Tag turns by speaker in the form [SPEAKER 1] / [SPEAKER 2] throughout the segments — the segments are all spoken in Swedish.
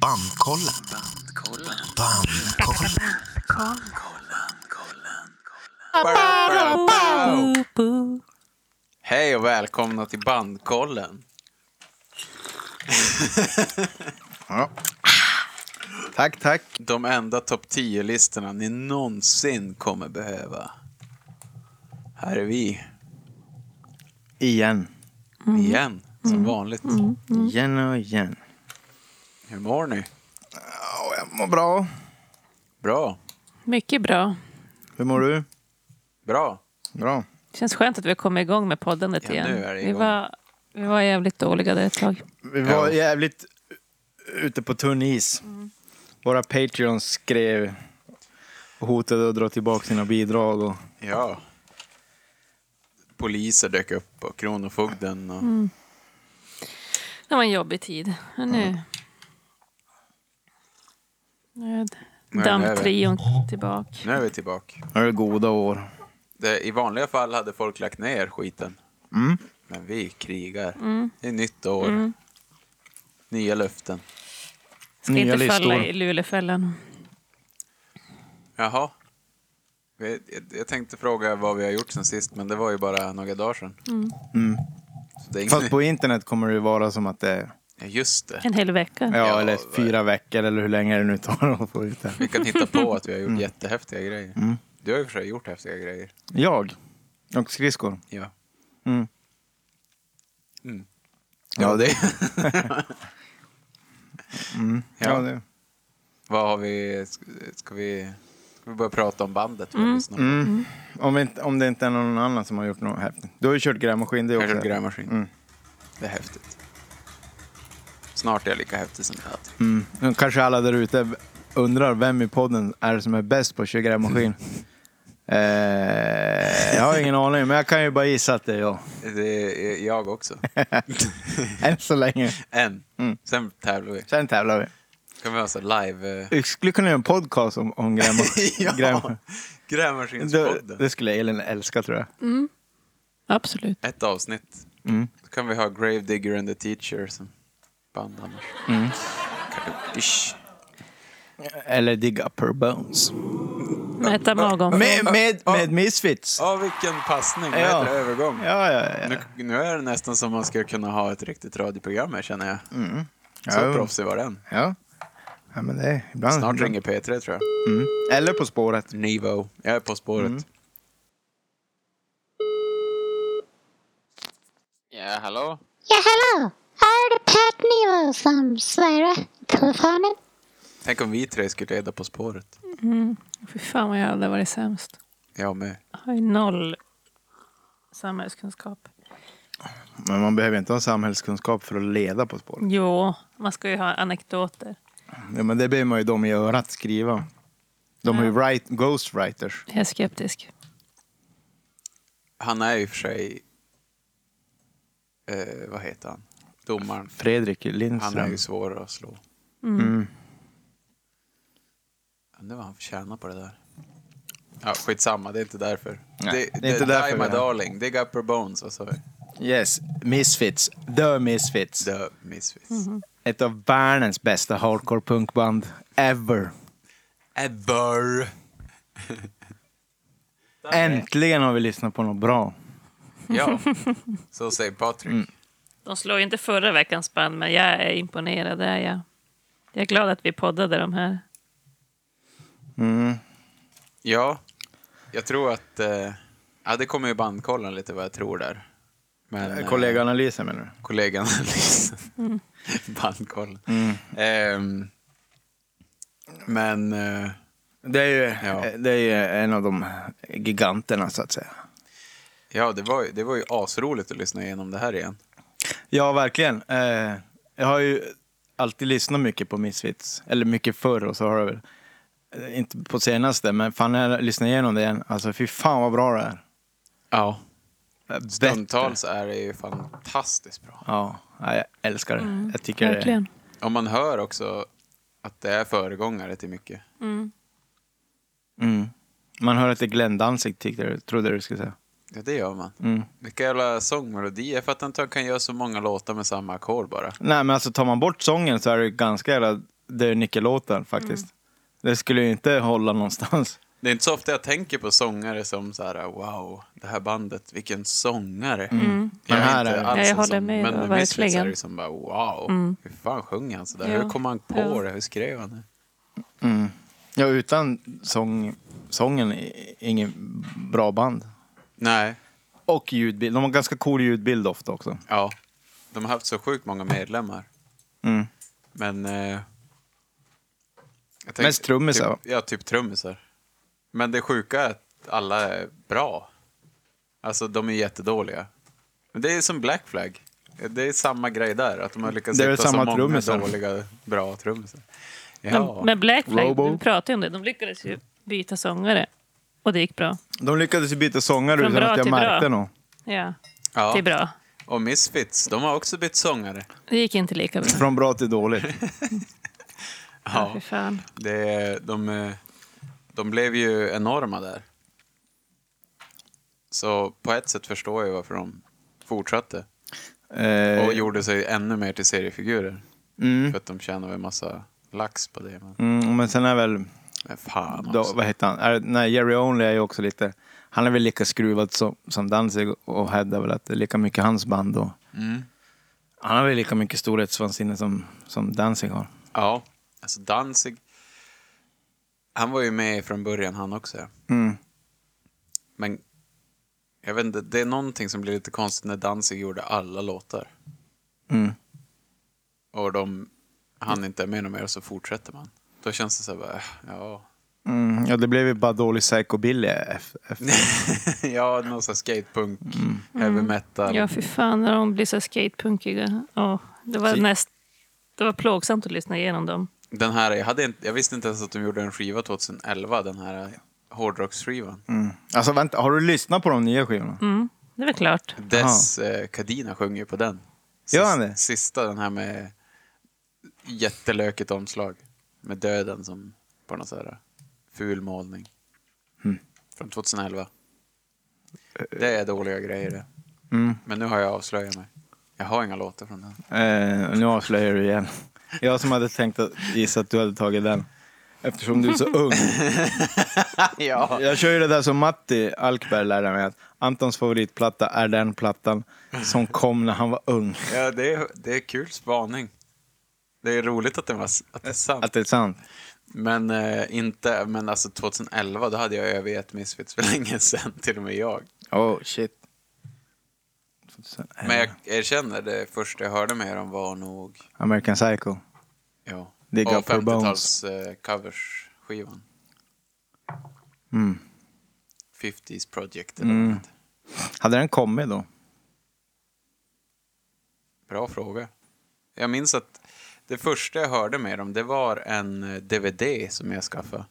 [SPEAKER 1] Bandkollen. Bandkollen.
[SPEAKER 2] Hej och välkomna till Bandkollen.
[SPEAKER 1] Ja. Tack, tack.
[SPEAKER 2] De enda topp 10-listorna ni någonsin kommer behöva. Här är vi,
[SPEAKER 1] Igen.
[SPEAKER 2] igen, som vanligt.
[SPEAKER 1] Igen och igen.
[SPEAKER 2] Hur mår ni?
[SPEAKER 1] Ja, jag mår bra.
[SPEAKER 2] Bra,
[SPEAKER 3] Mycket bra.
[SPEAKER 1] Hur mår du?
[SPEAKER 2] bra.
[SPEAKER 1] Bra.
[SPEAKER 3] Känns skönt att vi har kommit igång med poddandet
[SPEAKER 2] Ja,
[SPEAKER 3] igen.
[SPEAKER 2] nu är det
[SPEAKER 3] vi,
[SPEAKER 2] igång.
[SPEAKER 3] var, vi var jävligt dåliga där ett tag.
[SPEAKER 1] Vi var
[SPEAKER 2] Ja.
[SPEAKER 1] jävligt ute på tunn is. Våra patreons skrev och hotade att dra tillbaka sina bidrag. Och...
[SPEAKER 2] Ja. Poliser dök upp och Kronofogden. Och...
[SPEAKER 3] Det var en jobbig tid. Men nu...
[SPEAKER 2] Nu
[SPEAKER 3] Nu är
[SPEAKER 2] är det
[SPEAKER 3] dammtrion tillbaka.
[SPEAKER 2] Nu är vi tillbaka.
[SPEAKER 1] Det är goda år.
[SPEAKER 2] Det, I vanliga fall hade folk lagt ner skiten.
[SPEAKER 1] Mm.
[SPEAKER 2] Men vi krigar. Det är nytt år. Nya löften.
[SPEAKER 3] Ska
[SPEAKER 1] Nya
[SPEAKER 3] inte falla
[SPEAKER 1] listor.
[SPEAKER 3] i Lulefällan.
[SPEAKER 2] Jaha. Vi- Jag, jag tänkte fråga vad vi har gjort sen sist, men det var ju bara några dagar sedan.
[SPEAKER 1] Mm.
[SPEAKER 2] Så det är
[SPEAKER 1] Fast
[SPEAKER 2] ingen...
[SPEAKER 1] på internet kommer det ju vara som att det är
[SPEAKER 2] Ja, Just det.
[SPEAKER 3] En hel vecka.
[SPEAKER 1] ja,
[SPEAKER 2] Ja,
[SPEAKER 1] eller
[SPEAKER 2] vad-
[SPEAKER 1] fyra veckor eller hur länge det nu tar att få ut det.
[SPEAKER 2] Vi kan hitta på att vi har
[SPEAKER 1] Mm.
[SPEAKER 2] gjort jättehäftiga grejer. Du har ju för sig gjort häftiga grejer.
[SPEAKER 1] Jag och skridskor.
[SPEAKER 2] Ja.
[SPEAKER 1] Mm.
[SPEAKER 2] Mm. Ja, det...
[SPEAKER 1] Ja.
[SPEAKER 2] Ja.
[SPEAKER 1] det.
[SPEAKER 2] vad har vi... sk- Ska vi... Ska vi börja prata om bandet? Vi har lyssnat på?
[SPEAKER 1] Mm. Om, vi inte, om det inte är någon annan som har gjort något häftigt. Du har ju kört grävmaskin, det är
[SPEAKER 2] Jag har
[SPEAKER 1] också
[SPEAKER 2] kört grävmaskin.
[SPEAKER 1] Mm.
[SPEAKER 2] Det är häftigt. Snart är jag lika häftig som jag alltid.
[SPEAKER 1] Mm. Men Kanske alla där ute undrar vem i podden är det som är bäst på att köra grävmaskin. eh, jag har ingen aning, men jag kan ju bara gissa att det är jag.
[SPEAKER 2] Det är jag också.
[SPEAKER 1] Än så länge.
[SPEAKER 2] Än.
[SPEAKER 1] Mm.
[SPEAKER 2] Sen tävlar vi.
[SPEAKER 1] Sen tävlar vi.
[SPEAKER 2] Kan vi ha så här live... eh,
[SPEAKER 1] Vi skulle kunna göra en podcast om, om grävmaskin.
[SPEAKER 2] ja,
[SPEAKER 1] grävma- det,
[SPEAKER 2] Grävmaskinspodden.
[SPEAKER 1] det skulle Elin älska tror jag.
[SPEAKER 3] Absolut.
[SPEAKER 2] Ett avsnitt.
[SPEAKER 1] Mm.
[SPEAKER 2] Då kan vi ha Gravedigger and the Teacher som band annars.
[SPEAKER 1] Mm.
[SPEAKER 2] Kan- Ish.
[SPEAKER 1] Eller Dig Upper Bones.
[SPEAKER 3] Mäta magen.
[SPEAKER 1] Med, med,
[SPEAKER 2] ja.
[SPEAKER 1] med Misfits.
[SPEAKER 2] Ja, vilken passning. Vad
[SPEAKER 1] Ja.
[SPEAKER 2] heter det? Övergång.
[SPEAKER 1] Ja, ja, ja.
[SPEAKER 2] Nu, nu är det nästan som man skulle kunna ha ett riktigt radioprogram här känner jag. Så
[SPEAKER 1] Mm. Ja.
[SPEAKER 2] proffsig var den.
[SPEAKER 1] Ja. ja men det är ibland.
[SPEAKER 2] Snart ringer P3 tror jag.
[SPEAKER 1] Mm. Eller På spåret.
[SPEAKER 2] Nivo. Jag är På spåret.
[SPEAKER 1] Mm.
[SPEAKER 2] Ja, hallå?
[SPEAKER 4] Ja, hallå! Här är det Pat Nilo som svarar i telefonen.
[SPEAKER 2] Tänk om vi tre skulle leda På spåret.
[SPEAKER 3] Fy fan vad jag hade varit sämst.
[SPEAKER 2] Jag med.
[SPEAKER 3] Jag har ju noll samhällskunskap.
[SPEAKER 1] Men man behöver inte ha samhällskunskap för att leda På spåret.
[SPEAKER 3] Jo, man ska ju ha anekdoter.
[SPEAKER 1] Ja, men det ber man ju dem i örat skriva. De har ju write, ghostwriters.
[SPEAKER 3] Jag är skeptisk.
[SPEAKER 2] Han är ju för sig... Eh, vad heter han? Domaren.
[SPEAKER 1] Fredrik
[SPEAKER 2] Han är
[SPEAKER 1] Lindström.
[SPEAKER 2] ju svår att slå.
[SPEAKER 1] Mm.
[SPEAKER 2] Undrar vad han förtjänar på det där. Ja, skitsamma, det är inte därför.
[SPEAKER 1] Nej,
[SPEAKER 2] det,
[SPEAKER 1] det är inte därför
[SPEAKER 2] Die my
[SPEAKER 1] vi har-
[SPEAKER 2] darling, dig up her bones. Och så
[SPEAKER 1] Yes, Misfits. The Misfits.
[SPEAKER 2] The Misfits.
[SPEAKER 1] Ett av världens bästa hardcore punkband ever.
[SPEAKER 2] Ever!
[SPEAKER 1] Äntligen har vi lyssnat på något bra.
[SPEAKER 2] Ja, så säger Patrik.
[SPEAKER 1] Mm.
[SPEAKER 3] De slog inte förra veckans band, men jag är imponerad. Det är jag. jag är glad att vi poddade de här.
[SPEAKER 1] Mm.
[SPEAKER 2] Ja, jag tror att... Eh, ja, det kommer ju bandkollen lite vad jag tror där. Men, eh,
[SPEAKER 1] Kollegaanalysen menar du?
[SPEAKER 2] kollegan Lisa. Bandkollen.
[SPEAKER 1] Mm.
[SPEAKER 2] Ehm, men eh,
[SPEAKER 1] Det är, ju,
[SPEAKER 2] Ja.
[SPEAKER 1] det är ju en av de giganterna så att säga.
[SPEAKER 2] ja, det var, ju- det var ju asroligt att lyssna igenom det här igen.
[SPEAKER 1] Ja, verkligen. Eh, jag har ju alltid lyssnat mycket på Misfits. Eller mycket förr och så har jag väl. eh, Inte på senaste, men fan när jag lyssnar igenom det igen. Alltså fy fan vad bra det är.
[SPEAKER 2] Ja.
[SPEAKER 1] Eh, bättre.
[SPEAKER 2] Stundtals är det ju fantastiskt bra.
[SPEAKER 1] Ja, nej, jag älskar det. jag tycker
[SPEAKER 3] Verkligen.
[SPEAKER 2] Och man hör också att det är föregångare till mycket.
[SPEAKER 1] Det, mm. Man hör att det är Glenn Danzig tyckte du, trodde du skulle säga.
[SPEAKER 2] Ja, det gör man.
[SPEAKER 1] Mm.
[SPEAKER 2] Vilka jävla sångmelodier. Jag fattar inte hur han kan göra så många låtar med samma ackord bara.
[SPEAKER 1] Nej, men alltså tar man bort sången så är det ganska jävla det nyckellåten faktiskt. Det skulle ju inte hålla någonstans.
[SPEAKER 2] Det är inte så ofta jag tänker på sångare som så här, wow, det här bandet, vilken sångare. Jag
[SPEAKER 1] Mm. Men
[SPEAKER 2] är
[SPEAKER 1] här
[SPEAKER 2] inte
[SPEAKER 1] är det.
[SPEAKER 2] alls
[SPEAKER 3] Ja, jag
[SPEAKER 2] en
[SPEAKER 3] håller
[SPEAKER 2] sån,
[SPEAKER 3] med,
[SPEAKER 2] Men
[SPEAKER 3] då,
[SPEAKER 2] med Misfits är
[SPEAKER 3] verkligen. Mm.
[SPEAKER 2] det som bara, wow, hur fan sjöng han sådär?
[SPEAKER 3] Ja,
[SPEAKER 2] Hur kom han på
[SPEAKER 3] ja.
[SPEAKER 2] det? Hur skrev han det?
[SPEAKER 1] Ja, utan sång, sången, i- ingen bra band.
[SPEAKER 2] Nej,
[SPEAKER 1] Och ljudbild. De har ganska cool ljudbild ofta också.
[SPEAKER 2] ja. De har haft så sjukt många medlemmar.
[SPEAKER 1] Mm.
[SPEAKER 2] Men... Eh, jag
[SPEAKER 1] Mest trummisar, va?
[SPEAKER 2] Typ, ja, typ trummisar. Men det sjuka är att alla är bra. Alltså, de är jättedåliga. Men det är som Black Flag. Det är samma grej där, att de har lyckats
[SPEAKER 1] Det är väl
[SPEAKER 2] hitta
[SPEAKER 1] samma
[SPEAKER 2] så många
[SPEAKER 1] trummisar.
[SPEAKER 2] dåliga, bra trummisar. Ja,
[SPEAKER 3] De, med Black Flag,
[SPEAKER 1] Robo.
[SPEAKER 3] vi pratade ju om det, de lyckades ju byta sångare. Och det gick bra.
[SPEAKER 1] De lyckades ju byta sångare
[SPEAKER 3] Från
[SPEAKER 1] utan
[SPEAKER 3] bra
[SPEAKER 1] att jag
[SPEAKER 3] till bra.
[SPEAKER 1] märkte något.
[SPEAKER 3] Ja,
[SPEAKER 2] ja.
[SPEAKER 3] det är bra.
[SPEAKER 2] Och Misfits, de har också bytt sångare.
[SPEAKER 3] Det gick inte lika bra.
[SPEAKER 1] Från bra till dåligt.
[SPEAKER 3] Ja. Fy fan.
[SPEAKER 2] Det, är- de, eh, de blev ju enorma där. Så på ett sätt förstår jag varför de fortsatte.
[SPEAKER 1] Eh,
[SPEAKER 2] Och gjorde sig ännu mer till seriefigurer.
[SPEAKER 1] mm,
[SPEAKER 2] För att de tjänar väl massa lax på det. Men,
[SPEAKER 1] mm, men sen är väl,
[SPEAKER 2] men fan
[SPEAKER 1] då,
[SPEAKER 2] också.
[SPEAKER 1] vad heter han? Är, nej, Jerry Only är ju också lite, han är väl lika skruvad som, som Danzig och hävdar väl att det är lika mycket hans band då.
[SPEAKER 2] Mm.
[SPEAKER 1] Han har väl lika mycket storhetsvansinne som, som Danzig har.
[SPEAKER 2] Ja, alltså Danzig. Han var ju med från början han också. ja.
[SPEAKER 1] Mm.
[SPEAKER 2] Men jag vet inte, det är någonting som blir lite konstigt när Danzig gjorde alla låtar.
[SPEAKER 1] Mm.
[SPEAKER 2] Och de, han inte är med någon mer och så fortsätter man. Då känns det så här bara, eh, ja.
[SPEAKER 1] Mm, ja, det blev ju bara dålig psychobilly eff- efter.
[SPEAKER 2] ja, någon sån här skatepunk,
[SPEAKER 1] Mm.
[SPEAKER 2] heavy metal.
[SPEAKER 3] Ja, fy fan när de blir så skatepunkiga. Ja, det, var
[SPEAKER 1] Så-
[SPEAKER 3] näst, det var plågsamt att lyssna igenom dem.
[SPEAKER 2] Den här, jag, hade inte, jag visste inte ens att de gjorde en skiva 2011, den här hårdrocksskivan.
[SPEAKER 1] Mm. Alltså vänta, har du lyssnat på de nya skivorna?
[SPEAKER 3] Mm, det är väl klart.
[SPEAKER 2] Dess eh, Kadina sjunger ju på den. Sist-
[SPEAKER 1] Gör han det?
[SPEAKER 2] Sista, den här med jättelökigt omslag. Med döden som på någon sån här ful målning.
[SPEAKER 1] Hmm.
[SPEAKER 2] Från 2011. Det är dåliga grejer det.
[SPEAKER 1] Eh, Mm.
[SPEAKER 2] Men nu har jag avslöjat mig. Jag har inga låtar från den.
[SPEAKER 1] Eh, nu avslöjar du igen. Jag som hade tänkt att gissa att du hade tagit den. Eftersom du är så ung.
[SPEAKER 2] ja.
[SPEAKER 1] Jag kör ju det där som Matti Alkberg lärde mig. Att Antons favoritplatta är den plattan som kom när han var ung.
[SPEAKER 2] ja det, är, det är kul spaning. Det är roligt att, den var, s- att det är sant.
[SPEAKER 1] Att det är sant.
[SPEAKER 2] Men eh, inte, men alltså 2011 då hade jag övergett Misfits för länge sedan, till och med jag.
[SPEAKER 1] Oh shit.
[SPEAKER 2] Men jag
[SPEAKER 1] Eh.
[SPEAKER 2] erkänner, det första jag hörde med dem var nog,
[SPEAKER 1] American Psycho.
[SPEAKER 2] ja,
[SPEAKER 1] Dig
[SPEAKER 2] och
[SPEAKER 1] up her
[SPEAKER 2] 50-tals
[SPEAKER 1] bones.
[SPEAKER 2] eh, coversskivan.
[SPEAKER 1] Mm.
[SPEAKER 2] 50s Project eller
[SPEAKER 1] Mm.
[SPEAKER 2] mm.
[SPEAKER 1] Hade den kommit då?
[SPEAKER 2] Bra fråga. Jag minns att det första jag hörde med dem, det var en eh, DVD som jag skaffade.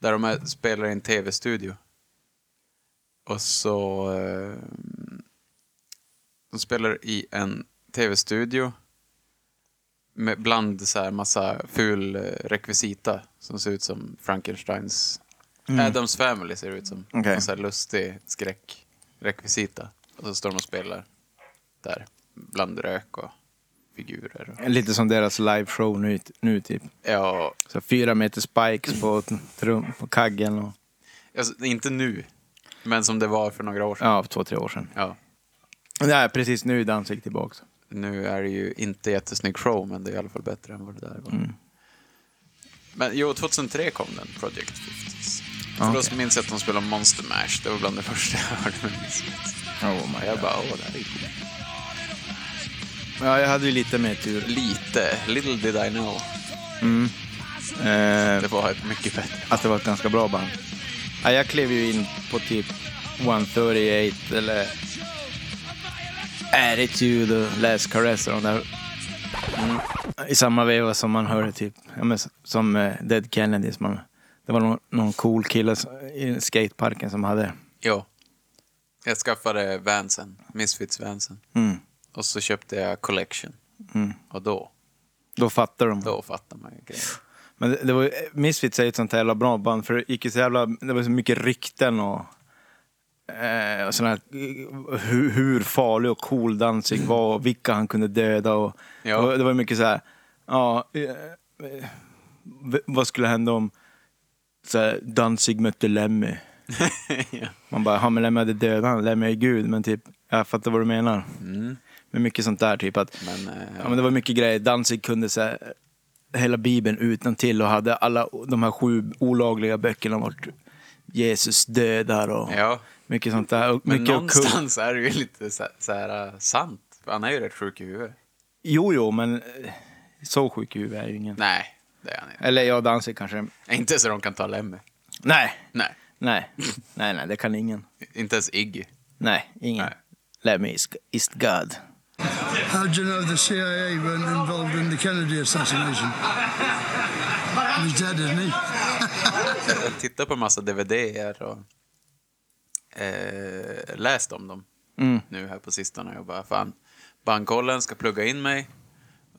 [SPEAKER 2] Där de här spelar i en tv-studio. Och så... eh, De spelar i en tv-studio. Med bland så här massa ful eh, rekvisita som ser ut som Frankensteins... Adams Family ser det ut som.
[SPEAKER 1] Okej.
[SPEAKER 2] En så här lustig skräckrekvisita. Och så står de och spelar där. Bland rök och figurer. Och...
[SPEAKER 1] Lite som deras liveshow nu, nu typ.
[SPEAKER 2] Ja,
[SPEAKER 1] Så fyra meter spikes på, trum, på kaggen. Och,
[SPEAKER 2] alltså, inte nu. Men som det var för några år sedan.
[SPEAKER 1] ja, för två, tre år sedan.
[SPEAKER 2] Ja.
[SPEAKER 1] Nej, precis nu är Danzig tillbaka.
[SPEAKER 2] Nu är det ju inte jättesnygg show, men det är i alla fall bättre än vad det där var. Men jo, 2003 kom den, Project 50s. För
[SPEAKER 1] Okej.
[SPEAKER 2] Då minns jag att de spelade Monster Mash. Det var bland det första jag hörde med Misfits.
[SPEAKER 1] Oh
[SPEAKER 2] Och jag bara, åh, det här är ju coolt."
[SPEAKER 1] Ja, jag hade ju lite mer tur.
[SPEAKER 2] Lite, little did I know.
[SPEAKER 1] Eh,
[SPEAKER 2] Det var ett mycket bättre.
[SPEAKER 1] att det var ett ganska bra band. Ja, jag klev ju in på typ 138 eller Attitude och Last Caress och de där. Mm. I samma veva som man hörde typ, ja, men, s- som eh, Dead Kennedys. Man, det var någon, någon cool kille s- i skateparken som hade.
[SPEAKER 2] Ja. Jag skaffade Vansen, Misfits-Vansen.
[SPEAKER 1] Mm.
[SPEAKER 2] Och så köpte jag Collection.
[SPEAKER 1] Mm.
[SPEAKER 2] Och då,
[SPEAKER 1] Då fattar de.
[SPEAKER 2] då fattar man ju grejen.
[SPEAKER 1] Men det, det var ju- eh, Misfits är ju ett sånt här jävla bra band för det gick ju så jävla, det var så mycket rykten och, eh, och såna här, eh, hur, hur farlig och cool Danzig var och vilka han kunde döda och
[SPEAKER 2] Ja.
[SPEAKER 1] det var- det var mycket så här, ja, eh, eh, v- vad skulle hända om så här, Danzig mötte Lemmy?
[SPEAKER 2] ja.
[SPEAKER 1] Man bara, ja men Lemmy hade dödat han, Lemmy är gud, men typ, jag fattar vad du menar.
[SPEAKER 2] Mm.
[SPEAKER 1] Med mycket sånt där, typ att,
[SPEAKER 2] Men, eh,
[SPEAKER 1] ja men det var mycket grejer, Danzig kunde så här, hela bibeln utan till och hade alla de här sju olagliga böckerna vart Jesus dödar och
[SPEAKER 2] ja.
[SPEAKER 1] mycket sånt där. Och
[SPEAKER 2] Men
[SPEAKER 1] mycket ockult.
[SPEAKER 2] någonstans är det ju lite så, så här eh, sant. För han är ju rätt sjuk i huvudet.
[SPEAKER 1] Jo, jo, men eh, så sjuk i huvudet är ju ingen.
[SPEAKER 2] Nej, det är han inte.
[SPEAKER 1] Eller jag dansar kanske.
[SPEAKER 2] Inte så de kan ta Lemmy.
[SPEAKER 1] Nej,
[SPEAKER 2] Nej,
[SPEAKER 1] nej, nej, nej, det kan ingen.
[SPEAKER 2] inte ens Iggy.
[SPEAKER 1] Nej, ingen.
[SPEAKER 2] Nej.
[SPEAKER 1] Lemmy is, is God.
[SPEAKER 5] How do you know the CIA weren't involved in the Kennedy assassination? He's dead, isn't he?
[SPEAKER 2] Jag tittar på en massa DVDer och eh, läst om dem
[SPEAKER 1] Mm.
[SPEAKER 2] nu här på sistone. Och bara, fan, bankkollen ska plugga in mig.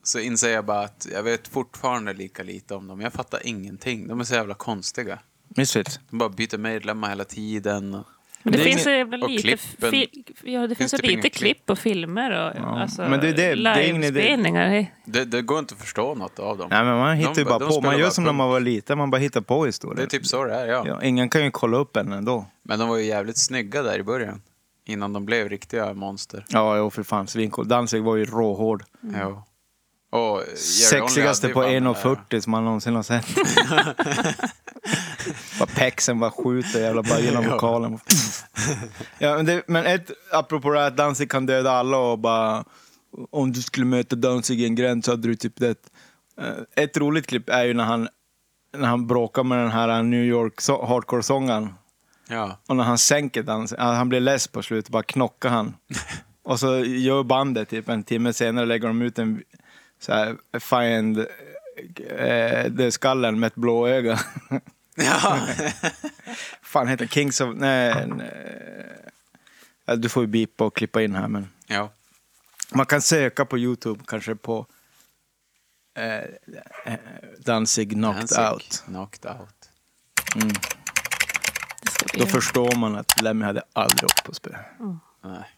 [SPEAKER 2] Så inser jag bara att jag vet fortfarande lika lite om dem. Jag fattar ingenting. De är så jävla konstiga.
[SPEAKER 1] Missfits.
[SPEAKER 2] De bara byter medlemmar hela tiden. Och,
[SPEAKER 3] Men det,
[SPEAKER 1] Det är
[SPEAKER 3] finns så
[SPEAKER 1] inget-
[SPEAKER 3] jävla
[SPEAKER 2] och
[SPEAKER 3] lite,
[SPEAKER 2] klippen.
[SPEAKER 3] fi, ja, det finns
[SPEAKER 2] Finns
[SPEAKER 3] så
[SPEAKER 1] typ
[SPEAKER 2] det inga
[SPEAKER 3] lite
[SPEAKER 2] klipp?
[SPEAKER 3] klipp och filmer och alltså,
[SPEAKER 1] Men det är det- det är ingen idé.
[SPEAKER 3] livespelningar.
[SPEAKER 2] det, det går inte att förstå något av dem.
[SPEAKER 1] Nej, men man hittar
[SPEAKER 2] De-
[SPEAKER 1] ju bara
[SPEAKER 2] de
[SPEAKER 1] på.
[SPEAKER 2] spelar
[SPEAKER 1] Man gör
[SPEAKER 2] bara
[SPEAKER 1] som när
[SPEAKER 2] punkt.
[SPEAKER 1] man var liten, man bara hittar på
[SPEAKER 2] Det är
[SPEAKER 1] historier.
[SPEAKER 2] typ så det är, ja.
[SPEAKER 1] ja, ingen kan ju kolla upp en ändå.
[SPEAKER 2] Men de var ju jävligt snygga där i början. Innan de blev riktiga monster.
[SPEAKER 1] Ja, jo, för fan. Svincool. Danzig var ju råhård.
[SPEAKER 2] Ja. Och eh, Jerry
[SPEAKER 1] Mm. Sexigaste
[SPEAKER 2] Only eh.
[SPEAKER 1] på
[SPEAKER 2] hade ju fan den
[SPEAKER 1] 1,40 som man någonsin har sett. Bara pexen bara skjuter jävla bara genom
[SPEAKER 2] Ja.
[SPEAKER 1] vokalen. ja, men, det, men ett, apropå det här att Danzig kan döda alla och bara om du skulle möta Danzig i en gränd så hade du typ det. Eh, Ett roligt klipp är ju när han, när han bråkar med den här New York so- hardcore-sångaren.
[SPEAKER 2] där. Ja.
[SPEAKER 1] Och när han sänker dansen, han han blir less på slutet, bara knockar han. Och så gör bandet typ en timme senare lägger de ut en så här, find eh, the skallen med ett blå öga.
[SPEAKER 2] ja.
[SPEAKER 1] Fan heter den? Kings of... Nej, nej. Ja, Du får ju beepa och klippa in här men.
[SPEAKER 2] ja.
[SPEAKER 1] Man kan söka på Youtube kanske på eh, eh, Danzig knocked
[SPEAKER 2] Danzig.
[SPEAKER 1] out.
[SPEAKER 2] Knocked out.
[SPEAKER 3] Det ska bli
[SPEAKER 1] Då förstår man att Lemmy hade aldrig åkt på spö.
[SPEAKER 2] Nej.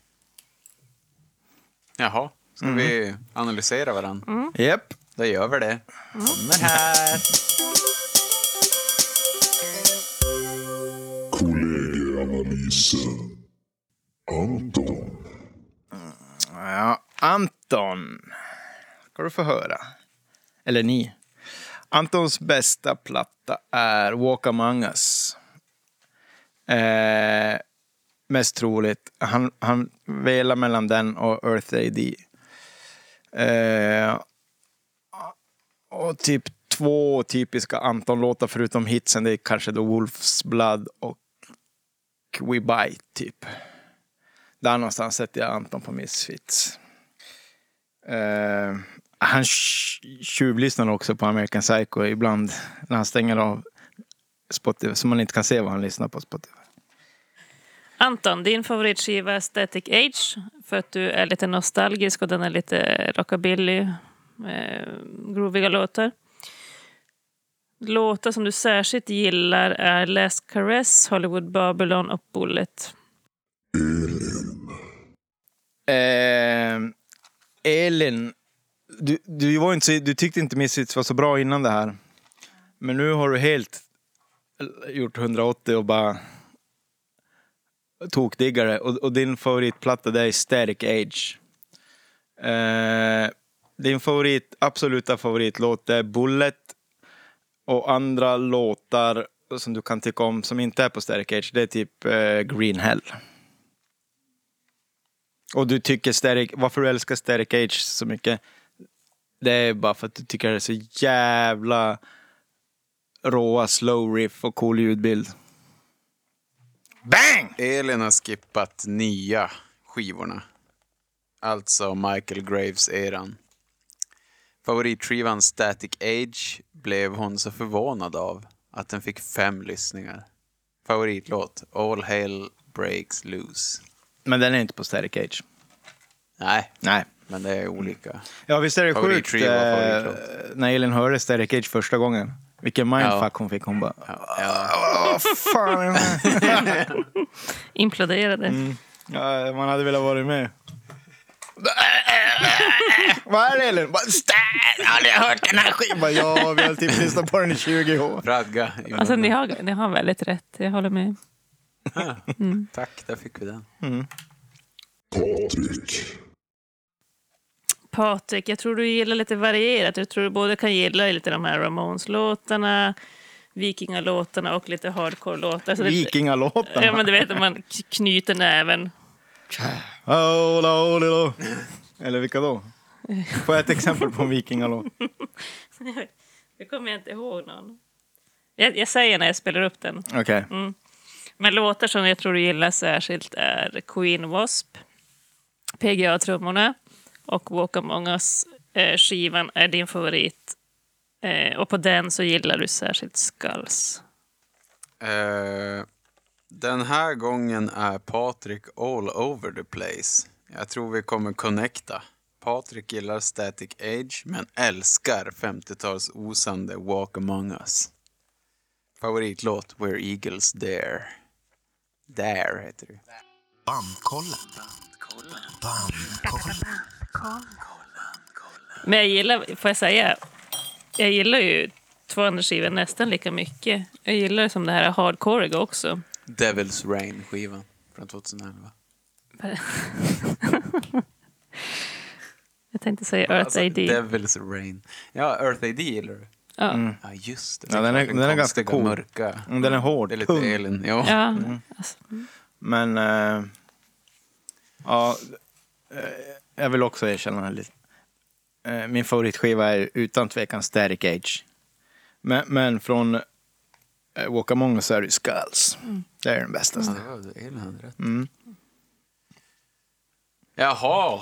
[SPEAKER 2] Jaha. Ska
[SPEAKER 1] Mm.
[SPEAKER 2] vi analysera varandra?
[SPEAKER 1] Japp.
[SPEAKER 2] Då gör vi det. Kommer här.
[SPEAKER 6] Kollegieanalysen. Anton.
[SPEAKER 1] Ja, Anton ska du få höra. Eller ni. Antons bästa platta är Walk Among Us. Eh, mest troligt. Han, han velar mellan den och Earth AD. Eh, och typ två typiska Anton-låtar förutom hitsen. Det är kanske då Wolf's Blood och We Bite, typ. Där någonstans sätter jag Anton på Misfits. Eh, han tj- tjuvlyssnar också på American Psycho ibland när han stänger av Spotify så man inte kan se vad han lyssnar på Spotify.
[SPEAKER 3] Anton, din favoritskiva är Static Age för att du är lite nostalgisk och den är lite rockabilly, eh, grooviga låtar. Låtar som du särskilt gillar är Last Caress, Hollywood Babylon och Bullet.
[SPEAKER 1] Eh, Elin, du, du, var inte så, du tyckte inte Misfits var så bra innan det här. Men nu har du helt gjort 180 och bara tokdiggare. Och, och din favoritplatta det är Static Age. Eh, din favorit, absoluta favoritlåt det är Bullet. Och andra låtar som du kan tycka om som inte är på Static Age det är typ eh, Green Hell. Och du tycker Static, varför du älskar Static Age så mycket? Det är bara för att du tycker det är så jävla råa slow riff och cool ljudbild. Bang!
[SPEAKER 2] Elin har skippat nya skivorna. Alltså Michael Graves-eran. Favoritskivan Static Age blev hon så förvånad av att den fick fem lyssningar. Favoritlåt All Hail Breaks Loose.
[SPEAKER 1] Men den är inte på Static Age.
[SPEAKER 2] Nej,
[SPEAKER 1] Nej.
[SPEAKER 2] men det är olika.
[SPEAKER 1] Ja visst är det sjukt
[SPEAKER 2] Favoritskiva,
[SPEAKER 1] eh,
[SPEAKER 2] favoritlåt.
[SPEAKER 1] när Elin hörde Static Age första gången. Vilken mindfuck hon fick. Hon bara...
[SPEAKER 2] Ja,
[SPEAKER 1] Vad fan är det här?"
[SPEAKER 3] Imploderade.
[SPEAKER 1] ja, Man hade velat vara med. Vad är det Elin? Bara, "Stan, Har ni hört den här skivan? Bara, Ja, vi har typ lyssnat på den i 20 år.
[SPEAKER 2] Radga i
[SPEAKER 3] Alltså ni
[SPEAKER 2] munnen.
[SPEAKER 3] har, ni har väldigt rätt, jag håller med.
[SPEAKER 2] Tack, där fick vi den.
[SPEAKER 6] Patrik.
[SPEAKER 3] Patrik, jag tror du gillar lite varierat. Jag tror du både kan gilla lite de här Ramones-låtarna, Vikingalåtarna och lite hardcore-låtar. Så det-
[SPEAKER 1] Vikingalåtarna.
[SPEAKER 3] Ja, men du vet, om man k- knyter näven.
[SPEAKER 1] Oh, ola, ola, ola. Eller vilka då? Får jag ett exempel på en vikingalåt?
[SPEAKER 3] Det kommer jag inte ihåg någon. Jag, jag säger när jag spelar upp den.
[SPEAKER 1] Okej.
[SPEAKER 3] Men låtar som jag tror du gillar särskilt är Queen Wasp, PGA Trummorna och Walk Among Us. Eh, skivan är din favorit. Eh, och på den så gillar du särskilt Skulls.
[SPEAKER 2] Eh, den här gången är Patrik all over the place. Jag tror vi kommer connecta. Patrik gillar Static Age men älskar 50-tals osande Walk Among Us. Favoritlåt Where Eagles Dare. There heter det.
[SPEAKER 3] Men jag gillar, får jag säga, jag gillar ju två andra skivor nästan lika mycket. Jag gillar som det här hardcore också.
[SPEAKER 2] Devil's Rain-skivan från 2011.
[SPEAKER 3] Jag tänkte säga Earth
[SPEAKER 2] Alltså,
[SPEAKER 3] AD.
[SPEAKER 2] Devil's Rain. Ja, Earth AD gillar du.
[SPEAKER 3] Ja.
[SPEAKER 2] Ja, just det.
[SPEAKER 1] Ja, den är-
[SPEAKER 2] Den
[SPEAKER 1] den är ganska
[SPEAKER 2] konstiga,
[SPEAKER 1] cool.
[SPEAKER 2] mörka.
[SPEAKER 1] Mm, Den är hård,
[SPEAKER 2] Det är lite
[SPEAKER 1] tung,
[SPEAKER 2] Elin. Ja.
[SPEAKER 3] Ja, alltså,
[SPEAKER 1] men... eh, ja, eh, jag vill också erkänna här lite. Eh, min favoritskiva är utan tvekan Static Age. Men, men från eh, Walk Among Us är det Skulls.
[SPEAKER 3] Mm.
[SPEAKER 1] Det är den bästa.
[SPEAKER 2] Ja, det var Elin hade rätt. Jaha.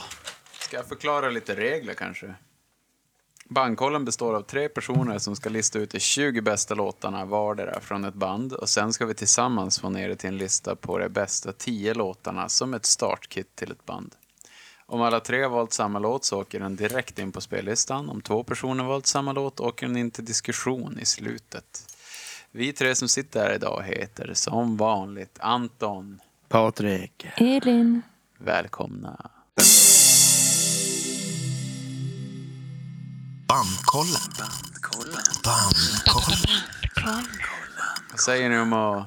[SPEAKER 2] Ska jag förklara lite regler kanske? Bandkollen består av tre personer som ska lista ut de 20 bästa låtarna vardera från ett band och sen ska vi tillsammans få ner det till en lista på de bästa 10 låtarna som ett startkit till ett band. Om alla tre har valt samma låt så åker den direkt in på spellistan. Om två personer valt samma låt åker den in till diskussion i slutet. Vi tre som sitter här idag heter som vanligt Anton.
[SPEAKER 1] Patrik.
[SPEAKER 3] Elin.
[SPEAKER 2] Välkomna. Vad säger ni om att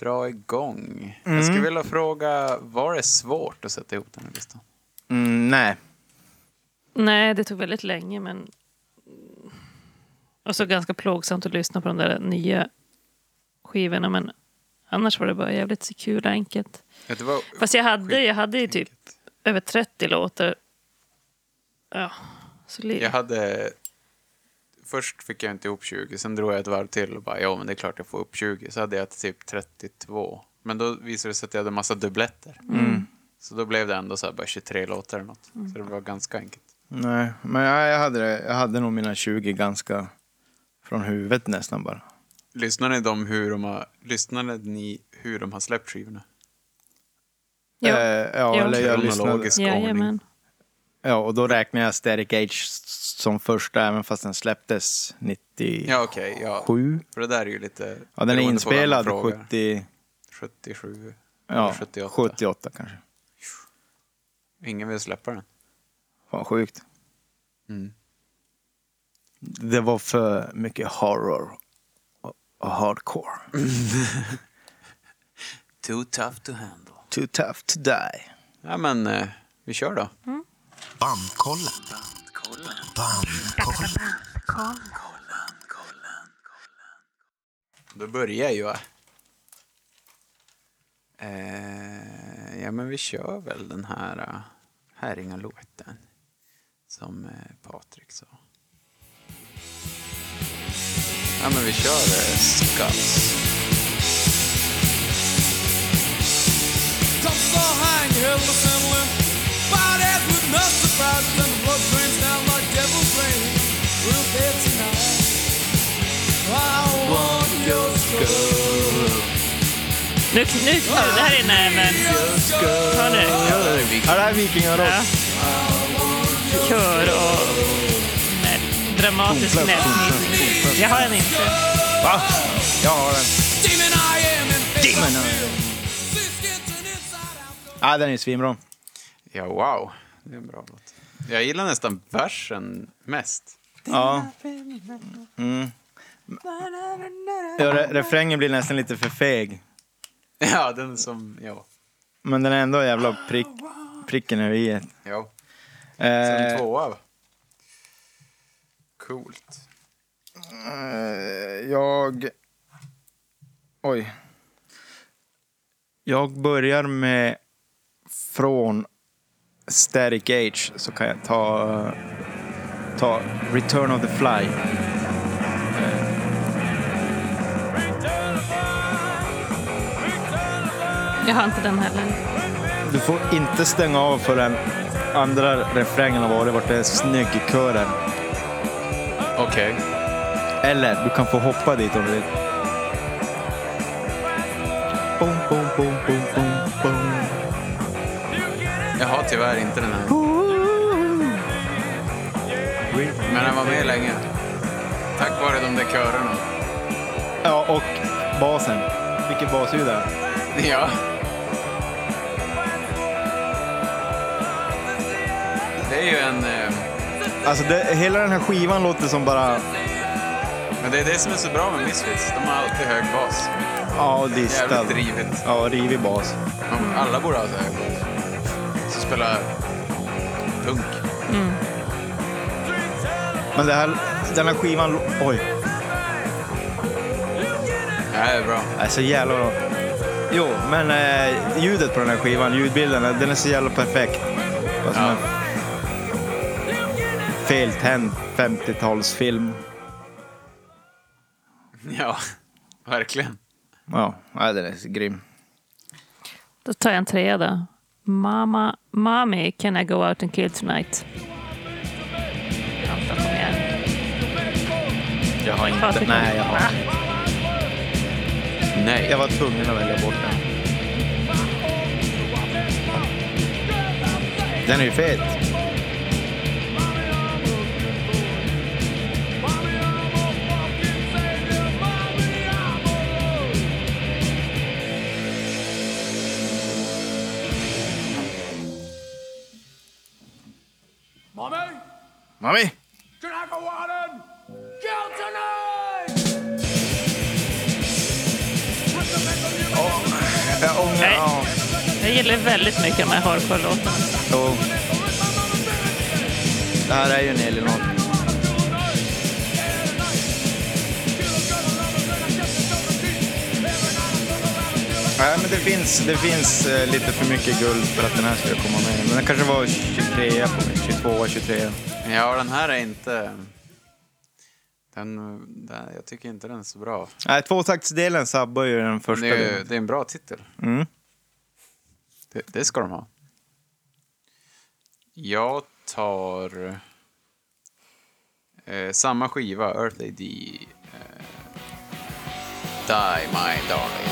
[SPEAKER 2] dra igång? Jag skulle vilja fråga, var det svårt att sätta ihop den här listan?
[SPEAKER 1] Mm, nej.
[SPEAKER 3] Nej, det tog väldigt länge, men... Och så ganska plågsamt att lyssna på de där nya skivorna, men annars var det bara jävligt så kul och enkelt.
[SPEAKER 2] Ja, Det var
[SPEAKER 3] Fast jag hade, jag hade ju typ över 30 låtar. Ja, så li-
[SPEAKER 2] Jag hade... Först fick jag inte ihop 20, sen drog jag ett varv till och bara ja, men det är klart jag får upp 20. Så hade jag typ 32. Men då visade det sig att jag hade massa dubbletter. Så då blev det ändå så här bara 23 låtar eller något. Så det var ganska enkelt.
[SPEAKER 1] Nej, men jag, jag, hade, det- jag hade nog mina 20 ganska från huvudet nästan bara.
[SPEAKER 2] Lyssnade, de hur de har, lyssnade ni hur de har släppt skivorna?
[SPEAKER 3] Ja.
[SPEAKER 1] Eh, ja,
[SPEAKER 3] Ja.
[SPEAKER 1] eller jag lyssnade.
[SPEAKER 2] Kronologisk ordning.
[SPEAKER 3] Jajamän.
[SPEAKER 1] Ja, och då räknar jag Static Age s- som första, även fast den släpptes 97.
[SPEAKER 2] Ja, okej. ja. För det där är ju lite...
[SPEAKER 1] Ja, den
[SPEAKER 2] beroende på
[SPEAKER 1] är
[SPEAKER 2] vem man
[SPEAKER 1] inspelad
[SPEAKER 2] frågar.
[SPEAKER 1] 70,
[SPEAKER 2] 77.
[SPEAKER 1] ja,
[SPEAKER 2] 78.
[SPEAKER 1] 78. kanske.
[SPEAKER 2] Ingen vill släppa den.
[SPEAKER 1] Fan, sjukt.
[SPEAKER 2] Mm.
[SPEAKER 1] Det var för mycket horror och- och hardcore.
[SPEAKER 2] Too tough to handle.
[SPEAKER 1] Too tough to die.
[SPEAKER 2] Ja, men eh, vi kör då. Då börjar jag. Eh, ja, men vi kör väl den här eh, Herringalåten som eh, Patrik sa. Ja, men vi kör eh, Skulls.
[SPEAKER 7] Top so high and held us and limp. Bodies with no surprise, and the blood drains down like devil's rain. We'll pay tonight. I want your skull.
[SPEAKER 3] Nu, nu, nu, det här är näven.
[SPEAKER 7] Your skull.
[SPEAKER 3] Ta nu.
[SPEAKER 1] Ja, det här är vikingarock.
[SPEAKER 3] Ja. Kör och nej, dramatisk nätnyp. Jag har den inte.
[SPEAKER 1] Jag har den.
[SPEAKER 7] Demon I am and face
[SPEAKER 1] Demon
[SPEAKER 7] I
[SPEAKER 1] I
[SPEAKER 7] feel. See skin turn inside out.
[SPEAKER 1] Ja, den är svinbra.
[SPEAKER 2] Ja, wow. Det är en bra låt. Jag gillar nästan versen mest.
[SPEAKER 1] Ja. Mm. Ja, re- refrängen blir nästan lite för feg.
[SPEAKER 2] Ja, den är som... Ja.
[SPEAKER 1] Men den är ändå jävla prick, pricken över i. Eh, ett.
[SPEAKER 2] ja. Sen
[SPEAKER 1] Eh,
[SPEAKER 2] tvåa. va? Coolt.
[SPEAKER 1] eh, jag... Oj. Jag börjar med från Static Age så kan jag ta, eh, ta Return of the Fly.
[SPEAKER 3] Jag har inte den heller.
[SPEAKER 1] Du får inte stänga av förrän andra refrängen har varit vart det är snygg i kören.
[SPEAKER 2] Okej.
[SPEAKER 1] Eller du kan få hoppa dit om du vill. Boom, boom, boom, boom, boom, boom.
[SPEAKER 2] Jag har tyvärr inte den här. Men den var med länge. Tack vare de där körerna.
[SPEAKER 1] Ja, och basen. Vilket basljud det är.
[SPEAKER 2] Ja. Det är ju en... eh,
[SPEAKER 1] Alltså, det, hela den här skivan låter som bara...
[SPEAKER 2] Men det är det som är så bra med Misfits. De har alltid hög bas.
[SPEAKER 1] Ja, distad.
[SPEAKER 2] Jävligt drivet.
[SPEAKER 1] Ja, rivig bas.
[SPEAKER 2] Ja, Alla borde ha så här. Så spela punk.
[SPEAKER 1] Men det här, den här skivan... lå- Oj,
[SPEAKER 2] Ja, det är bra.
[SPEAKER 1] det är så jävla bra. Jo, men eh, ljudet på den här skivan, ljudbilden, den är så jävla perfekt. Vad som
[SPEAKER 2] Ja.
[SPEAKER 1] en feltänd 50-talsfilm.
[SPEAKER 2] Ja, verkligen.
[SPEAKER 1] Ja, nej, den är så grym.
[SPEAKER 3] Då tar jag en trea då. Mama, mommy, can I go out and kill tonight? Anton, kom igen.
[SPEAKER 1] Jag har
[SPEAKER 3] Patrik,
[SPEAKER 1] Nej, jag har
[SPEAKER 3] Ah,
[SPEAKER 2] Nej.
[SPEAKER 1] Jag var tvungen att välja bort den. Den är ju fet. Mami! Jag ångrar...
[SPEAKER 3] Nej.
[SPEAKER 1] Ja.
[SPEAKER 3] Jag gillar väldigt mycket de här hardcore-låtarna.
[SPEAKER 1] Jo. Det här är ju en hel del Nej, men det finns, det finns eh, lite för mycket guld för att den här skulle komma med. Men den kanske var 23 på mig, 22, 23.
[SPEAKER 2] Ja, den här är inte... Den, den, jag tycker inte den är så bra.
[SPEAKER 1] Nej, tvåtaktsdelen sabbar ju den första
[SPEAKER 2] Det är, ju-
[SPEAKER 1] delen.
[SPEAKER 2] det är en bra titel.
[SPEAKER 1] Mm.
[SPEAKER 2] Det, det ska de ha. Jag tar eh, samma skiva, Earth AD. Eh, die my darling.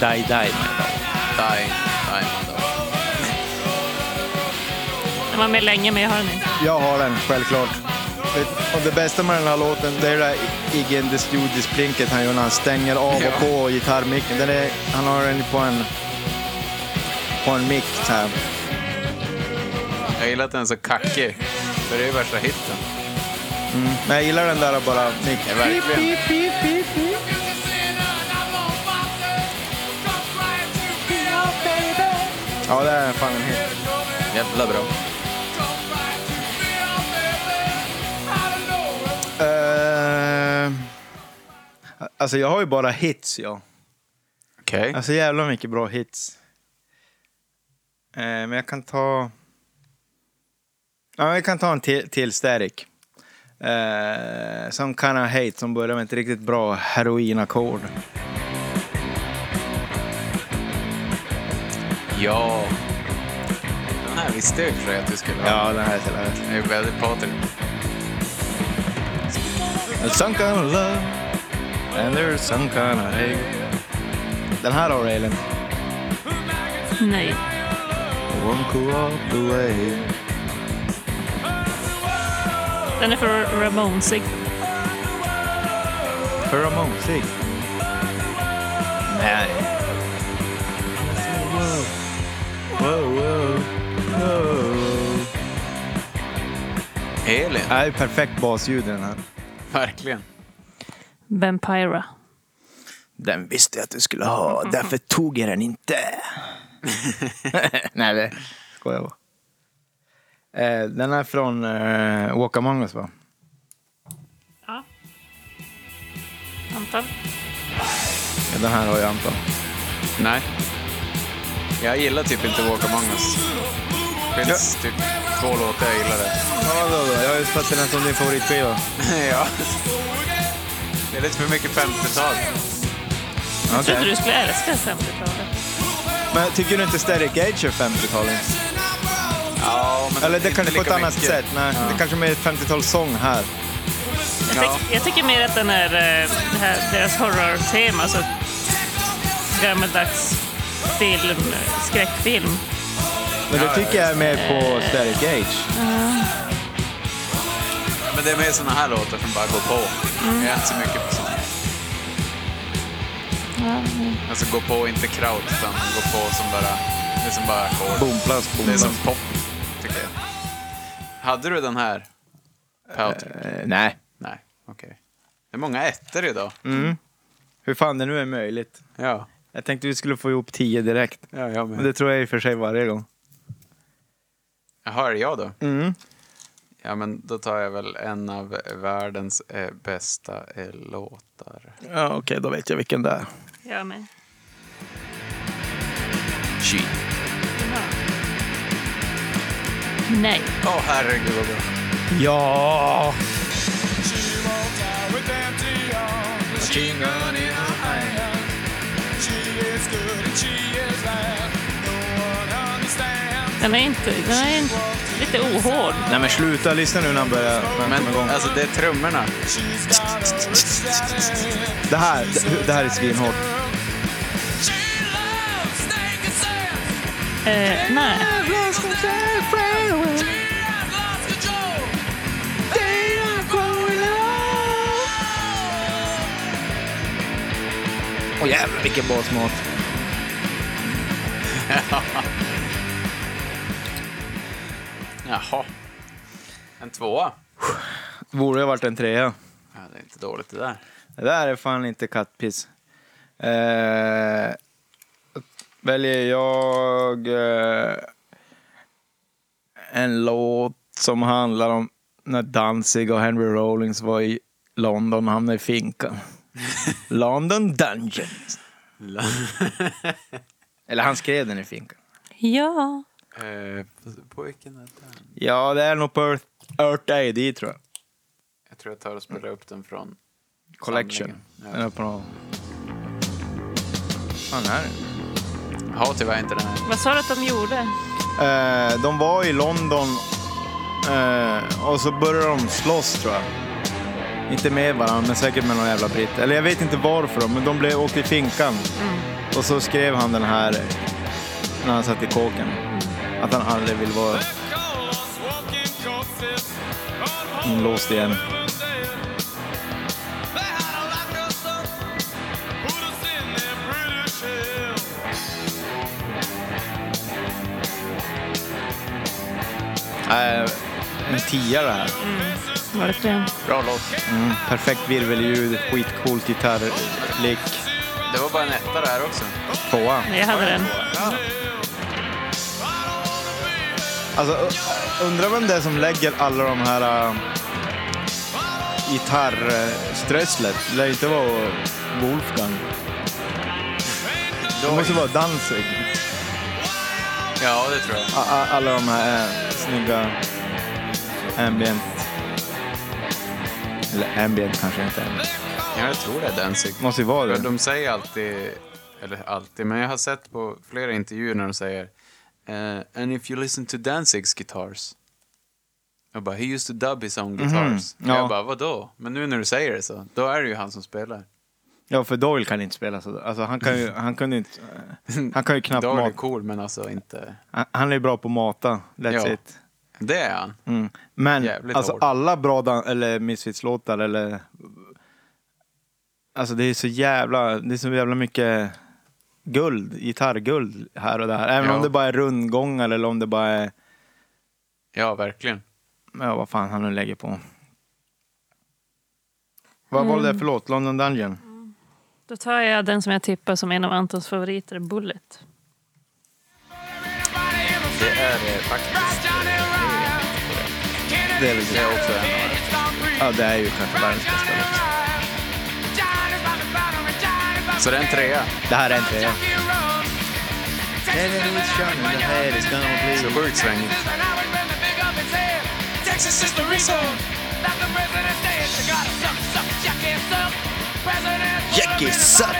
[SPEAKER 1] Die,
[SPEAKER 2] Die,
[SPEAKER 1] die.
[SPEAKER 2] die my darling.
[SPEAKER 3] Den var med länge, men jag har den inte.
[SPEAKER 1] Jag har den, självklart. Vet- Och det bästa med den här låten, det är det där Iggy and the Studios-plinket han gör när han stänger av
[SPEAKER 2] Ja.
[SPEAKER 1] och på gitarrmicken. Den är, han har den på en, på en mick så här.
[SPEAKER 2] Jag gillar att den är så kackig. För det är ju värsta hitten.
[SPEAKER 1] Men jag gillar den där bara mick.
[SPEAKER 2] Ja, verkligen.
[SPEAKER 1] Ja, det är fan en hit.
[SPEAKER 2] Jävla bra.
[SPEAKER 1] Uh, alltså jag har ju bara hits jag.
[SPEAKER 2] Okej.
[SPEAKER 1] Alltså jävla mycket bra hits. Eh, men jag kan ta... Ja, men jag kan ta en till, till Static. Eh, som Kinda Hate som börjar med ett riktigt bra heroinackord.
[SPEAKER 2] Ja. Den här visste jag i och för sig att du skulle ha.
[SPEAKER 1] Ja, den här är så lätt.
[SPEAKER 2] Det är väldigt Patrik.
[SPEAKER 1] There's eh, some kind of love and there's some kind of hate. Den här har du Elin.
[SPEAKER 3] Nej.
[SPEAKER 1] One co-op away.
[SPEAKER 3] Den är för Ramonesig.
[SPEAKER 1] Pheromonesig. Nej. Wow, wow, wow. Det här är perfekt basljud i den här.
[SPEAKER 2] Verkligen.
[SPEAKER 3] Vampira.
[SPEAKER 1] Den visste jag att du skulle ha, därför tog jag den inte. Nej, det skojar jag bara. Eh, den är från eh, Walk Among Us, va?
[SPEAKER 3] Ja. Anton?
[SPEAKER 1] Ja, Den här har ju Anton.
[SPEAKER 2] Nej. Jag gillar typ inte Walk Among Us. Det finns typ två låtar jag gillar där.
[SPEAKER 1] Ja, då, då. Jag har ju satt den som din favoritskiva.
[SPEAKER 2] ja. Det är lite för mycket 50-tal.
[SPEAKER 3] Jag trodde du skulle älska 50-talet.
[SPEAKER 1] Men tycker du inte Static Age är 50-talet?
[SPEAKER 2] Ja, men
[SPEAKER 1] Eller det
[SPEAKER 2] inte
[SPEAKER 1] kanske på ett
[SPEAKER 2] lika
[SPEAKER 1] annat
[SPEAKER 2] mycket.
[SPEAKER 1] sätt. Nej, Det kanske är mer 50-talssång här.
[SPEAKER 3] Jag, tyck, jag tycker mer att den är, eh, det här, deras horror-tema, alltså gammaldags film, skräckfilm.
[SPEAKER 1] Men det tycker jag är mer på Static Age.
[SPEAKER 2] Men det är mer såna här låtar som bara går på. Jag är inte så mycket på sånt. Alltså gå på, inte kraut, utan gå på som bara... Det är som bara ackord.
[SPEAKER 1] Bomplast,
[SPEAKER 2] Det är som
[SPEAKER 1] bomplast.
[SPEAKER 2] pop, tycker jag. Hade du den här? Powder?
[SPEAKER 1] Eh, nej.
[SPEAKER 2] Nej, okej. Det är många ettor idag.
[SPEAKER 1] Mm. Hur fan det nu är möjligt.
[SPEAKER 2] Ja.
[SPEAKER 1] Jag tänkte vi skulle få ihop 10 direkt.
[SPEAKER 2] ja, jag
[SPEAKER 1] Men det tror jag i och för sig varje gång.
[SPEAKER 2] Jaha, är det jag då?
[SPEAKER 1] Mm.
[SPEAKER 2] Ja, men då tar jag väl en av världens eh, bästa eh, låtar.
[SPEAKER 1] Ja, okej, då vet jag vilken det är.
[SPEAKER 3] Ja, men.
[SPEAKER 2] She.
[SPEAKER 3] Nej.
[SPEAKER 2] Åh, herregud vad bra.
[SPEAKER 1] Ja!
[SPEAKER 3] Den är inte... Den är en- lite ohård.
[SPEAKER 1] Nej men sluta lyssna nu när han börjar när han kommer igång.
[SPEAKER 2] Men alltså, det är trummorna.
[SPEAKER 1] Det här, det- det här är svinhårt.
[SPEAKER 3] Eh, nej.
[SPEAKER 1] Åh jävlar vilken basmat.
[SPEAKER 2] Jaha. En tvåa.
[SPEAKER 1] Borde ha varit en trea.
[SPEAKER 2] Ja, det är inte dåligt det där.
[SPEAKER 1] Det där är fan inte kattpiss. Eh, väljer jag eh, en låt som handlar om när Danzig och Henry Rollins var i London och hamnade i finkan. London Dungeons. Eller han skrev den i finkan.
[SPEAKER 3] Ja.
[SPEAKER 2] Eh, på- på vilken är den?
[SPEAKER 1] Ja, det är nog på Earth, Earth AD tror jag.
[SPEAKER 2] Jag tror jag tar och spelar upp den från...
[SPEAKER 1] Collection.
[SPEAKER 2] Samlingen, ja.
[SPEAKER 1] Den är på någon... Fan är det?
[SPEAKER 2] Jag har tyvärr inte den här.
[SPEAKER 3] Vad sa du att de gjorde?
[SPEAKER 1] Eh, de var i London eh, och så började de slåss tror jag. Inte med varandra, men säkert med någon jävla britt. Eller jag vet inte varför, men de blev, åkte i finkan. Och så skrev han den här när han satt i kåken. Att han aldrig vill vara inlåst igen. Eh, en tia det här.
[SPEAKER 3] Var det fler?
[SPEAKER 2] Bra låt.
[SPEAKER 1] Mm, perfekt virvelljud, skitcoolt gitarrlick.
[SPEAKER 2] Det var bara en etta där också.
[SPEAKER 1] Tvåa.
[SPEAKER 3] Nej, jag hade den.
[SPEAKER 1] Alltså, u- undrar vem det är som lägger alla de här uh, gitarrströsslet. Det lär ju inte vara Wolfgang. Det måste vara Danzig.
[SPEAKER 2] Ja, det tror jag.
[SPEAKER 1] A- a- Alla de här eh, snygga ambient... Eller ambient kanske inte. är.
[SPEAKER 2] Ja, jag tror det är Danzig.
[SPEAKER 1] Måste ju vara
[SPEAKER 2] För
[SPEAKER 1] det.
[SPEAKER 2] De säger alltid, eller alltid, men jag har sett på flera intervjuer när de säger eh, “And if you listen to Danzigs guitars” Jag bara “He used to dub his own guitars”.
[SPEAKER 1] Mhm, ja.
[SPEAKER 2] Jag bara “Vadå?” Men nu när du säger det så, då är det ju han som spelar.
[SPEAKER 1] Ja, för Doyle kan inte spela så. Alltså, han kan ju, han kunde inte, äh, han kan ju knappt
[SPEAKER 2] Då är det
[SPEAKER 1] mata.
[SPEAKER 2] cool, men alltså inte...
[SPEAKER 1] Han- Han är bra på att mata. That's
[SPEAKER 2] Ja.
[SPEAKER 1] it.
[SPEAKER 2] Det är han.
[SPEAKER 1] Mm. Men
[SPEAKER 2] Jävligt
[SPEAKER 1] alltså
[SPEAKER 2] hård.
[SPEAKER 1] alla bra dan- eller Misfits-låtar eller... Alltså det är så jävla, det är så jävla mycket guld, gitarrguld här och där. Även
[SPEAKER 2] Ja.
[SPEAKER 1] om det bara är rundgångar eller om det bara är...
[SPEAKER 2] Ja, verkligen.
[SPEAKER 1] ja, vad fan han nu lägger på. Vad var det för låt? London Dungeon?
[SPEAKER 3] Då tar jag den som jag tippar som en av Antons favoriter, Bullet.
[SPEAKER 2] Det är eh, faktiskt...
[SPEAKER 1] Det är väl
[SPEAKER 2] Det
[SPEAKER 1] det.
[SPEAKER 7] Oh,
[SPEAKER 2] är också en av
[SPEAKER 1] Ja, det är ju kanske världens bästa låt.
[SPEAKER 2] Så det är en trea.
[SPEAKER 1] Det här är inte det.
[SPEAKER 2] Så sjukt svängigt.
[SPEAKER 7] Texas is the reason. Not the president's day. You gotta suck, suck, jack it up. President
[SPEAKER 1] Jack it up.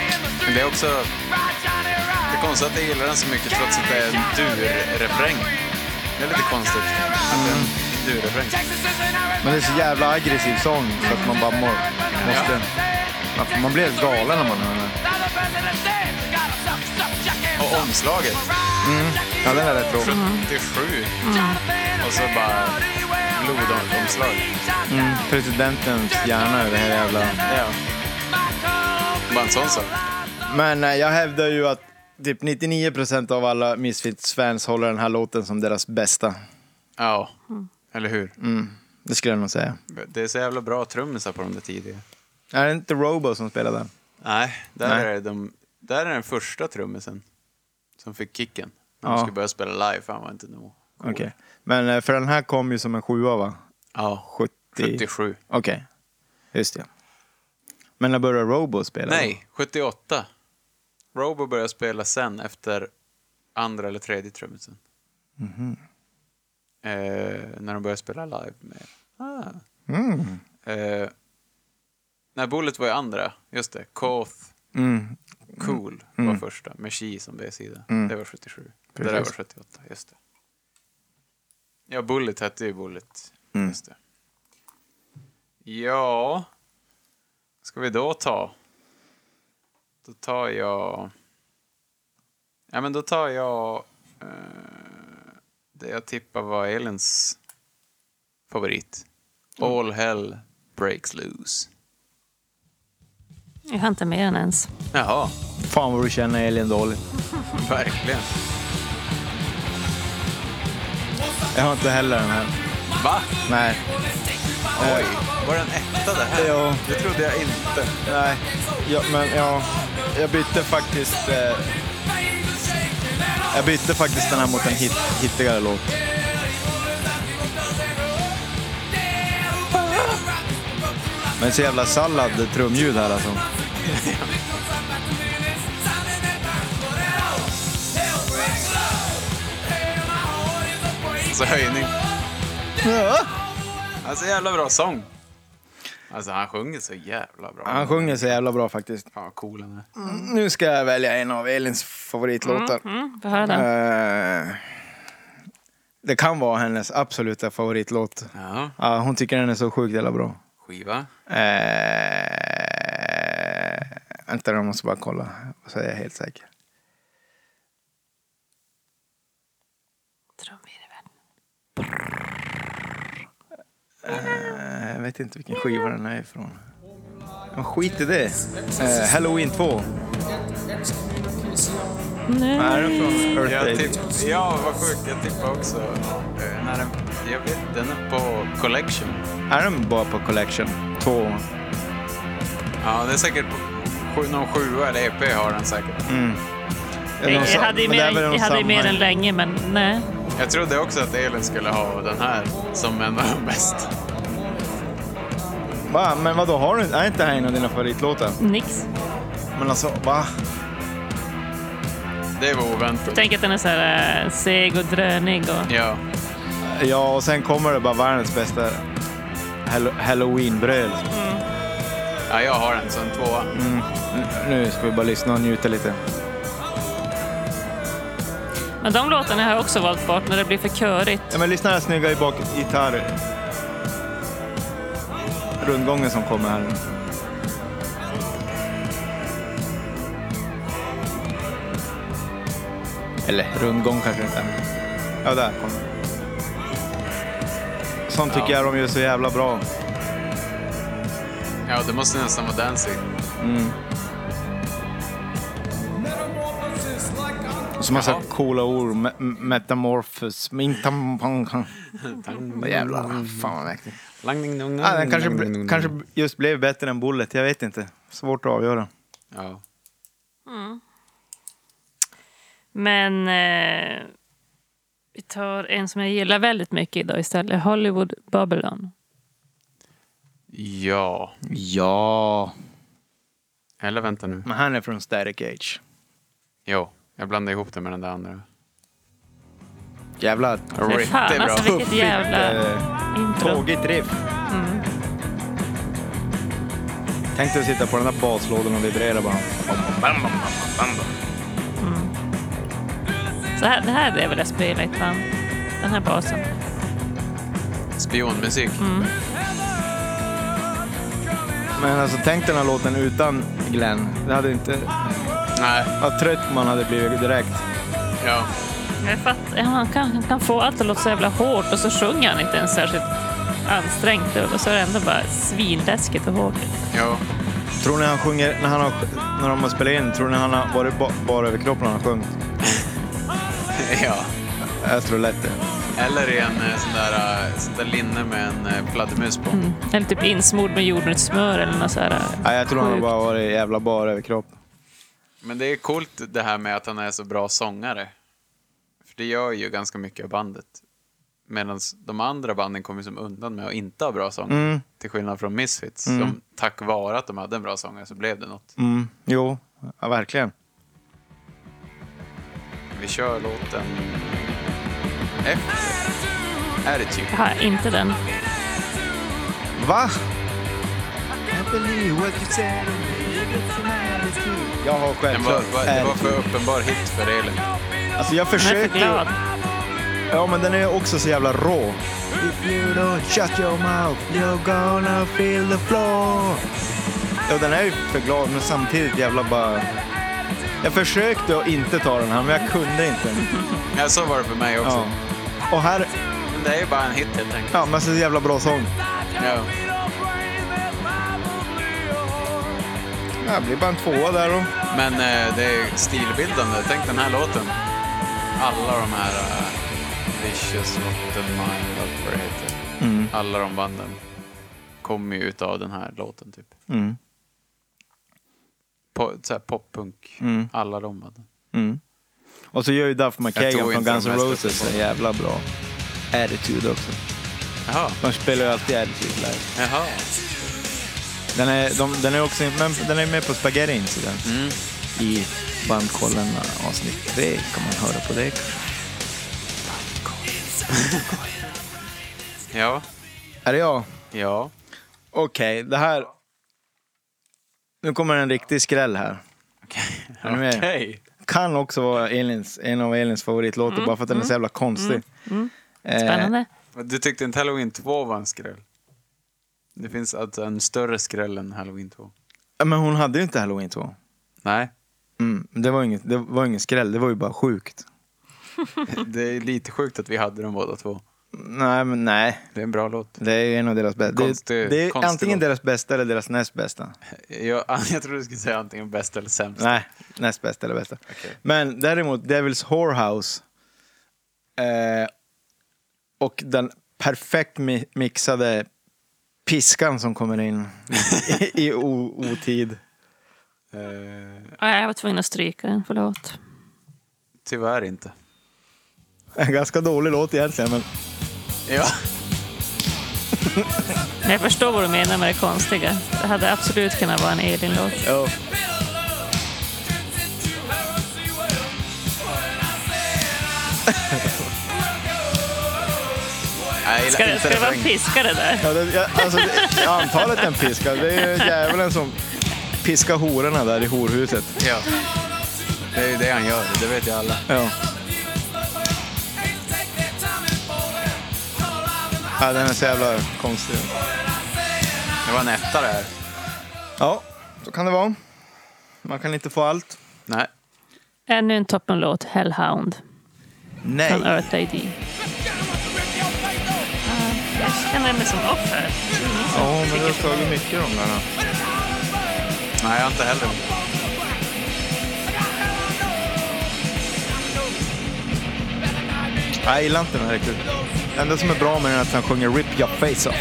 [SPEAKER 2] Men det är också... Det är konstigt att jag gillar den så mycket trots att det är en dur-refräng. Det är lite konstigt att det är en dur-refräng.
[SPEAKER 1] Men det är så jävla aggressiv sång så att man bara mår, måste... Alltså, Man, man blir helt galen när man hör den. här.
[SPEAKER 2] Och omslaget.
[SPEAKER 1] Mm.
[SPEAKER 2] Mm.
[SPEAKER 1] Ja, den är rätt rå.
[SPEAKER 2] 77. Och så bara blodomslag.
[SPEAKER 1] Mm, presidentens hjärna över hela jävla...
[SPEAKER 2] Ja. Bara en sån sak.
[SPEAKER 1] Men eh, jag hävdar ju att typ 99% av alla Misfits-fans håller den här låten som deras bästa.
[SPEAKER 2] Ja. Eller hur?
[SPEAKER 1] Det skulle jag nog säga.
[SPEAKER 2] Det är så jävla bra trummisar på de där tidiga.
[SPEAKER 1] Är det inte Robo som spelar den?
[SPEAKER 2] Nej, där,
[SPEAKER 1] Nej.
[SPEAKER 2] Är, de, där är den första trummisen som fick kicken. När
[SPEAKER 1] Ja.
[SPEAKER 2] de skulle börja spela live. Han var inte nog cool.
[SPEAKER 1] Okej. Men eh, för den här kom ju som en sjua va?
[SPEAKER 2] Ja,
[SPEAKER 1] 70...
[SPEAKER 2] 77.
[SPEAKER 1] Okej. Just det. Men när började Robo spela?
[SPEAKER 2] Nej, 78. Robo började spela sen efter andra eller tredje trummisen. Eh, när de började spela live med... Ah.
[SPEAKER 1] Mm.
[SPEAKER 2] Eh, nej, Bullet var ju andra. Just det. Koth,
[SPEAKER 1] Mm.
[SPEAKER 2] Cool var första. Med Chi som B-sida. Det var 77. Det där var
[SPEAKER 1] Precis.
[SPEAKER 2] 78. Just det. Ja, Bullet hette ju Bullet.
[SPEAKER 1] Mm.
[SPEAKER 2] Just det. Ja. Ska vi då ta? Då tar jag... Ja, men då tar jag... Eh, det jag tippar var Elins favorit. All hell breaks loose.
[SPEAKER 3] Jag har inte med den ens.
[SPEAKER 2] Jaha,
[SPEAKER 1] Fan vad du känner Elin dåligt.
[SPEAKER 2] verkligen.
[SPEAKER 1] Jag har inte heller den här.
[SPEAKER 2] Va?
[SPEAKER 1] Nej. Eh,
[SPEAKER 2] Oj, var den etta det här?
[SPEAKER 1] Ja.
[SPEAKER 2] Det trodde jag inte.
[SPEAKER 1] Nej. Ja, men ja. Jag bytte faktiskt... Eh, jag bytte faktiskt den här mot en hit, hittigare låt. Men så jävla sallad trumljud här alltså.
[SPEAKER 2] Alltså höjning. Alltså jävla bra sång. Alltså han sjunger så jävla bra.
[SPEAKER 1] Han sjunger så jävla bra faktiskt.
[SPEAKER 2] Fan vad cool han är.
[SPEAKER 1] Nu ska jag välja en av Elins favoritlåtar.
[SPEAKER 3] Mm, får höra den.
[SPEAKER 1] Eh, det kan vara hennes absoluta favoritlåt.
[SPEAKER 2] Ja,
[SPEAKER 1] Ja, hon tycker den är så sjukt jävla bra.
[SPEAKER 2] skiva.
[SPEAKER 1] Eh, vänta, jag måste bara kolla så är jag helt säker.
[SPEAKER 3] Trumvirvel.
[SPEAKER 1] Eh, jag vet inte vilken skiva den är ifrån. Men skit i det. Eh, Halloween 2.
[SPEAKER 3] Nej.
[SPEAKER 1] Är den från Earth
[SPEAKER 2] Jag
[SPEAKER 1] Day?
[SPEAKER 2] tipp, ja, vad sjukt. Jag tippade också. eh, När den, jag vet, den är på Collection.
[SPEAKER 1] Är den bara på Collection? Två.
[SPEAKER 2] Ja, det är säkert på sju- någon sjua eller EP har den säkert.
[SPEAKER 1] Eller någon
[SPEAKER 3] Jag
[SPEAKER 1] sam-
[SPEAKER 3] hade ju
[SPEAKER 1] men det är
[SPEAKER 3] med,
[SPEAKER 1] väl någon
[SPEAKER 3] jag hade ju med
[SPEAKER 1] samma-
[SPEAKER 3] den länge, men nej.
[SPEAKER 2] Jag trodde också att Elin skulle ha den här som en av de bästa.
[SPEAKER 1] Va? Men vadå, har du Är inte det här en av dina favoritlåtar?
[SPEAKER 3] Nix.
[SPEAKER 1] Men alltså, va?
[SPEAKER 2] Det var oväntat.
[SPEAKER 3] Tänk att den är så här eh, seg och drönig. Och...
[SPEAKER 2] Ja.
[SPEAKER 1] Ja, och sen kommer det bara världens bästa Hall- halloweenbröl.
[SPEAKER 2] ja, jag har den som tvåa.
[SPEAKER 1] Nu ska vi bara lyssna och njuta lite.
[SPEAKER 3] Men de låtarna har jag också valt bort när det blir för körigt.
[SPEAKER 1] Ja, men lyssna här snygga i bak gitarr. Rundgången som kommer här. Eller rundgång kanske inte. Ja, där kom den. Sånt tycker jag de gör så jävla bra.
[SPEAKER 2] Ja, det måste nästan vara Danzig.
[SPEAKER 1] Och så massa coola ord. Me- m- Metamorphos. Mintampong. Vad jävlar. Fan vad mäktigt. Ja, den kanske, ble- kanske just blev bättre än Bullet. Jag vet inte. Svårt att avgöra.
[SPEAKER 2] Ja.
[SPEAKER 3] Men eh, vi tar en som jag gillar väldigt mycket idag istället. Hollywood Babylon.
[SPEAKER 2] ja.
[SPEAKER 1] Ja.
[SPEAKER 2] Eller vänta nu.
[SPEAKER 1] Men han är från Static Age.
[SPEAKER 2] Jo, jag blandade ihop det med den där andra.
[SPEAKER 1] Jävlar.
[SPEAKER 3] Fy
[SPEAKER 2] Riktigt
[SPEAKER 3] fan,
[SPEAKER 2] bra.
[SPEAKER 3] alltså vilket jävla
[SPEAKER 1] Eh,
[SPEAKER 3] intro.
[SPEAKER 1] Tråkigt riff. Tänk dig att sitta på den där baslådan och vibrera bara.
[SPEAKER 3] Så här, det här hade jag velat spela i ett band. Den här basen.
[SPEAKER 2] Spionmusik.
[SPEAKER 1] Mm. Men alltså tänk den här låten utan Glenn. Det hade inte...
[SPEAKER 2] Nej,
[SPEAKER 1] Vad trött man hade blivit direkt.
[SPEAKER 2] ja.
[SPEAKER 3] Jag fattar, ja, han, kan, han kan få allt att låta så jävla hårt och så sjunger han inte ens särskilt ansträngt. Och så är det ändå bara svinläskigt och hårt.
[SPEAKER 2] ja.
[SPEAKER 1] Tror ni han sjunger, när, han har, när de har spelat in, tror ni han har varit ba, bara över kroppen när han har sjungit?
[SPEAKER 2] ja.
[SPEAKER 1] Jag tror lätt det.
[SPEAKER 2] Eller i en eh, sån där, eh, sån där linne med en eh, fladdermus på.
[SPEAKER 1] Mm.
[SPEAKER 3] Eller typ insmord med jordnötssmör eller något så här. eh,
[SPEAKER 1] Nej, jag tror han har bara varit jävla bara över kropp.
[SPEAKER 2] Men det är coolt det här med att han är så bra sångare. För det gör ju ganska mycket av bandet. Medan de andra banden kommer som undan med att inte ha bra sångare. Till skillnad från Misfits. Som tack vare att de hade en bra sångare så blev det något.
[SPEAKER 1] Mm, jo, ja, verkligen.
[SPEAKER 2] Vi kör låten efter.
[SPEAKER 3] Jag
[SPEAKER 2] Attitude.
[SPEAKER 3] har inte den.
[SPEAKER 1] Va? Jag har
[SPEAKER 2] Den var,
[SPEAKER 1] självklart
[SPEAKER 2] var, det var för uppenbar hit för Elin.
[SPEAKER 1] Alltså jag
[SPEAKER 3] Den är för
[SPEAKER 1] försöker ju.
[SPEAKER 3] glad.
[SPEAKER 1] Ja men den är också så jävla rå. If you don't shut your mouth you're gonna feel the floor. Ja den är ju för glad men samtidigt jävla bara... Jag försökte att inte ta den här men jag kunde inte.
[SPEAKER 2] Ja, så var det för mig också.
[SPEAKER 1] Ja. Och här,
[SPEAKER 2] Men det är ju bara en hit helt enkelt.
[SPEAKER 1] ja men så jävla bra sång.
[SPEAKER 2] Ja.
[SPEAKER 1] Ja, Det blir bara en tvåa där då.
[SPEAKER 2] Men eh, det är stilbildande. Tänk den här låten. Alla de här eh, Vicious, Rotten Mind, allt vad det heter.
[SPEAKER 1] Mm.
[SPEAKER 2] Alla de banden kommer ju utav den här låten typ.
[SPEAKER 1] Mm.
[SPEAKER 2] Po så här poppunk.
[SPEAKER 1] Mm.
[SPEAKER 2] Alla de banden.
[SPEAKER 1] Och så gör ju Duff McKagan
[SPEAKER 2] tror
[SPEAKER 1] från
[SPEAKER 2] inte
[SPEAKER 1] Guns N'
[SPEAKER 2] de här
[SPEAKER 1] Roses
[SPEAKER 2] stötte på.
[SPEAKER 1] en jävla bra attitude också.
[SPEAKER 2] Jaha.
[SPEAKER 1] De spelar ju alltid attitude live.
[SPEAKER 2] Jaha.
[SPEAKER 1] Den är, de, den är också men den är med på Spaghetti Incident.
[SPEAKER 2] Mm.
[SPEAKER 1] I Bandkollen avsnitt 3 kan man höra på det.
[SPEAKER 2] Ja.
[SPEAKER 1] Är det jag?
[SPEAKER 2] Ja.
[SPEAKER 1] Okej, det här... Nu kommer en riktig skräll här. Är ni med?
[SPEAKER 2] Okej.
[SPEAKER 1] Kan också vara Elins, en av Elins favoritlåtar
[SPEAKER 2] Mm.
[SPEAKER 1] bara för att den är så jävla konstig. Eh,
[SPEAKER 3] Spännande.
[SPEAKER 2] Men Du tyckte inte Halloween 2 var en skräll? Det finns alltså en större skräll än Halloween 2.
[SPEAKER 1] Eh, men hon hade ju inte Halloween 2.
[SPEAKER 2] Nej.
[SPEAKER 1] Mm, det, var inget, det var ingen skräll, det var ju bara sjukt.
[SPEAKER 2] Det är lite sjukt att vi hade dem båda två.
[SPEAKER 1] Nej, men nej.
[SPEAKER 2] Det är en bra låt.
[SPEAKER 1] Det är en av deras bästa. Det,
[SPEAKER 2] Konstig-
[SPEAKER 1] det är
[SPEAKER 2] konstig
[SPEAKER 1] antingen
[SPEAKER 2] låt.
[SPEAKER 1] deras bästa eller deras näst bästa.
[SPEAKER 2] Jag, jag tror du skulle säga antingen bäst eller sämst.
[SPEAKER 1] Nej, näst bästa eller bästa. Men däremot Devil's Whorehouse eh, och den perfekt mi- mixade piskan som kommer in i, i o- otid.
[SPEAKER 2] Eh,
[SPEAKER 3] Ja, Jag var tvungen att stryka den, förlåt.
[SPEAKER 2] tyvärr inte.
[SPEAKER 1] En ganska dålig låt egentligen, men
[SPEAKER 2] Ja.
[SPEAKER 3] Men jag förstår vad du menar med det konstiga. Det hade absolut kunnat vara en Elin-låt.
[SPEAKER 1] ja.
[SPEAKER 2] Jag gillar
[SPEAKER 3] Ska det,
[SPEAKER 2] inte
[SPEAKER 3] ska det vara en
[SPEAKER 2] refrängen.
[SPEAKER 3] piskare där?
[SPEAKER 1] Ja, det, ja, alltså, det, antalet den piskar, det är ju djävulen som piskar hororna där i horhuset.
[SPEAKER 2] Ja. Det är ju det han gör, det vet ju alla.
[SPEAKER 1] Ja. ja, den är så jävla konstig.
[SPEAKER 2] Det var en etta det här.
[SPEAKER 1] Ja, så kan det vara. Man kan inte få allt.
[SPEAKER 2] Nej.
[SPEAKER 3] Ännu en toppenlåt, Hellhound, från
[SPEAKER 1] Nej.
[SPEAKER 3] Earth AD. Jag känner mig som offer.
[SPEAKER 1] Ja, men du har tagit mycket de där. då.
[SPEAKER 2] Nej, jag har inte heller.
[SPEAKER 1] Jag gillar inte den här riktigt. Det enda som är bra med den är att han sjunger Rip your face off.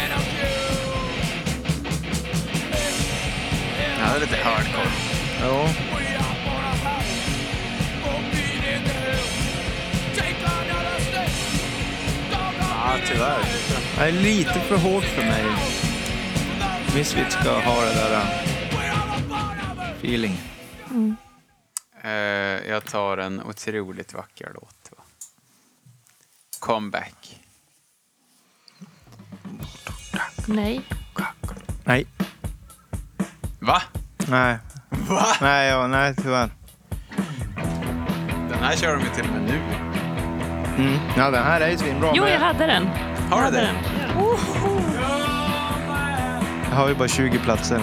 [SPEAKER 2] Ja, det är lite hardcore.
[SPEAKER 1] Ja.
[SPEAKER 2] Ja, tyvärr.
[SPEAKER 1] Det är lite för hårt för mig. Misfits ska ha det där uh, feeling.
[SPEAKER 2] Eh, jag tar en otroligt vacker låt. Va? Comeback.
[SPEAKER 3] Nej.
[SPEAKER 1] Nej.
[SPEAKER 2] Va?
[SPEAKER 1] Nej.
[SPEAKER 2] Va?
[SPEAKER 1] Nej, ja, nej tyvärr.
[SPEAKER 2] Den här kör de ju till och med nu.
[SPEAKER 1] Mm. Ja, den här är ju svinbra.
[SPEAKER 3] Jo,
[SPEAKER 1] men
[SPEAKER 3] jag hade den.
[SPEAKER 2] Har du
[SPEAKER 3] hade
[SPEAKER 2] den?
[SPEAKER 1] jag har ju bara 20 platser.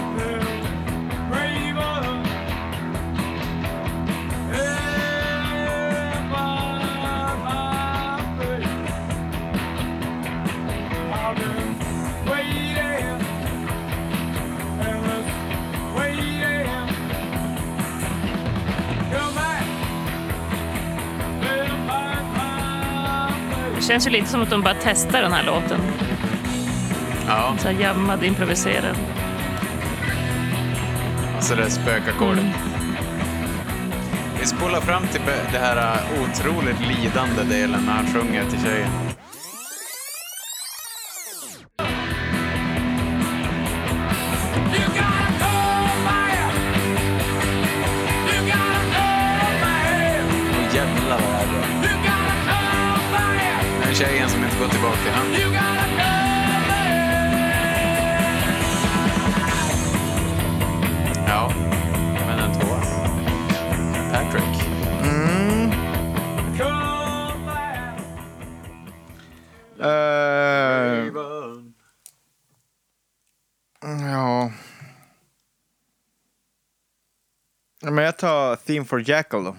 [SPEAKER 3] Det känns ju lite som att de bara testar den här låten.
[SPEAKER 2] Ja,
[SPEAKER 3] Så här jammad, improviserad.
[SPEAKER 2] så alltså det spökackordet. Vi spolar fram till be- det här eh, otroligt lidande delen när han sjunger till tjejen. Åh, jävlar vad det här är bra. Den här tjejen som inte går tillbaka. Ja. Ja, men en tvåa. Patrick. Mm.
[SPEAKER 1] Eh, ja. Ja, Men jag tar Theme for Jackal då.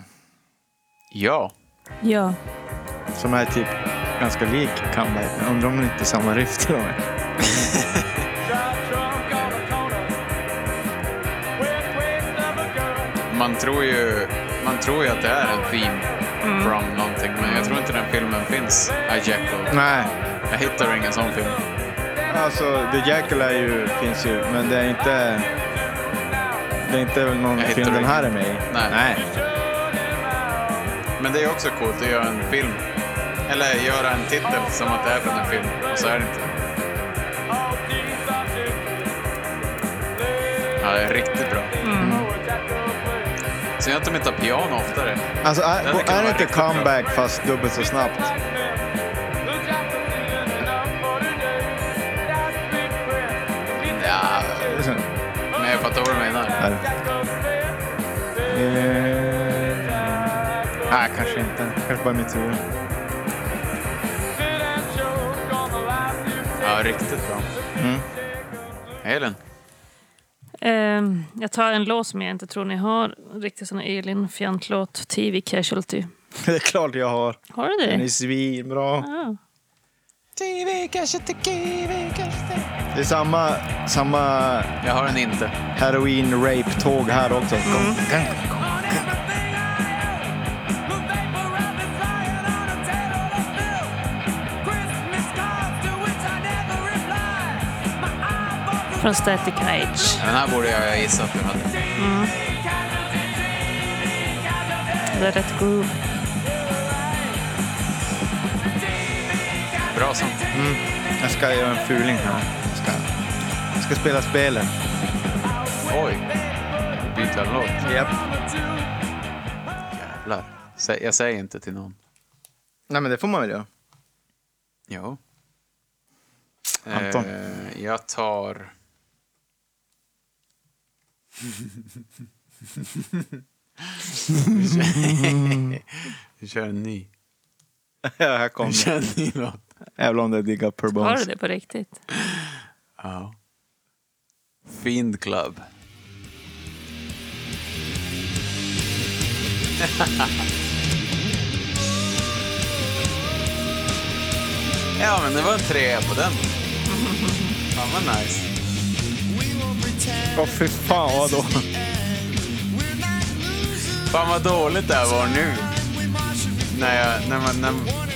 [SPEAKER 2] Ja.
[SPEAKER 3] Ja.
[SPEAKER 1] Som är typ ganska lik comeback. Jag Undrar om det inte är samma riff till och med.
[SPEAKER 2] Man tror ju, man tror ju att det är en theme from någonting, men jag tror inte den filmen finns. A Jekyll.
[SPEAKER 1] Nej.
[SPEAKER 2] Jag hittar ingen sån film.
[SPEAKER 1] Alltså, The Jackal är ju, finns ju, men det är inte... Det är inte någon
[SPEAKER 2] Jag hittar
[SPEAKER 1] film den här är
[SPEAKER 2] ingen.
[SPEAKER 1] med i.
[SPEAKER 2] Nej. Men det är också coolt att göra en film. Eller göra en titel som att det är från en film, och så är det inte. Ja, det är riktigt bra. Så jag inte med tar piano oftare.
[SPEAKER 1] Alltså, är,
[SPEAKER 2] Den kan
[SPEAKER 1] är
[SPEAKER 2] vara
[SPEAKER 1] det inte
[SPEAKER 2] riktigt bra.
[SPEAKER 1] comeback fast dubbelt så snabbt?
[SPEAKER 2] Ja,
[SPEAKER 1] Det är så-
[SPEAKER 2] men jag fattar vad du menar.
[SPEAKER 1] Här. Eh, Nej, kanske inte. Kanske bara mitt huvud.
[SPEAKER 2] Ja, riktigt bra. Elin?
[SPEAKER 3] Ehm, jag tar en låt som jag inte tror ni har. Riktigt sån här Elin-fjantlåt. TV Casualty.
[SPEAKER 1] Det är klart jag har.
[SPEAKER 3] Har du
[SPEAKER 1] Den är
[SPEAKER 3] det?
[SPEAKER 1] svinbra.
[SPEAKER 3] Ja.
[SPEAKER 1] Det är samma, samma
[SPEAKER 2] Jag har den inte.
[SPEAKER 1] heroin-rape-tåg här också.
[SPEAKER 3] Från Static Age.
[SPEAKER 2] Den här borde jag gissa att du hade.
[SPEAKER 3] Det är rätt groove.
[SPEAKER 2] Bra som.
[SPEAKER 1] Jag ska göra en fuling här. Jag ska, jag ska spela spelet.
[SPEAKER 2] Oj. Byta en låt.
[SPEAKER 1] Japp.
[SPEAKER 2] Jävlar. Sä- Jag säger inte till någon.
[SPEAKER 1] Nej, men det får man väl göra.
[SPEAKER 2] Jo.
[SPEAKER 1] Anton.
[SPEAKER 2] Eh, jag tar... Vi kör en ny.
[SPEAKER 1] Ja, här kom
[SPEAKER 2] Vi
[SPEAKER 1] det.
[SPEAKER 2] kör en ny låt.
[SPEAKER 1] Även om det diggar per
[SPEAKER 3] Har du
[SPEAKER 1] bones.
[SPEAKER 3] det på riktigt?
[SPEAKER 2] Ja. Fiend Club. ja, men det var en trea på den. Fan vad nice.
[SPEAKER 1] Åh fy fan vad då?
[SPEAKER 2] Fan vad dåligt det här var nu. när, jag, när, man, när,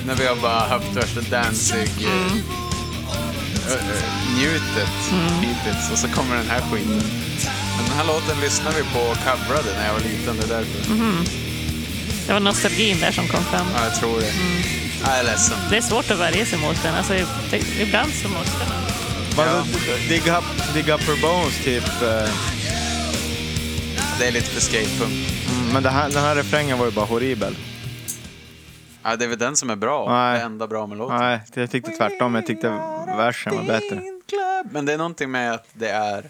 [SPEAKER 2] när vi har bara haft värsta Danzig... Mm. Njutet
[SPEAKER 1] Mm.
[SPEAKER 2] hittills och så kommer den här skiten. Men den här låten lyssnade vi på och coverade när jag var liten. Det är
[SPEAKER 1] Mm.
[SPEAKER 2] därför.
[SPEAKER 3] Det var nostalgin där som kom fram.
[SPEAKER 2] Ja, jag tror det.
[SPEAKER 1] Mm.
[SPEAKER 2] Ja, jag är ledsen.
[SPEAKER 3] Det är svårt att värja sig mot den. Alltså, det, ibland så måste man.
[SPEAKER 1] Ja. Dig, up, dig up her bones, typ. eh,
[SPEAKER 2] Det är lite för skatepunk.
[SPEAKER 1] Men det här, den här refrängen var ju bara horribel.
[SPEAKER 2] Ja, det är väl den som är bra.
[SPEAKER 1] Nej.
[SPEAKER 2] Det enda bra med låten.
[SPEAKER 1] Nej, jag tyckte tvärtom. Jag tyckte versen var bättre.
[SPEAKER 2] Fiend Club. Men det är någonting med att det är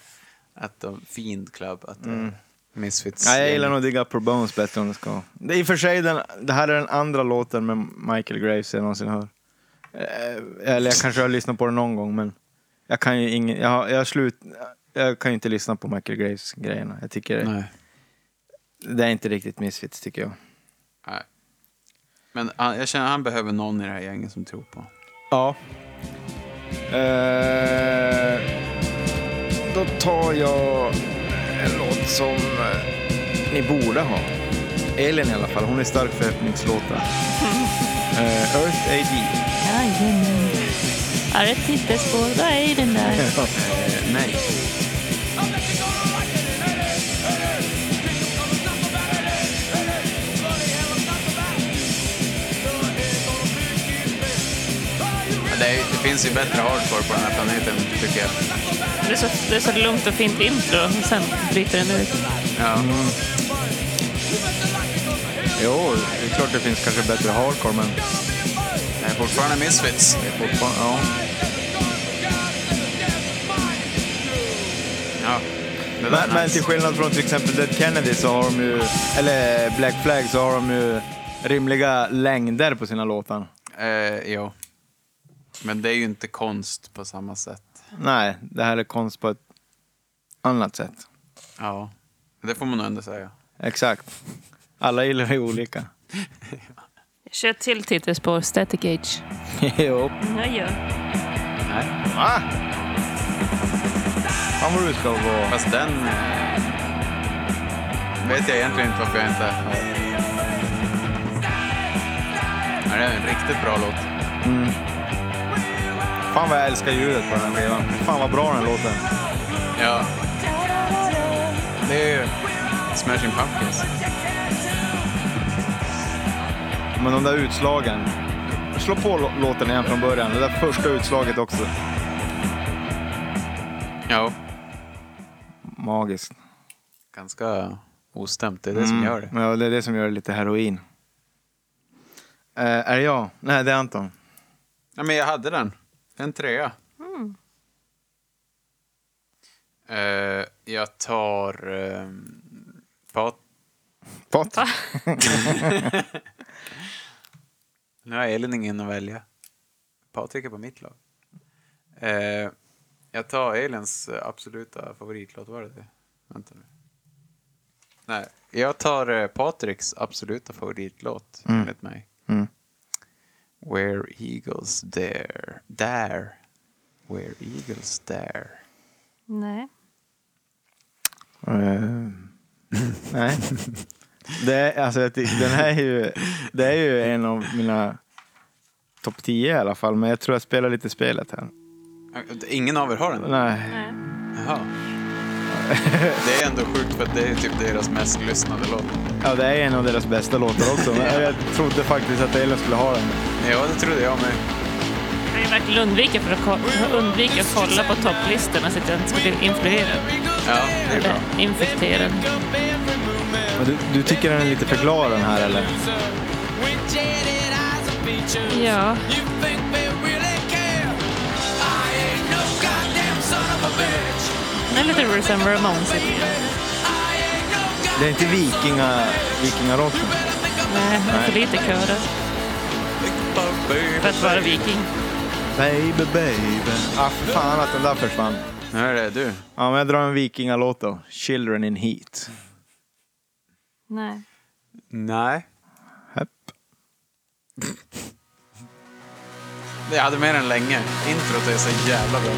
[SPEAKER 2] att de Fiend Club, att mm. Misfits.
[SPEAKER 1] Nej, jag gillar nog Dig Up Her Bones bättre om det ska. Det är i och för sig den, det här är den andra låten med Michael Graves jag någonsin hör. Eh, Eller jag kanske har lyssnat på den någon gång, men jag kan ju ingen, jag, har- jag, har slut, jag kan ju inte lyssna på Michael Graves grejerna. Jag tycker
[SPEAKER 2] Nej.
[SPEAKER 1] det är inte riktigt Misfits tycker jag.
[SPEAKER 2] Nej. Men han, jag känner att han behöver någon i det här gänget som tror på
[SPEAKER 1] Ja. Eh, då tar jag en låt som eh, ni borde ha. Elin i alla fall, hon är stark för öppningslåtar. Eh, Earth AD.
[SPEAKER 3] Jajamän. Är det ett titelspår? Vad är den där?
[SPEAKER 2] Eh, nej. Men Det, är, det finns ju bättre hardcore på den här planeten, tycker jag.
[SPEAKER 3] Det är, så, det är så lugnt och fint intro, och sen bryter den ut.
[SPEAKER 2] Ja.
[SPEAKER 1] Jo, det är klart det finns kanske bättre hardcore, men
[SPEAKER 2] Det är fortfarande Misfits.
[SPEAKER 1] det är fortfarande... Ja.
[SPEAKER 2] Ja. Det där är
[SPEAKER 1] Men, men
[SPEAKER 2] nice.
[SPEAKER 1] till skillnad från till exempel Dead Kennedy så har de ju, eller Black Flag så har de ju rimliga längder på sina låtar.
[SPEAKER 2] Eh, ja. Men det är ju inte konst på samma sätt.
[SPEAKER 1] Nej, det här är konst på ett annat sätt.
[SPEAKER 2] Ja. Det får man nog ändå säga.
[SPEAKER 1] Exakt. Alla gillar det olika.
[SPEAKER 3] Kör ett till titelspår, Static Age.
[SPEAKER 1] jo.
[SPEAKER 3] Ja, ja.
[SPEAKER 2] Nej.
[SPEAKER 1] Va? Fan vad du ska vara...
[SPEAKER 2] Fast den... Eh, vet jag egentligen inte varför jag inte... har. Ja, det är en riktigt bra låt.
[SPEAKER 1] Fan vad jag älskar ljudet på den här skivan. Fan vad bra den låten.
[SPEAKER 2] Ja. Det är ju Smashing Pumpkins.
[SPEAKER 1] Men de där utslagen. Slå på lå- låten igen från början. Det där första utslaget också.
[SPEAKER 2] Ja.
[SPEAKER 1] Magiskt.
[SPEAKER 2] Ganska ostämt. Det är det som gör det.
[SPEAKER 1] Men ja, det är det som gör det lite heroin. Eh, är det jag? Nej, det är Anton.
[SPEAKER 2] Ja, men jag hade den. En trea. Eh, jag tar... Eh, Pat...
[SPEAKER 1] Pat?
[SPEAKER 2] Nu har Elin ingen att välja. Patrik är på mitt lag. Eh, jag tar Elins absoluta favoritlåt. Var det det? Vänta nu. Nej, jag tar eh, Patriks absoluta favoritlåt, enligt mig.
[SPEAKER 1] Mm.
[SPEAKER 2] Where Eagles Dare. There. Where Eagles Dare.
[SPEAKER 3] Nej.
[SPEAKER 1] Eh, nej. Det är, alltså, jag tycker- den här är ju, det är ju en av mina topp 10 i alla fall, men jag tror jag spelar lite spelet här.
[SPEAKER 2] Eh, Ingen av er har den?
[SPEAKER 1] Nej.
[SPEAKER 2] Jaha. Det är ändå sjukt för att det är typ deras mest lyssnade låt.
[SPEAKER 1] Ja, det är en av deras bästa låtar också, men jag trodde faktiskt att Elin skulle ha den.
[SPEAKER 2] Ja, det trodde jag med.
[SPEAKER 3] Jag har ju verkligen undvikit för att ko- undvika att kolla på topplistorna så att jag inte ska bli influerad.
[SPEAKER 2] Ja, det är bra.
[SPEAKER 3] Eller infekterad.
[SPEAKER 1] Men du, du tycker den är lite för klar den här eller?
[SPEAKER 3] Ja. Det är lite Rules and Ramones.
[SPEAKER 1] Det är inte vikinga, vikingarock.
[SPEAKER 3] Nej, det är för lite körer för att vara viking.
[SPEAKER 1] Baby, baby. Ah, för fan att den där försvann.
[SPEAKER 2] Nu är det du.
[SPEAKER 1] Ja, men jag drar en vikingalåt då. Children in heat.
[SPEAKER 3] Nej.
[SPEAKER 2] Nej.
[SPEAKER 1] Hepp.
[SPEAKER 2] Jag hade med den länge. Introt är så jävla bra.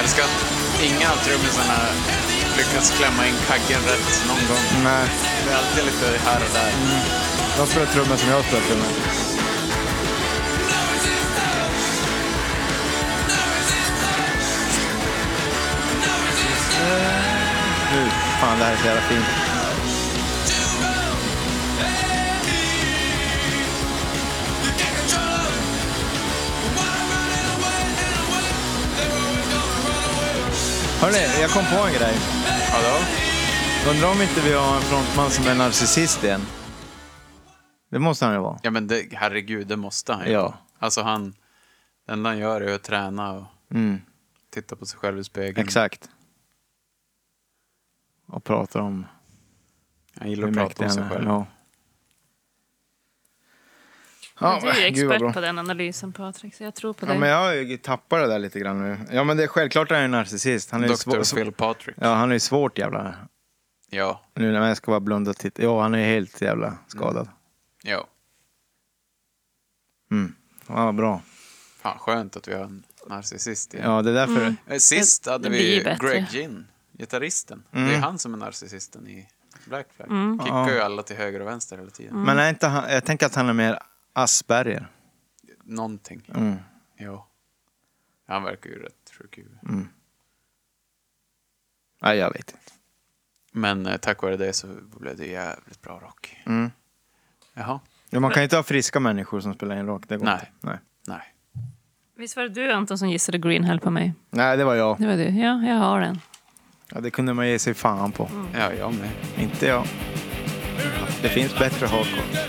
[SPEAKER 2] Älskar att inga av trummisarna lyckas klämma in kaggen rätt någon gång.
[SPEAKER 1] Nej,
[SPEAKER 2] Det är alltid lite här och där.
[SPEAKER 1] de spelar trummor som jag spelar trummor. Eh, Nu, fan det här är så jävla fint. Hörrni, jag kom på en grej.
[SPEAKER 2] Vadå?
[SPEAKER 1] Undrar om inte vi har en frontman som är narcissist igen. Det måste han ju vara.
[SPEAKER 2] Ja men det, herregud, det måste han ju.
[SPEAKER 1] Ja.
[SPEAKER 2] Alltså han, det enda han gör är att träna och
[SPEAKER 1] Mm,
[SPEAKER 2] titta på sig själv i spegeln.
[SPEAKER 1] exakt. Och pratar om
[SPEAKER 2] Han gillar att prata om sig själv.
[SPEAKER 1] Ja.
[SPEAKER 3] Men du är ju
[SPEAKER 1] men, gud vad bra.
[SPEAKER 3] expert på den analysen, Patrik, så jag tror på
[SPEAKER 1] Ja, men
[SPEAKER 3] dig.
[SPEAKER 1] jag har ju tappat det där lite grann nu. Ja, men det är självklart att han är en narcissist. Han är ju svår,
[SPEAKER 2] Dr. Phil Patrick.
[SPEAKER 1] ja, han är ju svårt jävla...
[SPEAKER 2] Ja.
[SPEAKER 1] Nu när jag ska vara blund och titta. Ja, han är helt jävla skadad.
[SPEAKER 2] ja.
[SPEAKER 1] Mm. Ja, vad bra.
[SPEAKER 2] Fan, skönt att vi har en narcissist igen.
[SPEAKER 1] Ja, det är därför...
[SPEAKER 3] Mm.
[SPEAKER 2] Eh, Sist hade
[SPEAKER 3] Det blir
[SPEAKER 2] vi
[SPEAKER 3] ju bättre.
[SPEAKER 2] Greg Ginn, gitarristen. Det
[SPEAKER 1] Mm.
[SPEAKER 2] är han som är narcissisten i Black Flag.
[SPEAKER 3] Mm.
[SPEAKER 2] Kickar ju alla till höger och vänster hela tiden.
[SPEAKER 1] Men är inte han, jag tänker att han är mer Asperger.
[SPEAKER 2] Någonting.
[SPEAKER 1] Mm.
[SPEAKER 2] Ja. Han verkar ju rätt sjuk i huvudet.
[SPEAKER 1] Mm. Nej, jag vet inte.
[SPEAKER 2] Men eh, tack vare det så blev det jävligt bra rock.
[SPEAKER 1] Mm.
[SPEAKER 2] Jaha.
[SPEAKER 1] Men man kan ju inte ha friska människor som spelar in rock. Det går
[SPEAKER 2] Nej.
[SPEAKER 1] inte. Nej.
[SPEAKER 2] Nej.
[SPEAKER 3] Visst var det du, Anton, som gissade Green Hell på mig?
[SPEAKER 1] Nej, det var jag.
[SPEAKER 3] Det var du. Ja, jag har den.
[SPEAKER 1] Ja, det kunde man ge sig fan på.
[SPEAKER 2] Ja, jag med.
[SPEAKER 1] Inte jag. Det finns bättre hardcore.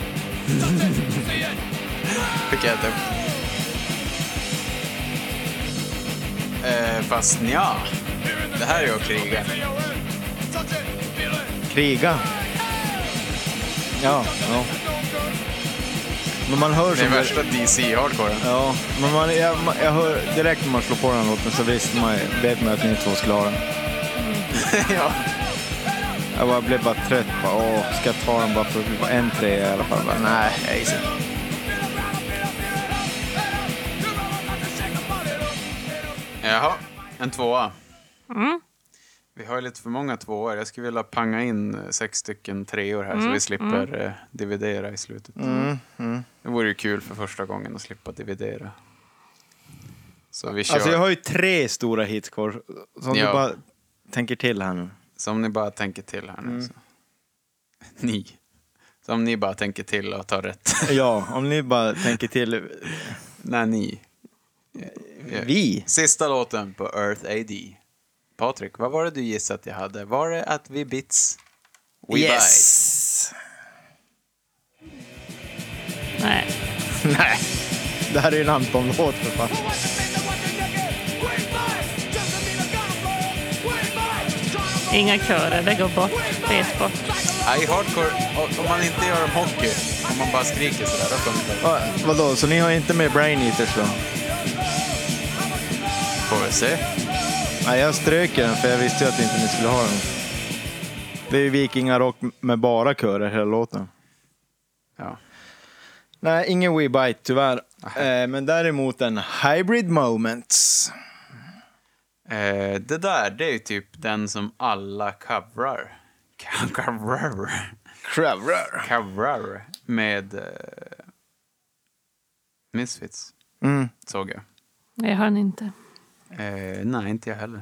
[SPEAKER 2] Fick jag äta upp. Eh, fast ja. Det här är ju att kriga.
[SPEAKER 1] Kriga. Ja, ja. Men man hör
[SPEAKER 2] Det är
[SPEAKER 1] som...
[SPEAKER 2] värsta DC-hardcoren.
[SPEAKER 1] Ja, men man, jag, jag hör direkt när man slår på den låten så visst man, vet man att ni två skulle ha den.
[SPEAKER 2] ja.
[SPEAKER 1] Jag bara, blev bara trött. Bara, åh, ska jag ta den bara för att en tre i alla fall? Bara, nej, jag gissar.
[SPEAKER 2] Jaha, en tvåa. Vi har ju lite för många tvåor. Jag skulle vilja panga in eh, sex stycken treor här så vi slipper eh, dividera i slutet.
[SPEAKER 1] Mm,
[SPEAKER 2] Det vore ju kul för första gången att slippa dividera. Så vi kör.
[SPEAKER 1] Alltså jag har ju tre stora hits kvar. Så om
[SPEAKER 2] Ja.
[SPEAKER 1] du bara tänker till här nu.
[SPEAKER 2] Så om ni bara tänker till här nu.
[SPEAKER 1] Mm.
[SPEAKER 2] Så. Ni. Så om ni bara tänker till och tar rätt.
[SPEAKER 1] Ja, om ni bara tänker till.
[SPEAKER 2] Nej, ni.
[SPEAKER 1] Vi?
[SPEAKER 2] Sista låten på Earth AD. Patrik, vad var det du gissade att jag hade? Var det att vi bits? We bite.
[SPEAKER 1] yes!
[SPEAKER 3] Nej.
[SPEAKER 1] Nej, det här är ju en Anton-låt för fan.
[SPEAKER 3] Inga körer, det går bort. Fet bort.
[SPEAKER 2] Nej, hardcore, om man inte gör om hockey, om man bara skriker sådär, då funkar det.
[SPEAKER 1] Va, vadå, så ni har inte med Brain Eaters då?
[SPEAKER 2] Får vi se.
[SPEAKER 1] Nej, jag strök den för jag visste ju att inte ni skulle ha den. Det är ju vikingarock med bara körer hela låten.
[SPEAKER 2] Ja.
[SPEAKER 1] Nej, ingen We Bite tyvärr. Eh, men däremot en Hybrid Moments.
[SPEAKER 2] Eh, det där, det är ju typ den som alla covrar. Covrar.
[SPEAKER 1] Kravrar.
[SPEAKER 2] Covrar. Med eh, Misfits,
[SPEAKER 1] Mm.
[SPEAKER 2] såg jag.
[SPEAKER 3] Nej, Jag har den inte.
[SPEAKER 2] Eh, nej, inte jag heller.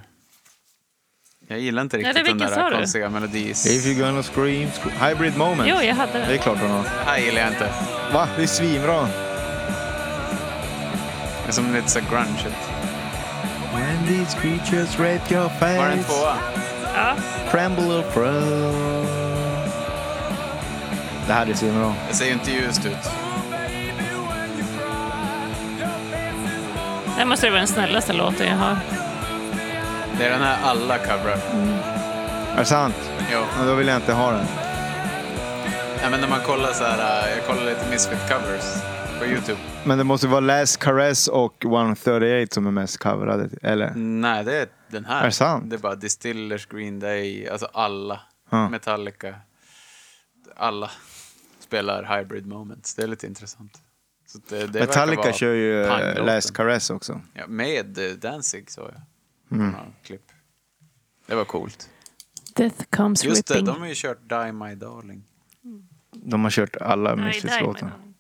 [SPEAKER 2] Jag gillar inte
[SPEAKER 3] det
[SPEAKER 2] riktigt den
[SPEAKER 3] vilken sa
[SPEAKER 2] där
[SPEAKER 3] du?
[SPEAKER 2] konstiga melodis.
[SPEAKER 1] If you're gonna scream, scream. Hybrid Moments.
[SPEAKER 3] Jo, jag hade
[SPEAKER 1] Det är
[SPEAKER 3] den.
[SPEAKER 1] klart hon har.
[SPEAKER 2] Det här gillar jag inte.
[SPEAKER 1] Va? Det är svinbra.
[SPEAKER 2] Det är som lite så grunge.
[SPEAKER 1] When these creatures rape your face.
[SPEAKER 2] Var det en tvåa?
[SPEAKER 3] Ja.
[SPEAKER 1] Crumble or Crow. Det här är svinbra.
[SPEAKER 2] Det ser ju inte ljust ut.
[SPEAKER 3] Det här måste ju vara den snällaste låten jag har.
[SPEAKER 2] Det är den här alla covrar.
[SPEAKER 1] Är det sant?
[SPEAKER 2] Jo.
[SPEAKER 1] Ja, då vill jag inte ha den.
[SPEAKER 2] Nej, men när man kollar så här, eh, jag kollar lite Misfit covers på Youtube.
[SPEAKER 1] Men det måste vara Last Caress och 138 som är mest coverade, eller?
[SPEAKER 2] Nej, det är den här.
[SPEAKER 1] Är det sant?
[SPEAKER 2] Det är bara Distillers, Green Day, alltså alla.
[SPEAKER 1] Ja.
[SPEAKER 2] Metallica. Alla spelar Hybrid Moments. Det är lite intressant. Så det, det verkar
[SPEAKER 1] Metallica
[SPEAKER 2] vara
[SPEAKER 1] kör ju eh,
[SPEAKER 2] panglåten.
[SPEAKER 1] Last Caress också.
[SPEAKER 2] Ja, med eh, Danzig, sa jag. Några klipp. Det var coolt.
[SPEAKER 3] Death comes
[SPEAKER 2] Just det,
[SPEAKER 3] ripping.
[SPEAKER 2] de har ju kört Die My Darling.
[SPEAKER 1] De har kört alla
[SPEAKER 3] Nej, där är
[SPEAKER 1] Misfits-låtar.
[SPEAKER 3] man.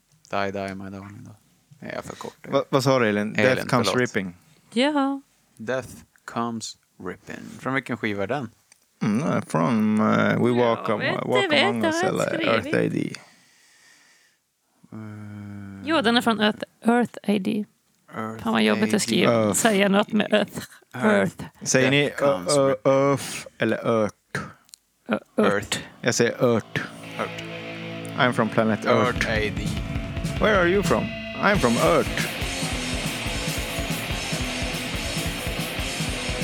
[SPEAKER 2] Die Die My Darling då. Nej, jag förkortar.
[SPEAKER 1] Va, vad sa du Elin? Death
[SPEAKER 2] Elin,
[SPEAKER 1] comes
[SPEAKER 2] förlåt.
[SPEAKER 1] ripping.
[SPEAKER 3] Ja.
[SPEAKER 2] Death Comes Rippin. Från vilken skiva är den?
[SPEAKER 1] Mm, nej, from eh, We Walk,
[SPEAKER 3] Jag
[SPEAKER 1] am-
[SPEAKER 3] vet,
[SPEAKER 1] walk
[SPEAKER 3] jag vet,
[SPEAKER 1] Among
[SPEAKER 3] jag
[SPEAKER 1] Us
[SPEAKER 3] har
[SPEAKER 1] eller
[SPEAKER 3] skrivit.
[SPEAKER 1] Earth AD.
[SPEAKER 3] Jo, den är från Earth, Earth AD.
[SPEAKER 2] Earth
[SPEAKER 3] Fan vad jobbigt att skriva.
[SPEAKER 1] Earth.
[SPEAKER 3] Säga något med Earth. Earth.
[SPEAKER 1] Säger
[SPEAKER 2] Death
[SPEAKER 1] ni
[SPEAKER 2] comes
[SPEAKER 1] ö- ö- öf eller ört?
[SPEAKER 3] Ö-
[SPEAKER 2] Earth.
[SPEAKER 1] Jag säger ört.
[SPEAKER 2] Earth.
[SPEAKER 1] I'm from planet
[SPEAKER 2] Earth
[SPEAKER 1] Earth.
[SPEAKER 2] AD.
[SPEAKER 1] Where are you from? I'm from Earth.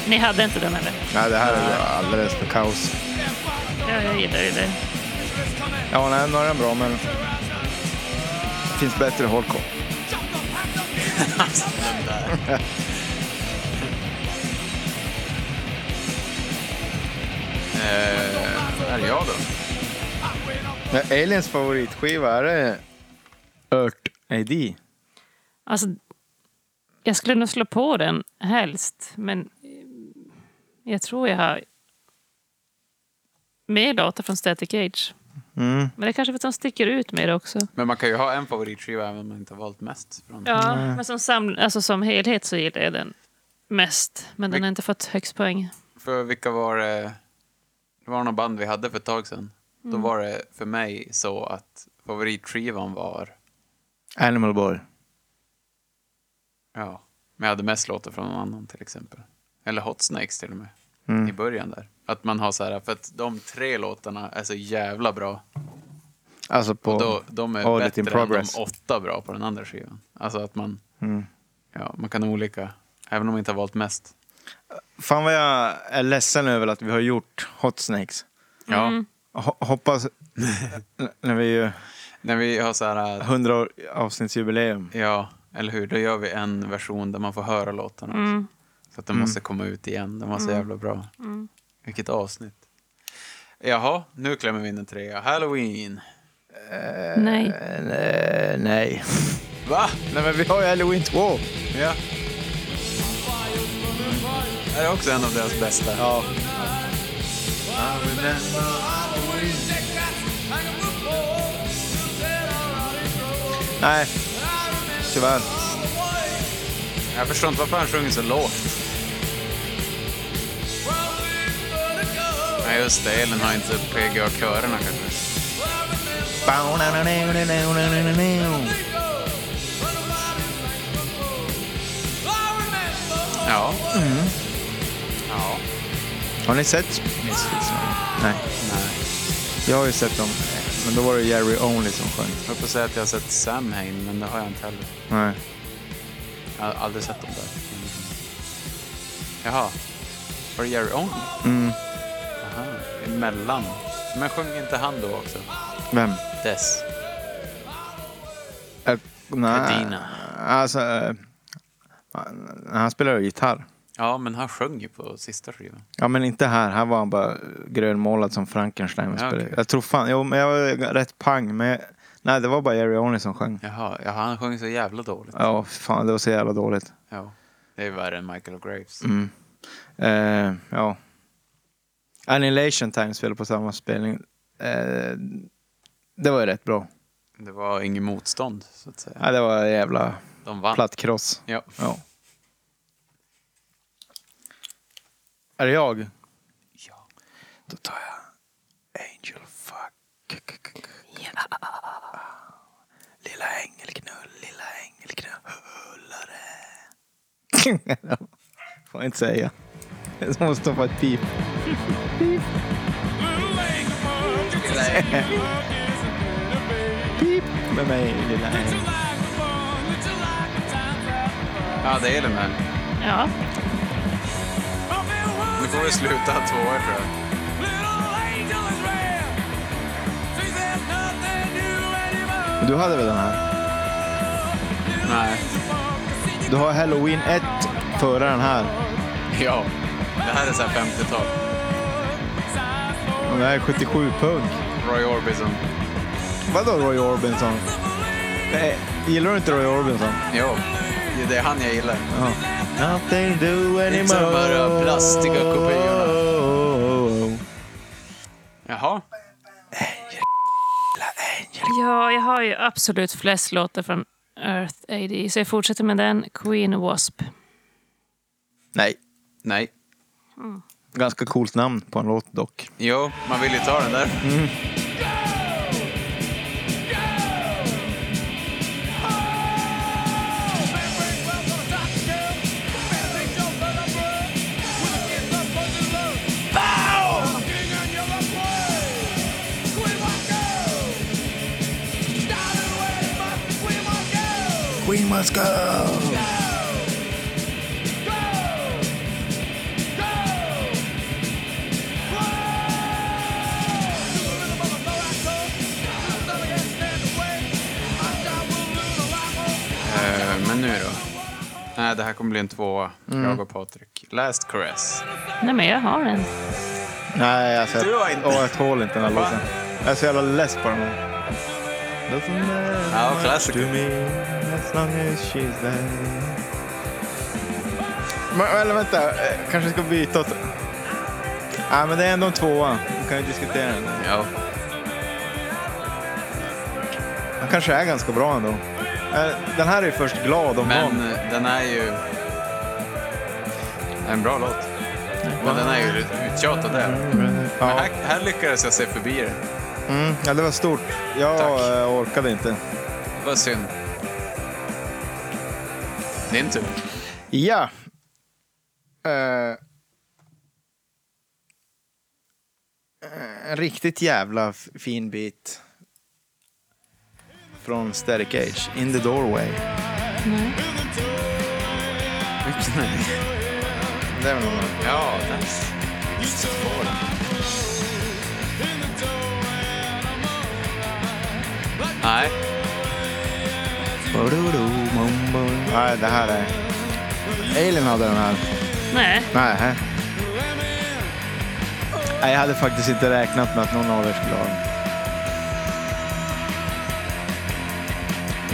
[SPEAKER 3] Ni hade inte den eller?
[SPEAKER 1] Nej, det här
[SPEAKER 2] Ah.
[SPEAKER 1] är alldeles för kaos.
[SPEAKER 3] Ja, jag gillar ju det.
[SPEAKER 1] Ja, nej, några är bra, men det finns bättre håll koll.
[SPEAKER 2] Här är jag då.
[SPEAKER 1] Ja, Elins favoritskiva, är det Earth AD?
[SPEAKER 3] Alltså, jag skulle nog slå på den helst, men eh, jag tror jag har mer låtar från Static Age.
[SPEAKER 1] Mm.
[SPEAKER 3] Men det är kanske för att de sticker ut mer också.
[SPEAKER 2] Men man kan ju ha en favoritskiva även om man inte har valt mest. Från.
[SPEAKER 3] Ja, men som, sam, alltså, som helhet så gillar jag den mest. Men den har inte fått högst poäng.
[SPEAKER 2] För vilka var det? Det var några band vi hade för ett tag sedan.
[SPEAKER 3] Mm.
[SPEAKER 2] Då var det för mig så att favoritskivan var...
[SPEAKER 1] Animal Boy.
[SPEAKER 2] Ja. Men jag hade mest låtar från någon annan till exempel. Eller Hot Snakes till och med.
[SPEAKER 1] Mm.
[SPEAKER 2] I början där. Att man har så här, för att de tre låtarna är så jävla bra.
[SPEAKER 1] Alltså på
[SPEAKER 2] Och då, de är
[SPEAKER 1] Audit in
[SPEAKER 2] bättre än de
[SPEAKER 1] Progress. Mm.
[SPEAKER 2] åtta bra på den andra skivan. Alltså att man, ja, man kan ha olika, även om man inte har valt mest.
[SPEAKER 1] Fan vad jag är ledsen över att vi har gjort Hot Snakes.
[SPEAKER 2] Ja,
[SPEAKER 1] Ho- hoppas... n- när vi gör
[SPEAKER 2] när vi har så här, äh,
[SPEAKER 1] 100 år- avsnittsjubileum.
[SPEAKER 2] ja, eller hur, då gör vi en version där man får höra låtarna. också. Så att de måste
[SPEAKER 1] Mm.
[SPEAKER 2] komma ut igen, de var så jävla bra. Vilket avsnitt. Jaha, nu klämmer vi in en trea. Halloween.
[SPEAKER 3] Nej.
[SPEAKER 1] Eh, nej.
[SPEAKER 2] Va?
[SPEAKER 1] nej, men vi har ju Halloween 2.
[SPEAKER 2] Ja. Det här är också en av deras bästa.
[SPEAKER 1] Ja. Nej, tyvärr.
[SPEAKER 2] Jag förstår inte varför han sjunger så lågt. Nej, just det. Ellen har inte PGA-körerna kanske. Ja.
[SPEAKER 1] Mm.
[SPEAKER 2] Ja.
[SPEAKER 1] Har ni sett Misfits? Nej.
[SPEAKER 2] Nej.
[SPEAKER 1] Jag har ju sett dem, men då var det Jerry Only som sjöng.
[SPEAKER 2] Jag höll på att säga att jag har sett Samhain, men det har jag inte heller.
[SPEAKER 1] Nej.
[SPEAKER 2] Jag har aldrig sett dem där. Mm. Jaha. Var det Jerry Only?
[SPEAKER 1] Mm.
[SPEAKER 2] Aha. Emellan. Men sjöng inte han då också?
[SPEAKER 1] Vem?
[SPEAKER 2] Dess.
[SPEAKER 1] Äh, nej.
[SPEAKER 2] Edina.
[SPEAKER 1] Alltså, eh, han spelar ju gitarr.
[SPEAKER 2] Ja, men han sjöng ju på sista skivan.
[SPEAKER 1] Ja, men inte här. Här var han bara grönmålad som Frankenstein. och
[SPEAKER 2] Ja,
[SPEAKER 1] spelade.
[SPEAKER 2] okej.
[SPEAKER 1] Jag tror fan, jo, men jag var rätt pang. Men jag, nej, det var bara Jerry Only som sjöng.
[SPEAKER 2] Jaha, ja, han sjöng så jävla dåligt.
[SPEAKER 1] Ja, fan, det var så jävla dåligt.
[SPEAKER 2] Ja. Det är värre än Michael Graves.
[SPEAKER 1] Eh, ja. Annihilation Time spelade på samma spelning. Eh, det var ju rätt bra.
[SPEAKER 2] Det var inget motstånd, så att säga.
[SPEAKER 1] Ja, det var jävla
[SPEAKER 2] De vann.
[SPEAKER 1] platt kross.
[SPEAKER 2] Ja.
[SPEAKER 1] Ja. Är det jag? Ja. Då tar jag Angel Fuck. Lilla ängelknull, lilla ängelknull, hullare. Får jag inte säga. Det måste vara ett pip. Pip med mig, lilla ängel.
[SPEAKER 2] Ja, det är det med.
[SPEAKER 3] Ja.
[SPEAKER 2] Nu får vi sluta ha tvåor, tror jag.
[SPEAKER 1] Du hade väl den här?
[SPEAKER 2] Nej.
[SPEAKER 1] Du har Halloween 1 före den här.
[SPEAKER 2] Ja. Det här är så här 50-tal.
[SPEAKER 1] Och det här är 77 punk.
[SPEAKER 2] Roy Orbison.
[SPEAKER 1] Vadå Roy Orbison? Nej, gillar du inte Roy Orbison?
[SPEAKER 2] Jo. Det är det han jag gillar.
[SPEAKER 1] Nothing to do anymore.
[SPEAKER 2] Inte bara plastiga kopiorna. Jaha.
[SPEAKER 3] Ja, jag har ju absolut flest låtar från Earth AD, så jag fortsätter med den. Queen Wasp.
[SPEAKER 1] Nej,
[SPEAKER 2] Nej.
[SPEAKER 1] ganska coolt namn på en låt dock.
[SPEAKER 2] Jo, man vill ju ta den där.
[SPEAKER 1] We must go!
[SPEAKER 2] Eh, men nu då? Nej, det här kommer bli en tvåa. Jag och Patrik. Last Caress.
[SPEAKER 3] Nej, men jag har den.
[SPEAKER 1] Nej, alltså,
[SPEAKER 2] Du har inte-
[SPEAKER 1] åh, jag tål inte den här
[SPEAKER 2] Va?
[SPEAKER 1] låten. Jag är så jävla less på den. här. Doesn't matter
[SPEAKER 2] Ja,
[SPEAKER 1] much
[SPEAKER 2] klassiker.
[SPEAKER 1] to me as long as she's there. Men, eller vänta, eh, kanske ska byta åt... Nej, men det är ändå en tvåa. Vi kan ju diskutera den.
[SPEAKER 2] Ja.
[SPEAKER 1] Den kanske är ganska bra ändå. Eh, Den här är ju först glad om
[SPEAKER 2] Men
[SPEAKER 1] någon.
[SPEAKER 2] eh, den är ju... En bra låt. Men den är ju uttjatad där.
[SPEAKER 1] Ja.
[SPEAKER 2] Men här, här lyckades jag se förbi den.
[SPEAKER 1] Mm, ja, det var stort. Jag
[SPEAKER 2] Tack.
[SPEAKER 1] eh, orkade inte.
[SPEAKER 2] Det var synd. Din tur.
[SPEAKER 1] Ja. Eh. En riktigt jävla f- fin bit. Från Static Age, In the Doorway. Mm. Det är väl någon.
[SPEAKER 2] Ja, nice. Nej,
[SPEAKER 1] Nej, det här är... Alien hade den här.
[SPEAKER 3] Nej,
[SPEAKER 1] Nej. hä? Nej, jag hade faktiskt inte räknat med att någon av er skulle ha den.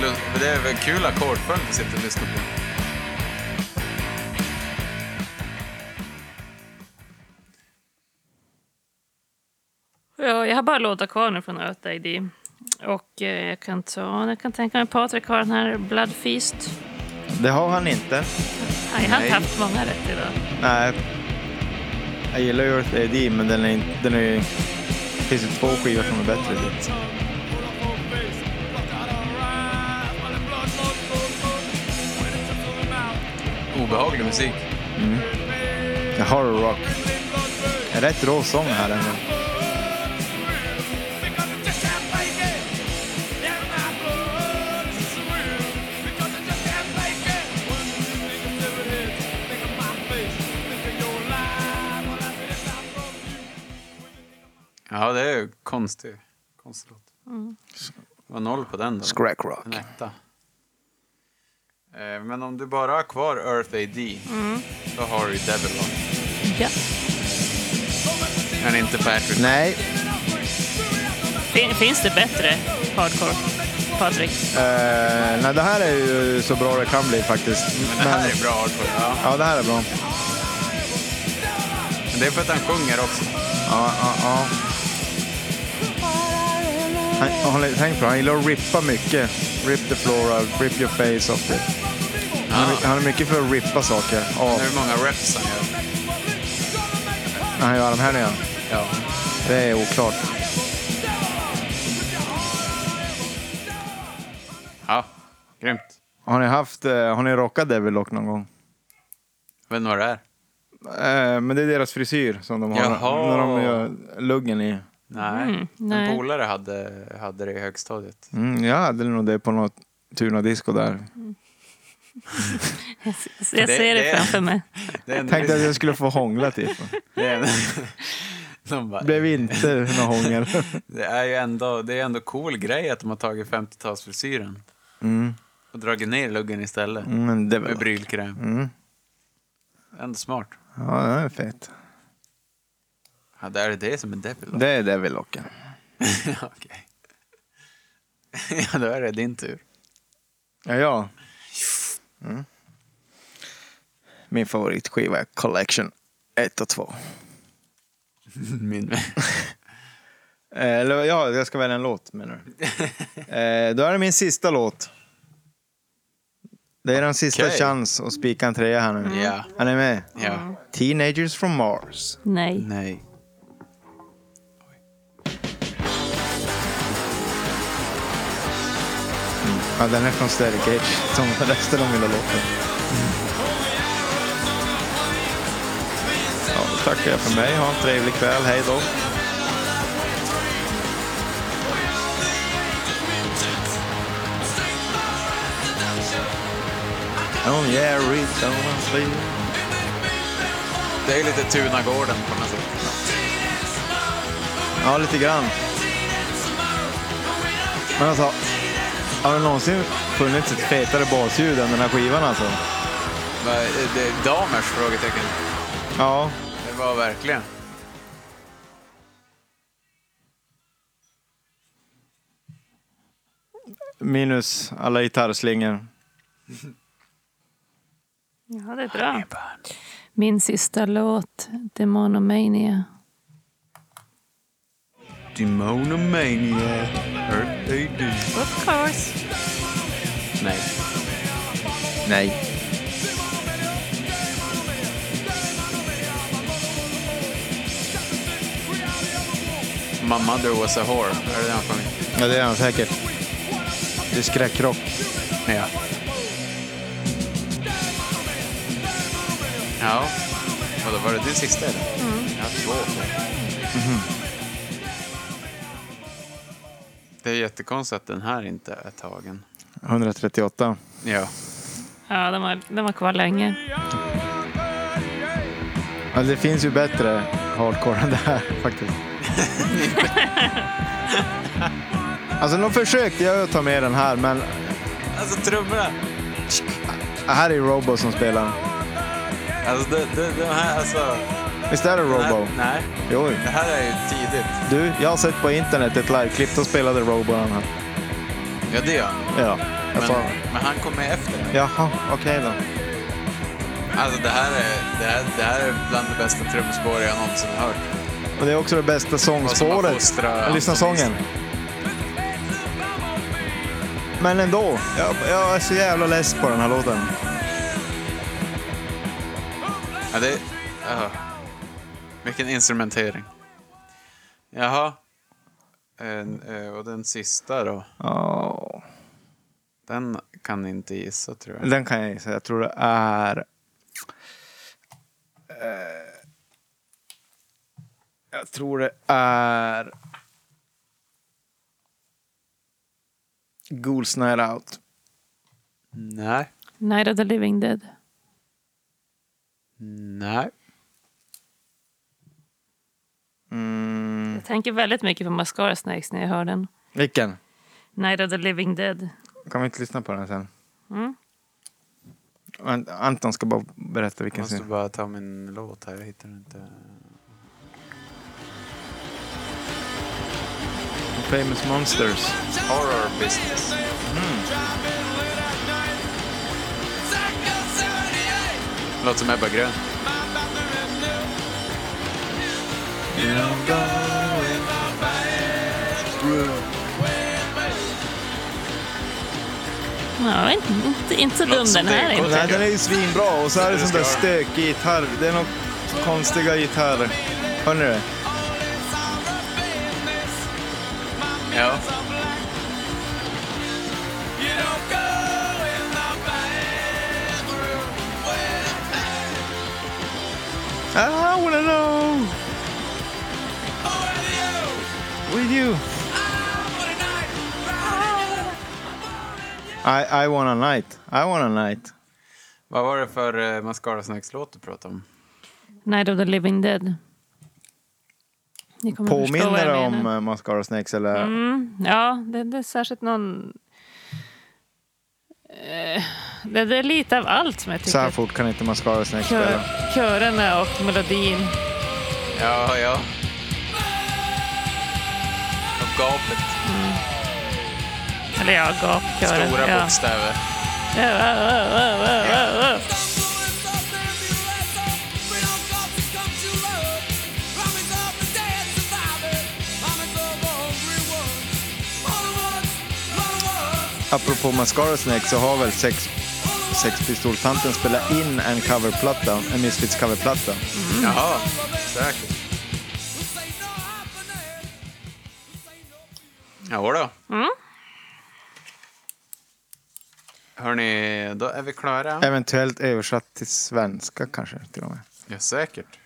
[SPEAKER 2] Lund- det är väl kul ackordföljd vi sitter och lyssnar på.
[SPEAKER 3] ja, jag har bara låtar kvar nu från Earth AD. Och eh, jag kan ta, jag kan tänka mig Patrik har den här Blood Feast.
[SPEAKER 1] Det har han inte.
[SPEAKER 3] Nej, jag har inte
[SPEAKER 2] Nej.
[SPEAKER 3] haft många rätt idag.
[SPEAKER 1] Nej. Jag gillar ju Earth AD, men den är in- den är ju... Det finns ju två skivor som är bättre. Dit.
[SPEAKER 2] Obehaglig musik.
[SPEAKER 1] Jag har rock. En Rätt rå sång här ändå.
[SPEAKER 2] Ja, det är ju konstig, konstig låt. Det var noll på den då.
[SPEAKER 1] Crack rock.
[SPEAKER 2] En etta. Eh, Men om du bara har kvar Earth AD, då har du ju Devil One.
[SPEAKER 3] Ja.
[SPEAKER 2] Men inte Patrick.
[SPEAKER 1] Nej,
[SPEAKER 3] Fin, finns det bättre hardcore, Patrik?
[SPEAKER 1] eh, nej, det här är ju så bra det kan bli faktiskt.
[SPEAKER 2] Men det här är bra hardcore. Ja.
[SPEAKER 1] Ja, det här är bra.
[SPEAKER 2] Men det är för att han sjunger också.
[SPEAKER 1] Ja, ja, ja. Han, har ni tänkt på det? Han gillar att rippa mycket. Rip the floor out, rip your face off it. Han, är, han är mycket för att rippa saker. Ja,
[SPEAKER 2] Nu är det många reps han gör.
[SPEAKER 1] när han gör armhävningar.
[SPEAKER 2] Ja.
[SPEAKER 1] Det är oklart.
[SPEAKER 2] ja, grymt.
[SPEAKER 1] Har ni haft, eh, har ni rockat Devil Lock någon gång?
[SPEAKER 2] Jag vet inte vad det är.
[SPEAKER 1] Eh, men det är deras frisyr som de har.
[SPEAKER 2] Jaha.
[SPEAKER 1] När de gör luggen i.
[SPEAKER 2] Mm, Nej.
[SPEAKER 3] nej.
[SPEAKER 2] En polare hade, hade det i högstadiet.
[SPEAKER 1] Mm, jag hade nog det på något Tuna-disco där.
[SPEAKER 3] Jag
[SPEAKER 2] Det-
[SPEAKER 3] ser det,
[SPEAKER 2] det-
[SPEAKER 3] framför mig.
[SPEAKER 2] Det är en,
[SPEAKER 1] Tänkte att jag skulle få hångla typ.
[SPEAKER 2] det är en, de bara,
[SPEAKER 1] Blev inte någon hångel.
[SPEAKER 2] det är ju ändå, det är ändå cool grej att de har tagit 50-talsfrisyren
[SPEAKER 1] Mm.
[SPEAKER 2] och dragit ner luggen istället
[SPEAKER 1] Men det var...
[SPEAKER 2] med brylkräm.
[SPEAKER 1] Mm.
[SPEAKER 2] Ändå smart.
[SPEAKER 1] Ja, det är fett.
[SPEAKER 2] Ja, det är det som är Devil Lock.
[SPEAKER 1] Det är Devil Locken.
[SPEAKER 2] Okej. ja, då är det din tur.
[SPEAKER 1] Ja, ja.
[SPEAKER 2] Mm.
[SPEAKER 1] Min favoritskiva är Collection 1 och 2.
[SPEAKER 2] Min...
[SPEAKER 1] Eh, Eller ja, jag ska välja en låt menar du? Eh, Då är det min sista låt. Det är den sista
[SPEAKER 2] Okej.
[SPEAKER 1] chans att spika en trea här nu.
[SPEAKER 2] Ja.
[SPEAKER 1] Är ni med?
[SPEAKER 2] Ja.
[SPEAKER 1] Teenagers from Mars.
[SPEAKER 3] Nej.
[SPEAKER 2] Nej.
[SPEAKER 1] Ja, den är från Static Age, som resten av mina låtar. Ja, då tackar jag för mig. Ha en trevlig kväll. Hej då. Oh yeah, reach out and see.
[SPEAKER 2] Det är lite Tunagården på något sätt.
[SPEAKER 1] Ja, lite grann. Men alltså, har det någonsin funnits ett fetare basljud än den här skivan alltså?
[SPEAKER 2] Vad är det- Damers? Frågetecken.
[SPEAKER 1] Ja,
[SPEAKER 2] Det var verkligen.
[SPEAKER 1] minus alla gitarrslingor.
[SPEAKER 3] Ja, det är bra. Min sista låt, Demonomania.
[SPEAKER 2] Demonomania. Earth AD.
[SPEAKER 3] Of course.
[SPEAKER 2] Nej.
[SPEAKER 1] Nej.
[SPEAKER 2] My mother was a whore. Är det den sjunger?
[SPEAKER 1] Ja, det är han säkert. Det är skräckrock.
[SPEAKER 2] Ja. Ja. Vadå, var det din sista eller? Mm. Jag har två. Det är jättekonstigt att den här inte är tagen.
[SPEAKER 1] 138.
[SPEAKER 2] Ja.
[SPEAKER 3] Ja, den var, den var kvar länge.
[SPEAKER 1] Ja, det finns ju bättre hardcore än det här faktiskt. alltså, de försökte jag att ta med den här, men
[SPEAKER 2] Alltså trummorna!
[SPEAKER 1] här är Robo som spelar.
[SPEAKER 2] Alltså det, det, det här, alltså...
[SPEAKER 1] Visst är det
[SPEAKER 2] den här-
[SPEAKER 1] Robo?
[SPEAKER 2] Nej,
[SPEAKER 1] Jo.
[SPEAKER 2] det här är ju tidigt.
[SPEAKER 1] Du, jag har sett på internet ett liveklipp, då spelade Robo den här.
[SPEAKER 2] Ja, det gör han.
[SPEAKER 1] Ja, jag
[SPEAKER 2] Men,
[SPEAKER 1] sa
[SPEAKER 2] men han kom med efter den.
[SPEAKER 1] Jaha, okej då.
[SPEAKER 2] Alltså det här är, det här, det här är bland det bästa trumspår jag någonsin hört.
[SPEAKER 1] Och det är också det bästa
[SPEAKER 2] Vad som har
[SPEAKER 1] sångspåret.
[SPEAKER 2] fostrat
[SPEAKER 1] Jag lyssnar
[SPEAKER 2] Anton
[SPEAKER 1] sången. Men ändå, jag, jag är så jävla less på den här låten.
[SPEAKER 2] Ja, det... Uh, vilken instrumentering. Jaha. En, eh, och den sista då?
[SPEAKER 1] Ja,
[SPEAKER 2] Den kan ni inte gissa tror jag.
[SPEAKER 1] Den kan jag gissa. Jag tror det är... Eh, jag tror det är... Ghouls Night Out.
[SPEAKER 2] Nej.
[SPEAKER 3] Night of the Living Dead.
[SPEAKER 2] Nej.
[SPEAKER 1] Mm.
[SPEAKER 3] Jag tänker väldigt mycket på Mascara Snakes när jag hör den.
[SPEAKER 1] Vilken?
[SPEAKER 3] Night of the Living Dead.
[SPEAKER 1] Kan vi inte lyssna på den sen?
[SPEAKER 3] Mm.
[SPEAKER 1] An- Anton ska bara berätta vilken
[SPEAKER 2] Måste
[SPEAKER 1] som...
[SPEAKER 2] bara ta min låt här, jag hittar den inte.
[SPEAKER 1] Famous Monsters.
[SPEAKER 2] Horror business. Låter som Ebba Grön.
[SPEAKER 3] Ja, inte, inte, inte så dum
[SPEAKER 2] som
[SPEAKER 3] den här
[SPEAKER 2] Deko.
[SPEAKER 3] är.
[SPEAKER 1] Nej, den är ju svinbra. Och så är det
[SPEAKER 2] Du
[SPEAKER 1] sån där
[SPEAKER 2] ska ha
[SPEAKER 1] stökig gitarr. Det är något konstiga gitarr. Hör ni det?
[SPEAKER 2] Ja.
[SPEAKER 1] I wanna know! With you! I, I want a night. I want a night.
[SPEAKER 3] Mm,
[SPEAKER 2] Vad var det för eh, Mascara-snackslåt du pratade om?
[SPEAKER 3] Night of the Living Dead. Ni kommer att förstå vad
[SPEAKER 1] Påminner det
[SPEAKER 3] jag
[SPEAKER 1] om
[SPEAKER 3] menar.
[SPEAKER 1] eh, Mascara Snakes eller?
[SPEAKER 3] Mm, ja, det, det är särskilt någon... Eh, Det, det är lite av allt som jag
[SPEAKER 1] Så här
[SPEAKER 3] tycker.
[SPEAKER 1] fort kan inte Mascara Snakes
[SPEAKER 3] Kör,
[SPEAKER 1] spela.
[SPEAKER 3] körerna och melodin.
[SPEAKER 2] Ja, ja. Och gapet.
[SPEAKER 3] Eller ja, gapkören.
[SPEAKER 2] Stora
[SPEAKER 3] ja.
[SPEAKER 2] bokstäver.
[SPEAKER 1] Apropå Mascara Snake så har väl sex, sex Pistol-tanten spelat in en coverplatta, en Misfits coverplatta.
[SPEAKER 2] Jaha, säkert. Jodå. Mm. Hörni, då är vi klara.
[SPEAKER 1] Eventuellt översatt till svenska kanske till och med.
[SPEAKER 2] Ja, säkert.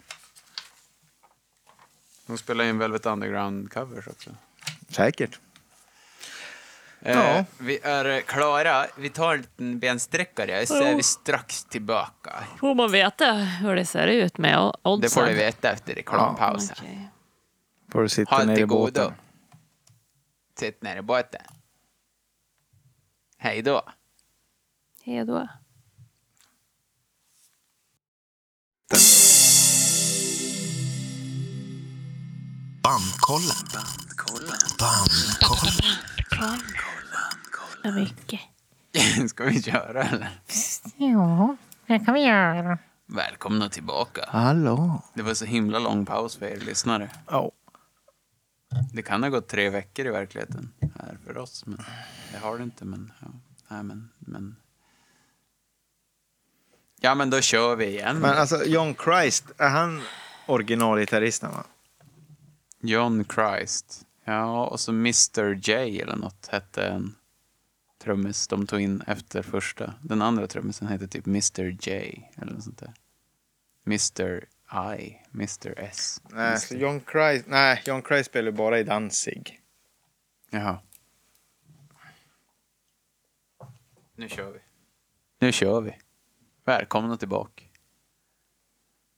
[SPEAKER 2] De spelar in Velvet Underground-covers också.
[SPEAKER 1] Säkert.
[SPEAKER 2] Eh, vi är eh, klara. Vi tar en liten bensträckare, så är vi strax tillbaka.
[SPEAKER 3] Får man veta hur det ser ut med o- oddsen?
[SPEAKER 2] Det får ni veta efter reklampausen.
[SPEAKER 3] Okej.
[SPEAKER 1] Får du sitta
[SPEAKER 2] Ha det
[SPEAKER 1] nere i
[SPEAKER 2] till
[SPEAKER 1] båten.
[SPEAKER 2] godo. Sitt ner i båten. Hej då.
[SPEAKER 3] Hej då.
[SPEAKER 8] Bandkollen. Bandkollen.
[SPEAKER 3] Så mycket.
[SPEAKER 2] Ska vi köra eller?
[SPEAKER 4] Ja, det kan vi göra.
[SPEAKER 2] Välkomna tillbaka.
[SPEAKER 1] Hallå?
[SPEAKER 2] Det var så himla lång paus för er lyssnare.
[SPEAKER 1] Ja.
[SPEAKER 2] Det kan ha gått tre veckor i verkligheten här för oss. Men det har det inte. Men, ja. Nej, men, men. ja, men då kör vi igen.
[SPEAKER 1] Men alltså John Christ, är han originalgitarristen va?
[SPEAKER 2] John Christ. Ja, och så Mr J eller något hette en trummis de tog in efter första. Den andra trummisen hette typ Mr J eller något sånt där. Mr I, Mr S.
[SPEAKER 1] Nej,
[SPEAKER 2] Mr.
[SPEAKER 1] så John Christ, nej, John Christ spelar ju bara i Danzig.
[SPEAKER 2] Jaha. Nu kör vi. Nu kör vi. Välkomna tillbaka.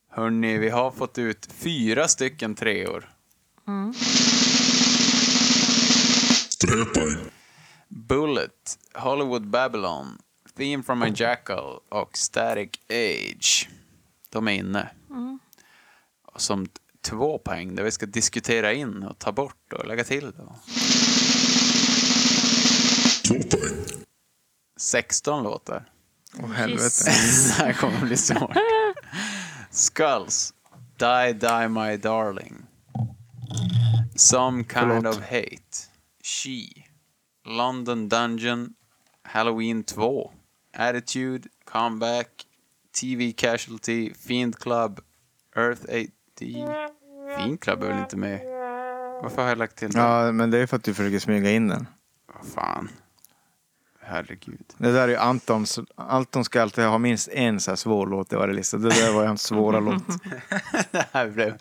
[SPEAKER 2] Hörni, vi har fått ut fyra stycken treor.
[SPEAKER 6] Sträpa in.
[SPEAKER 2] Bullet, Hollywood Babylon, Theme from a Jackal och Static Age. De är inne. Och Som t- två poäng där vi ska diskutera in och ta bort och lägga till. Då.
[SPEAKER 6] Två poäng.
[SPEAKER 2] 16 låtar.
[SPEAKER 1] Åh helvete.
[SPEAKER 2] Det här kommer bli svårt. Skulls. Die, die my darling. Some kind of hate. She. London Dungeon. Halloween 2. Attitude. Comeback. TV Casualty. Fiend Club. Earth 80. Fiend Club är väl inte med? Varför har jag lagt till det?
[SPEAKER 1] Ja, men det är för att du försöker smyga in den.
[SPEAKER 2] Vad fan. Herregud.
[SPEAKER 1] Det där är ju Antons, Anton ska alltid ha minst en så här svår låt i varje lista. Det där var ju hans svåra låt.
[SPEAKER 2] Det här blev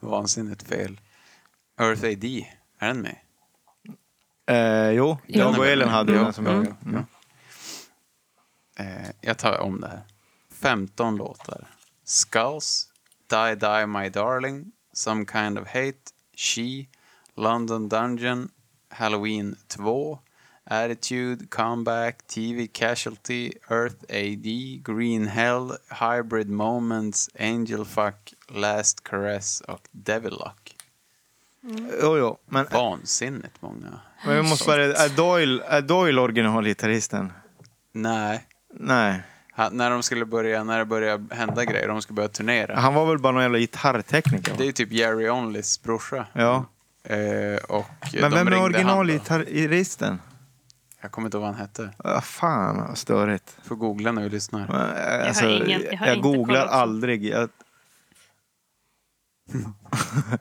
[SPEAKER 2] vansinnigt fel. Earth AD, är den med?
[SPEAKER 1] Eh, jo, jag och Elin hade ju
[SPEAKER 2] Ja.
[SPEAKER 1] den som jag. Mm.
[SPEAKER 2] Eh, jag tar om det här. 15 låtar. Skulls, Die Die My Darling, Some Kind of Hate, She, London Dungeon, Halloween 2, Attitude, Comeback, TV Casualty, Earth AD, Green Hell, Hybrid Moments, Angel Fuck, Last Caress och Devil Lock.
[SPEAKER 1] Jo, jo, men,
[SPEAKER 2] Vansinnigt många.
[SPEAKER 1] men vi måste bara... Är Doyle, är Doyle originalgitarristen?
[SPEAKER 2] Nej.
[SPEAKER 1] Nej.
[SPEAKER 2] Han, när de skulle börja, när det började hända grejer, de skulle börja turnera.
[SPEAKER 1] Han var väl bara någon jävla gitarrtekniker?
[SPEAKER 2] Det är
[SPEAKER 1] va?
[SPEAKER 2] ju typ Jerry Onlys brorsa.
[SPEAKER 1] Ja.
[SPEAKER 2] Eh, och de
[SPEAKER 1] Men
[SPEAKER 2] ringde
[SPEAKER 1] vem är
[SPEAKER 2] han då.
[SPEAKER 1] originalgitarristen?
[SPEAKER 2] Jag kommer inte ihåg vad han hette.
[SPEAKER 1] Ah, fan, vad störigt.
[SPEAKER 2] Får googla när vi lyssnar.
[SPEAKER 1] Men, eh, alltså,
[SPEAKER 3] ingen- jag har
[SPEAKER 1] jag
[SPEAKER 3] inte
[SPEAKER 1] googlar
[SPEAKER 3] kollat.
[SPEAKER 1] aldrig. Jag...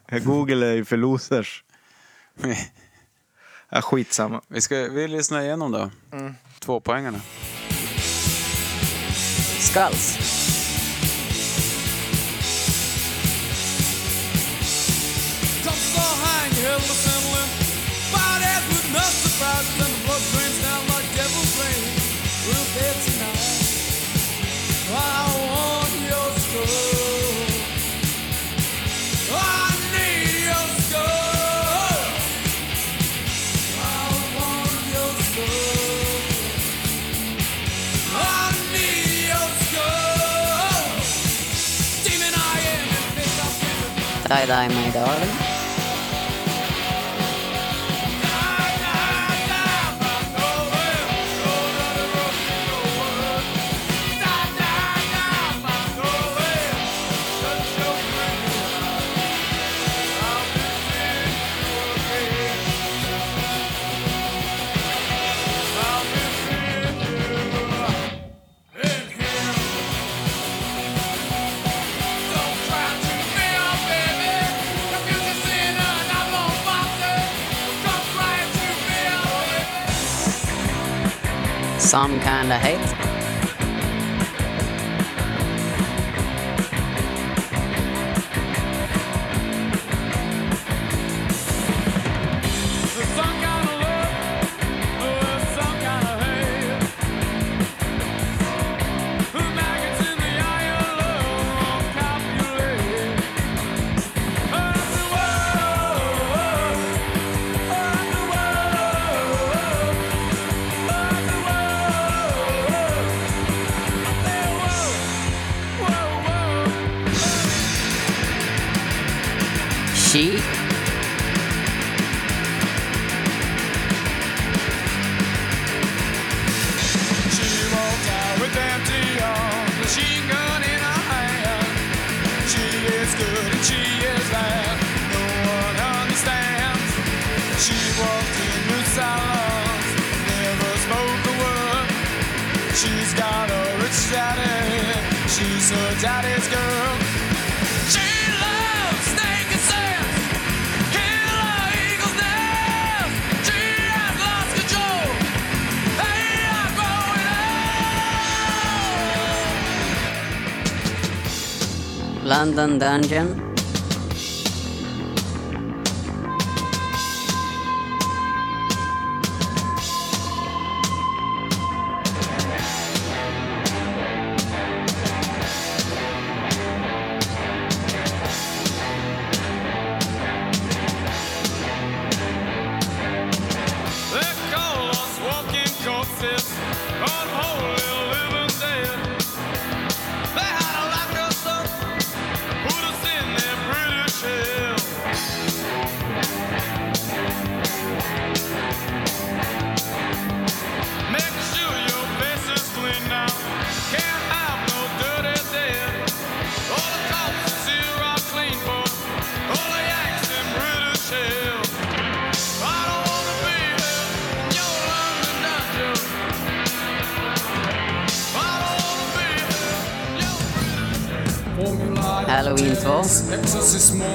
[SPEAKER 1] jag Google är ju för losers. Ja, skitsamma.
[SPEAKER 2] vi ska vi lyssnar igenom då. Två poängarna. Skulls.
[SPEAKER 7] Demon I am and bitch I'm feeling
[SPEAKER 9] Die Die My Darling.
[SPEAKER 7] Die, die, die, from nowhere. Oh, let it rock and roll.
[SPEAKER 8] some kind of hate.
[SPEAKER 7] There's some kind of love, there's some kind of hate. The maggots in the eye of love calculate. Earth and world, earth and world, earth and world. Hey, whoa, whoa, whoa.
[SPEAKER 8] She
[SPEAKER 7] She walked out with empty arms, machine gun in her hand. She is good and she is bad, no one understands. She walked into silence, never spoke a word. She's got a rich daddy, she's her daddy's girl. She loves snake and sand. Killer eagle's nest. She has lost control. They are growing old.
[SPEAKER 8] London Dungeon.
[SPEAKER 7] They call us walking corpses, unholy living dead. They had to lock us up, put us in their British hell. Make sure your face is clean now. Can't have no dirty dead. All the cops here are clean, but all the yanks in British hell. I don't wanna be in your London dungeon. I don't wanna be in your
[SPEAKER 8] Halloween 2.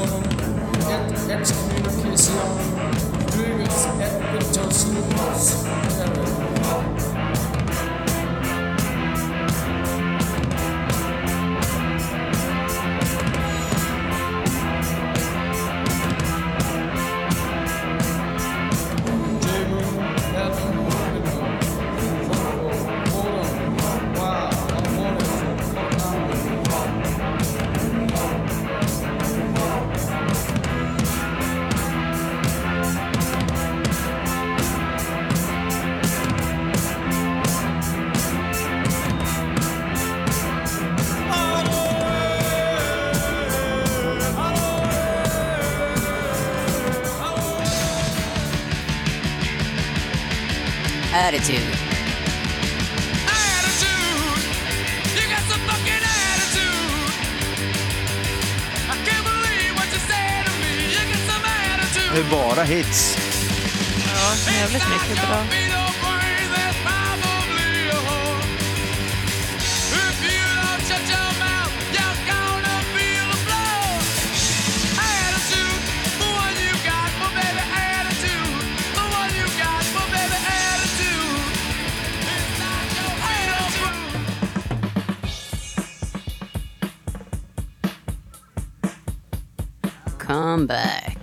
[SPEAKER 8] Attitude.
[SPEAKER 7] Attitude, you got some fucking attitude. I can't believe what you said to me. You got some
[SPEAKER 1] Det
[SPEAKER 7] attitude.
[SPEAKER 1] är bara hits.
[SPEAKER 3] Ja, jävligt mycket bra.
[SPEAKER 8] Come back.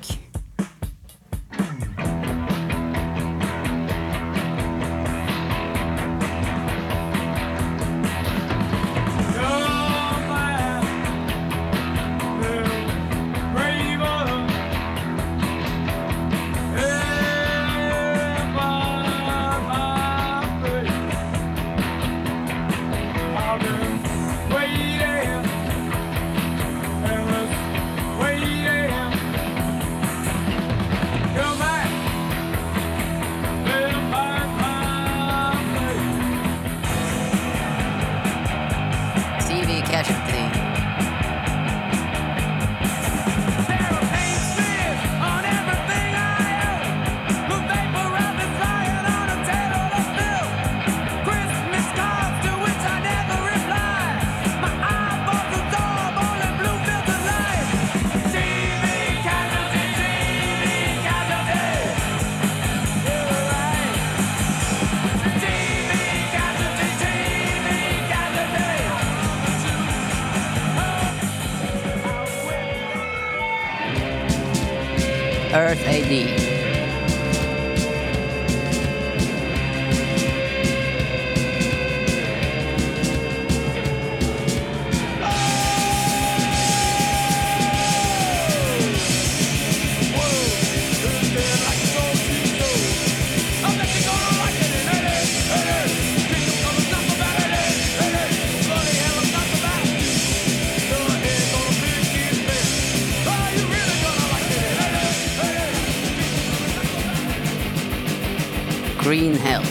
[SPEAKER 8] TV Casualty.
[SPEAKER 7] Yeah. Earth AD. Green Hell.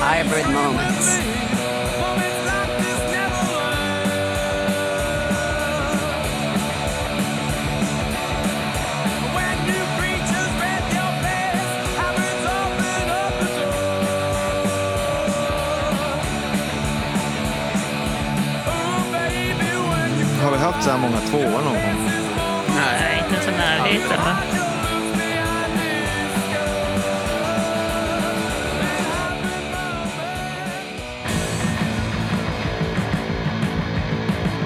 [SPEAKER 7] Hybrid Moments.
[SPEAKER 1] Har vi haft så här många tvåor någon gång?
[SPEAKER 2] Nej.
[SPEAKER 3] Nej, inte ens i närheten. va?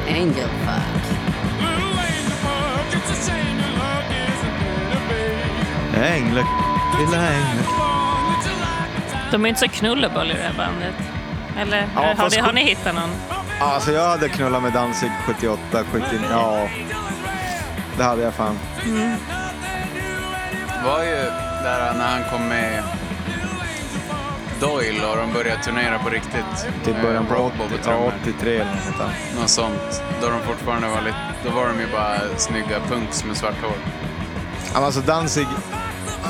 [SPEAKER 7] Angel Fuck.
[SPEAKER 1] Änglar, lilla änglar.
[SPEAKER 3] De är inte så knullebull i det här bandet. Eller
[SPEAKER 1] Ja,
[SPEAKER 3] har,
[SPEAKER 1] fast-
[SPEAKER 3] ni, har ni hittat någon?
[SPEAKER 1] Ja, Alltså jag hade knullat med Danzig 78, 79, ja. Det hade jag fan.
[SPEAKER 2] var ju där när han kom med Doyle och de började turnera på riktigt. Eh,
[SPEAKER 1] Till
[SPEAKER 2] Med
[SPEAKER 1] Typ början på
[SPEAKER 2] rockbob
[SPEAKER 1] 80,
[SPEAKER 2] och trummor.
[SPEAKER 1] ja, 83 eller något sånt där.
[SPEAKER 2] Något sånt. Då de fortfarande var lite... Då var de ju bara snygga punks med svart hår.
[SPEAKER 1] Ja, men Alltså Danzig,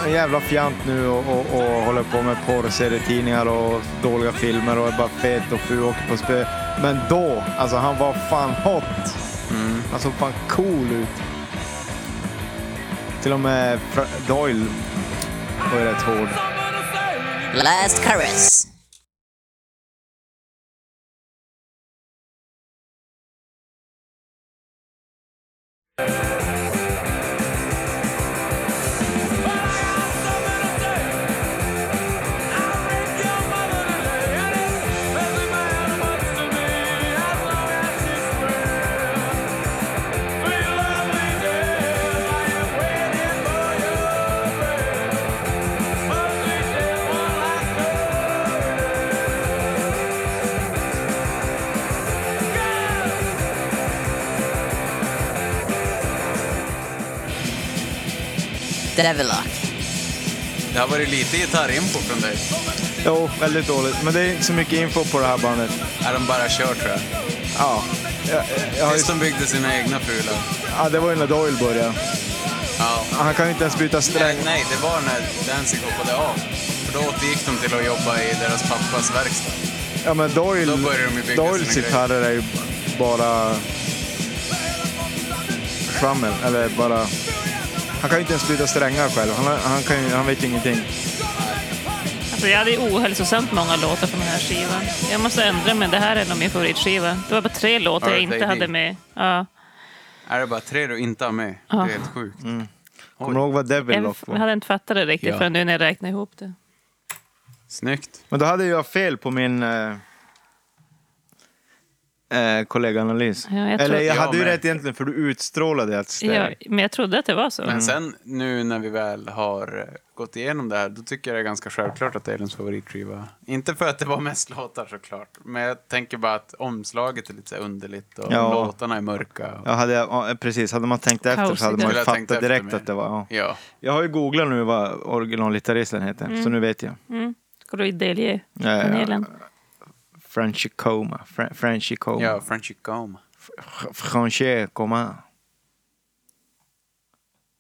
[SPEAKER 1] en jävla fjant nu och, och, och håller på med porrserietidningar och dåliga filmer och är bara fet och ful och åker på spö. Men då, alltså han var fan hot. Han såg fan cool ut. Till och med Fra- Doyle var ju rätt hård.
[SPEAKER 7] Last Chorus. Devilock.
[SPEAKER 2] Det har varit lite gitarrinfo från dig.
[SPEAKER 1] Jo, väldigt dåligt. Men det är inte så mycket info på det här bandet.
[SPEAKER 2] Är de bara kör tror jag.
[SPEAKER 1] Ja, jag, jag har ju,
[SPEAKER 2] Tills de byggde sina egna prylar.
[SPEAKER 1] ja det var ju när Doyle började.
[SPEAKER 2] Ja.
[SPEAKER 1] Han kan ju inte ens byta sträng.
[SPEAKER 2] Nej, nej, det var när Danzig hoppade av. För då återgick de till att jobba i deras pappas verkstad.
[SPEAKER 1] Ja men Doyle,
[SPEAKER 2] Då börjar de ju bygga
[SPEAKER 1] Doyles
[SPEAKER 2] sina
[SPEAKER 1] gitarrer är ju bara trummel, eller bara... Han kan ju inte ens byta strängar själv. Han, har- han, kan ju, han vet ju ingenting.
[SPEAKER 3] Alltså, jag hade ju ohälsosamt många låtar från den här skivan. Jag måste ändra mig, det här är nog min favoritskiva. Det var bara tre låtar jag
[SPEAKER 2] Earth
[SPEAKER 3] inte
[SPEAKER 2] AD.
[SPEAKER 3] hade med. Ja.
[SPEAKER 2] Är det bara tre du inte har med? Det är helt sjukt.
[SPEAKER 1] Kommer du ihåg vad Devil
[SPEAKER 3] Jag,
[SPEAKER 1] Lock
[SPEAKER 3] jag
[SPEAKER 1] var?
[SPEAKER 3] hade inte fattat det riktigt
[SPEAKER 2] Ja.
[SPEAKER 3] förrän nu när jag räknade ihop det.
[SPEAKER 2] Snyggt.
[SPEAKER 1] Men då hade jag fel på min... Eh, eh, kollegaanalys.
[SPEAKER 3] Ja, jag tror-
[SPEAKER 1] Eller jag
[SPEAKER 2] Ja,
[SPEAKER 1] hade ju
[SPEAKER 2] men-
[SPEAKER 1] rätt egentligen för du utstrålade att det
[SPEAKER 3] Ja, men jag trodde att det var så.
[SPEAKER 2] Men
[SPEAKER 1] Mm.
[SPEAKER 2] sen nu när vi väl har eh, gått igenom det här, då tycker jag det är ganska självklart att det är Elins favoritskiva. Inte för att det var mest låtar såklart, men jag tänker bara att omslaget är lite så här underligt och
[SPEAKER 1] Ja.
[SPEAKER 2] låtarna är mörka. Och,
[SPEAKER 1] Ja, hade jag, ja, precis. Hade man tänkt efter så
[SPEAKER 3] Kaosigt.
[SPEAKER 1] hade man
[SPEAKER 2] Skulle
[SPEAKER 1] ju
[SPEAKER 2] ha tänkt
[SPEAKER 1] fattat
[SPEAKER 2] efter
[SPEAKER 1] direkt
[SPEAKER 2] mer.
[SPEAKER 1] att det var... Ja.
[SPEAKER 2] ja.
[SPEAKER 1] Jag har ju googlat nu vad originalgitarristen heter, så nu vet jag.
[SPEAKER 3] Mm. Ska du delge
[SPEAKER 1] Ja, ja, ja.
[SPEAKER 3] panelen?
[SPEAKER 1] Franchi Coma. Fra- Franchi Coma.
[SPEAKER 2] Ja, Frenchy Goma.
[SPEAKER 1] Fr- Franchi Coma.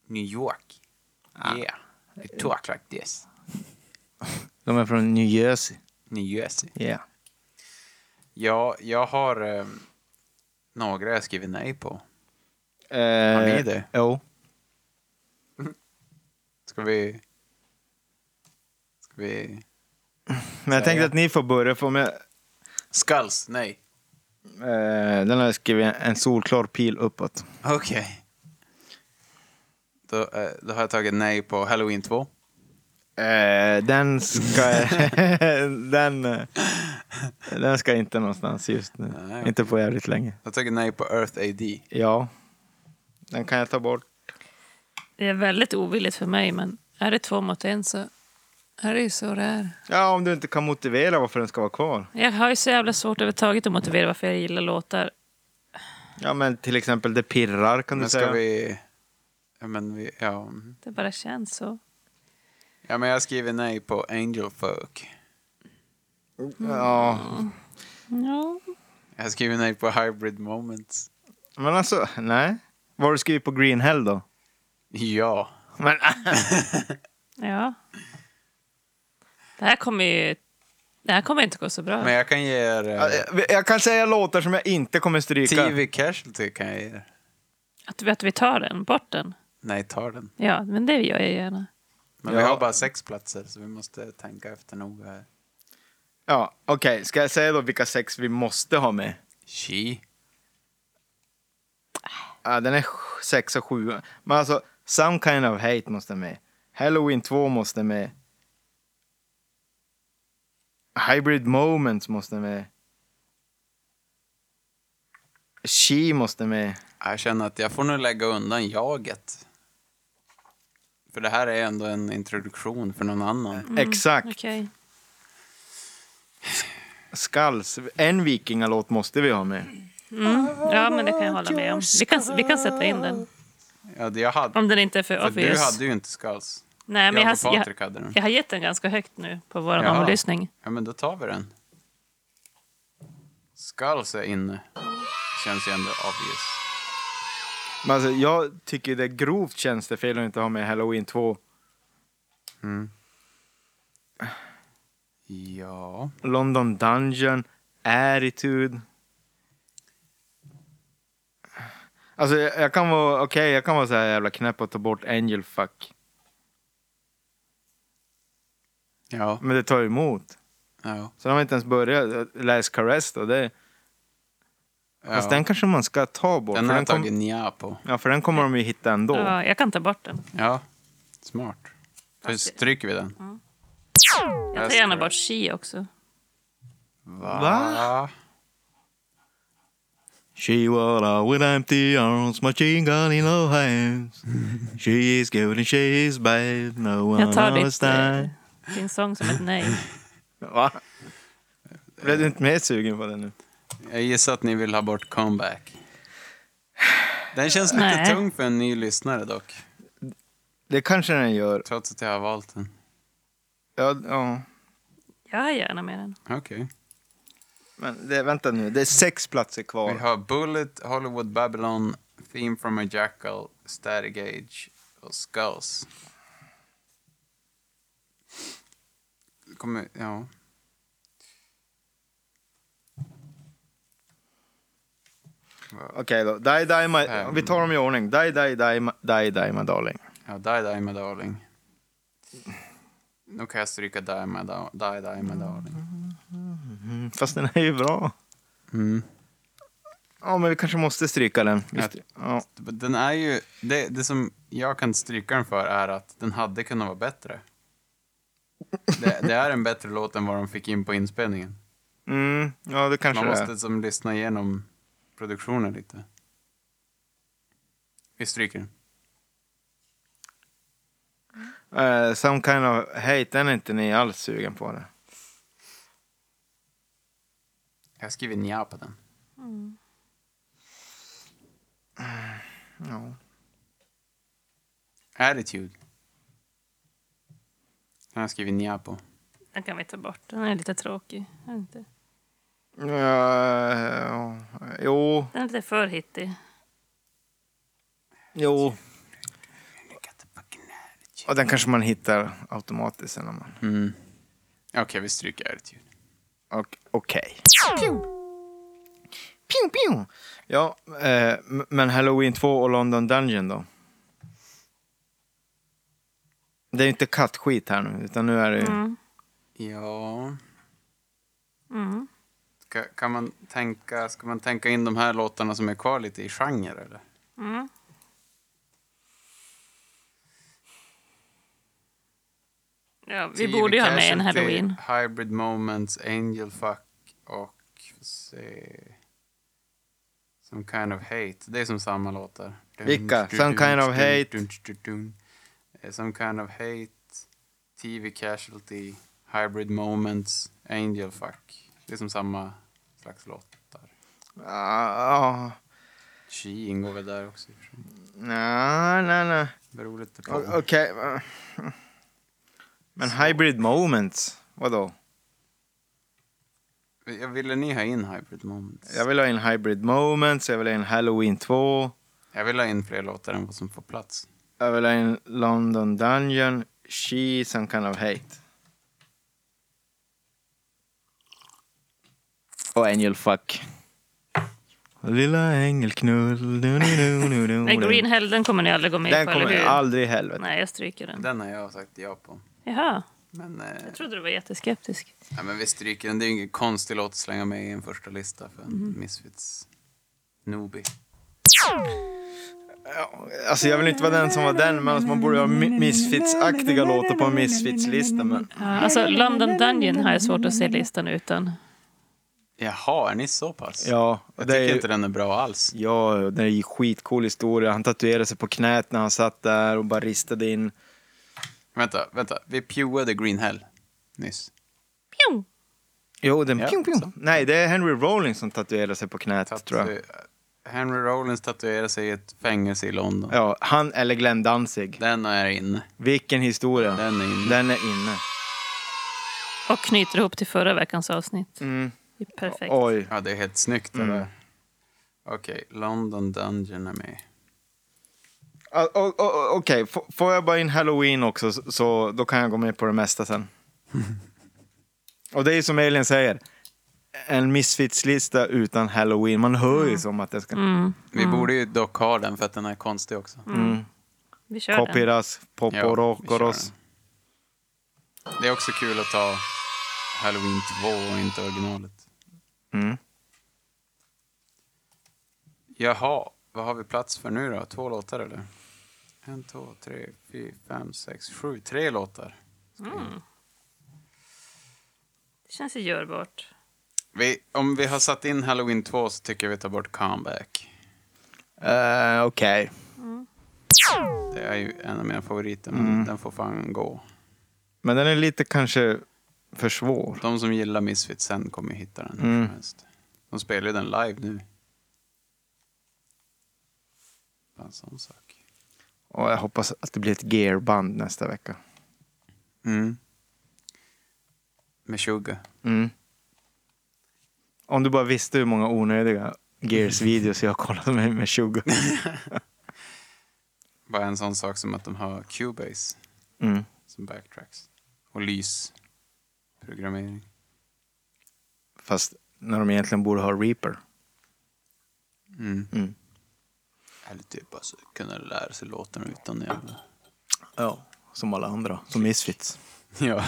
[SPEAKER 2] New York.
[SPEAKER 1] Ah.
[SPEAKER 2] Yeah. They talk like this.
[SPEAKER 1] De är från New Jersey.
[SPEAKER 2] New Jersey.
[SPEAKER 1] Yeah.
[SPEAKER 2] Ja, jag har eh, några jag skrivit nej på.
[SPEAKER 1] Eh,
[SPEAKER 2] Har ni det?
[SPEAKER 1] Jo.
[SPEAKER 2] Ska vi... Ska vi...
[SPEAKER 1] Men jag tänkte
[SPEAKER 2] Säga.
[SPEAKER 1] att ni får börja, för om jag...
[SPEAKER 2] Skulls, nej.
[SPEAKER 1] Eh, den har jag skrivit en solklar pil uppåt.
[SPEAKER 2] Okej. Då, eh, då har jag tagit nej på Halloween 2.
[SPEAKER 1] Eh, den ska... den, eh, den ska inte någonstans just nu.
[SPEAKER 2] Nej.
[SPEAKER 1] Inte på jävligt länge.
[SPEAKER 2] Jag har tagit nej på Earth AD.
[SPEAKER 1] Ja. Den kan jag ta bort.
[SPEAKER 3] Det är väldigt ovilligt för mig, men är det två mot en så är det ju så det är.
[SPEAKER 1] Ja, om du inte kan motivera varför den ska vara kvar.
[SPEAKER 3] Jag har ju så jävla svårt överhuvudtaget att motivera varför jag gillar låtar.
[SPEAKER 1] Ja, men till exempel Det pirrar kan du
[SPEAKER 2] Men ska
[SPEAKER 1] säga.
[SPEAKER 2] vi... Ja, men vi... Ja. mm.
[SPEAKER 3] Det bara känns så.
[SPEAKER 2] ja, men jag skriver nej på Angel Folk.
[SPEAKER 1] Ja,
[SPEAKER 3] Ja.
[SPEAKER 2] Jag skriver nej på Hybrid Moments.
[SPEAKER 1] men alltså, nej. Vad har du skrivit på Green Hell då?
[SPEAKER 2] Ja.
[SPEAKER 1] Men,
[SPEAKER 3] ja. Det här kommer ju... Det här kommer inte gå så bra.
[SPEAKER 2] Men jag kan ge er... Eh,
[SPEAKER 1] jag kan säga låtar som jag inte kommer stryka.
[SPEAKER 2] TV Casualty kan jag ge er.
[SPEAKER 3] Att, vi- att vi tar den, bort den.
[SPEAKER 2] Nej, tar den.
[SPEAKER 3] Ja, men det gör jag gärna.
[SPEAKER 2] Men vi
[SPEAKER 1] Ja.
[SPEAKER 2] har bara sex platser, så vi måste tänka efter noga här.
[SPEAKER 1] Ja, okej. Ska jag säga då vilka sex vi måste ha med?
[SPEAKER 2] She.
[SPEAKER 1] Ja, den är sj- sex och sju. Men alltså, Some Kind of Hate måste med. Halloween 2 måste med. Hybrid Moments måste med. She måste med.
[SPEAKER 2] Jag känner att jag får nog lägga undan jaget. För det här är ändå en introduktion för någon annan.
[SPEAKER 1] Exakt.
[SPEAKER 3] Okej.
[SPEAKER 1] Skulls. En vikingalåt måste vi ha med.
[SPEAKER 3] Ja, men det kan jag hålla med om. Vi kan, vi kan sätta in den.
[SPEAKER 2] Ja, det jag hade,
[SPEAKER 3] Om den inte är för,
[SPEAKER 2] för du
[SPEAKER 3] obvious.
[SPEAKER 2] hade ju inte skulls.
[SPEAKER 3] Nej, men jag,
[SPEAKER 2] jag och
[SPEAKER 3] har-
[SPEAKER 2] Patrik
[SPEAKER 3] jag,
[SPEAKER 2] hade den.
[SPEAKER 3] jag har gett den ganska högt nu på vår
[SPEAKER 2] Jaha.
[SPEAKER 3] omlyssning.
[SPEAKER 2] Ja, men då tar vi den. Skulls är inne. Känns ju ändå obvious.
[SPEAKER 1] Men alltså, jag tycker det är grovt tjänstefel att inte ha med Halloween 2.
[SPEAKER 2] Ja.
[SPEAKER 1] London Dungeon, Attitude. Alltså jag, jag kan vara, okej jag kan vara så här jävla knäpp och ta bort Angel Fuck.
[SPEAKER 2] Ja.
[SPEAKER 1] Men det tar emot.
[SPEAKER 2] ja.
[SPEAKER 1] Så de har inte ens börjat. eh, Last Caress då, det, fast den
[SPEAKER 2] ja.
[SPEAKER 1] kanske man ska ta bort.
[SPEAKER 2] Den
[SPEAKER 1] för,
[SPEAKER 2] har jag
[SPEAKER 1] den
[SPEAKER 2] tagit
[SPEAKER 1] kom,
[SPEAKER 2] nja på.
[SPEAKER 1] ja, för den kommer de ju hitta ändå.
[SPEAKER 3] Ja, jag kan ta bort den.
[SPEAKER 2] Ja. Smart. Då stryker vi den.
[SPEAKER 3] Jag tar gärna bort She också.
[SPEAKER 1] Va? She walked out with empty arms, machine gun in her hands. She is good and she is bad, no one
[SPEAKER 3] Jag tar ditt, eh,
[SPEAKER 1] understands.
[SPEAKER 3] din sång som ett nej.
[SPEAKER 1] Va? Blev du inte mer sugen på den nu?
[SPEAKER 2] Jag gissar att ni vill ha bort comeback. Den känns lite
[SPEAKER 3] Nej.
[SPEAKER 2] tung för en ny lyssnare dock.
[SPEAKER 1] Det kanske den gör.
[SPEAKER 2] Trots att jag har valt den.
[SPEAKER 1] Ja, ja.
[SPEAKER 3] Jag har gärna med den.
[SPEAKER 2] Okej.
[SPEAKER 1] Men det, vänta nu, det är sex platser
[SPEAKER 2] Vi
[SPEAKER 1] kvar.
[SPEAKER 2] har Bullet, Hollywood Babylon, Theme from a Jackal, Static Age och Skulls. Kommer, ja.
[SPEAKER 1] Okej då. Die, die, my, vi tar dem i ordning. Die, die, die, my, die, die, my darling.
[SPEAKER 2] ja, Die Die My Darling. Nu kan jag stryka Die My, da- die, die my Darling.
[SPEAKER 1] Mm, Fast den är ju bra.
[SPEAKER 2] Mm.
[SPEAKER 1] Ja, men vi kanske måste stryka den. Vi
[SPEAKER 2] Ja.
[SPEAKER 1] stry- Ja.
[SPEAKER 2] Den är ju, det, det som jag kan stryka den för är att den hade kunnat vara bättre. Det, det är en bättre låt än vad de fick in på inspelningen.
[SPEAKER 1] Mm, ja, det kanske
[SPEAKER 2] Man
[SPEAKER 1] det
[SPEAKER 2] måste
[SPEAKER 1] är.
[SPEAKER 2] som lyssna igenom produktionen lite. Vi stryker den.
[SPEAKER 1] Eh, some kind of hate, den är inte ni alls sugen på det.
[SPEAKER 2] Jag skriver nja på den.
[SPEAKER 1] Ja.
[SPEAKER 2] Attitude. Den har jag skrivit nja på.
[SPEAKER 3] Den kan vi ta bort. Den är lite tråkig. är Den inte?
[SPEAKER 1] Eh, jo,
[SPEAKER 3] Den är lite för hittig.
[SPEAKER 1] jo. Och den kanske man hittar automatiskt. sen När man...
[SPEAKER 2] Mm. Okej, vi stryker attitude.
[SPEAKER 1] Och- Okej. Pew, pew. Ja, eh, m- men Halloween 2 och London Dungeon då? Det är ju inte kattskit här nu, utan nu är det ju...
[SPEAKER 3] Mm.
[SPEAKER 2] Ja.
[SPEAKER 3] Mm.
[SPEAKER 2] Ska, kan man tänka, ska man tänka in de här låtarna som är kvar lite i genre eller?
[SPEAKER 3] Mm. Ja, vi
[SPEAKER 2] Tio
[SPEAKER 3] borde ju ha med en
[SPEAKER 2] Casualty,
[SPEAKER 3] halloween.
[SPEAKER 2] Hybrid Moments, Angel Fuck och... får Se, some Kind of Hate. Det är som samma låtar. Dun,
[SPEAKER 1] Vilka?
[SPEAKER 2] dun,
[SPEAKER 1] Some
[SPEAKER 2] dun,
[SPEAKER 1] Kind of
[SPEAKER 2] dun,
[SPEAKER 1] Hate?
[SPEAKER 2] dun, dun, dun. Eh, Some Kind of Hate, TV Casualty, Hybrid Moments, Angel Fuck. Det är som samma slags låtar.
[SPEAKER 1] Ah,
[SPEAKER 2] Chi ingår väl där också. i och för sig.
[SPEAKER 1] nej, nej, nej.
[SPEAKER 2] Beror lite på.
[SPEAKER 1] O- Okej. Men hybrid moments, vadå?
[SPEAKER 2] Jag ville ni ha in Hybrid Moments?
[SPEAKER 1] Jag vill ha in hybrid moments, jag vill ha in halloween 2,
[SPEAKER 2] Jag vill ha in fler låtar än vad som får plats.
[SPEAKER 1] jag vill ha in London Dungeon, She, Some Kind of Hate. Och Angel Fuck. Lilla ängelknull, nu, nu, nu, nu, nu.
[SPEAKER 3] Nej, Green Hell, den kommer ni aldrig gå med
[SPEAKER 1] Den
[SPEAKER 3] på, eller
[SPEAKER 1] kommer
[SPEAKER 3] hur?
[SPEAKER 1] aldrig i helvete.
[SPEAKER 3] Nej, jag stryker den.
[SPEAKER 2] Den har jag sagt ja på.
[SPEAKER 3] Jaha,
[SPEAKER 2] Men, eh,
[SPEAKER 3] jag trodde du var jätteskeptisk.
[SPEAKER 2] ja, men vi stryker den. Det är ju ingen konstig låt att slänga med i en första lista för en Misfits Nobi.
[SPEAKER 1] Alltså jag vill inte vara den som var den, men alltså, man borde ha mi- Misfits-aktiga låtar på en Misfits-lista. Men...
[SPEAKER 3] Ja, alltså, London Dungeon har jag svårt att se listan utan.
[SPEAKER 2] Jaha, är ni så pass?
[SPEAKER 1] Ja,
[SPEAKER 2] Jag
[SPEAKER 1] det
[SPEAKER 2] tycker
[SPEAKER 1] är ju-
[SPEAKER 2] inte den är bra alls.
[SPEAKER 1] Ja, det är ju skitcool historia. Han tatuerade sig på knät när han satt där och bara ristade in.
[SPEAKER 2] Vänta, vänta. Vi pewade Green Hell nyss.
[SPEAKER 3] Pjong!
[SPEAKER 1] Jo, den...
[SPEAKER 2] Ja,
[SPEAKER 1] pjong, pjong.
[SPEAKER 2] så.
[SPEAKER 1] Nej, det är Henry Rowling som tatuerade sig på knät, tror jag.
[SPEAKER 2] Tatu- Henry Rollins tatuerar sig i ett fängelse i London.
[SPEAKER 1] Ja, han eller Glenn Danzig.
[SPEAKER 2] Den är inne.
[SPEAKER 1] Vilken historia.
[SPEAKER 2] Den är inne.
[SPEAKER 1] Den är inne.
[SPEAKER 3] Och knyter ihop till förra veckans avsnitt.
[SPEAKER 1] Mm.
[SPEAKER 3] Det är perfekt.
[SPEAKER 1] Oj.
[SPEAKER 2] Ja, det är helt snyggt
[SPEAKER 1] Mm.
[SPEAKER 2] det där. Okej, London Dungeon är med.
[SPEAKER 1] Ah, o- o- o- Okej, F- får jag bara in Halloween också så- så då kan jag gå med på det mesta sen. Och det är ju som Elin säger, en Misfits-lista utan Halloween. Man hör
[SPEAKER 2] Mm.
[SPEAKER 1] ju som att det ska...
[SPEAKER 2] Vi borde ju dock ha den för att den är konstig också.
[SPEAKER 3] Vi kör den.
[SPEAKER 1] Kopiras,
[SPEAKER 2] vi
[SPEAKER 1] poporokoros.
[SPEAKER 2] kör den. Det är också kul att ta Halloween 2 och inte originalet.
[SPEAKER 1] Mm.
[SPEAKER 2] Jaha, vad har vi plats för nu då? Två låtar eller? En, två, tre, fyra, fem, sex, sju. Tre låtar.
[SPEAKER 3] Det känns ju görbart.
[SPEAKER 2] Vi, om vi har satt in Halloween 2 så tycker jag vi tar bort Comeback.
[SPEAKER 1] Eh, Okej.
[SPEAKER 2] Det är ju en av mina favoriter, men den får fan gå.
[SPEAKER 1] Men den är lite kanske för svår.
[SPEAKER 2] De som gillar Misfits sen kommer ju hitta den hur
[SPEAKER 1] Mm.
[SPEAKER 2] som helst. De spelar ju den live nu. Bara en sån sak.
[SPEAKER 1] Och jag hoppas att det blir ett gearband nästa vecka.
[SPEAKER 2] Mm. Med Sugar.
[SPEAKER 1] Mm. Om du bara visste hur många onödiga Gears-videos jag har kollat med med 20.
[SPEAKER 2] Bara en sån sak som att de har Cubase
[SPEAKER 1] Mm.
[SPEAKER 2] som backtracks. Och lysprogrammering.
[SPEAKER 1] Fast när de egentligen borde ha Reaper.
[SPEAKER 2] Mm.
[SPEAKER 1] Mm.
[SPEAKER 2] Eller typ bara så kunna lära sig låtarna utan jävla...
[SPEAKER 1] Ja, som alla andra. Som Misfits.
[SPEAKER 2] Ja.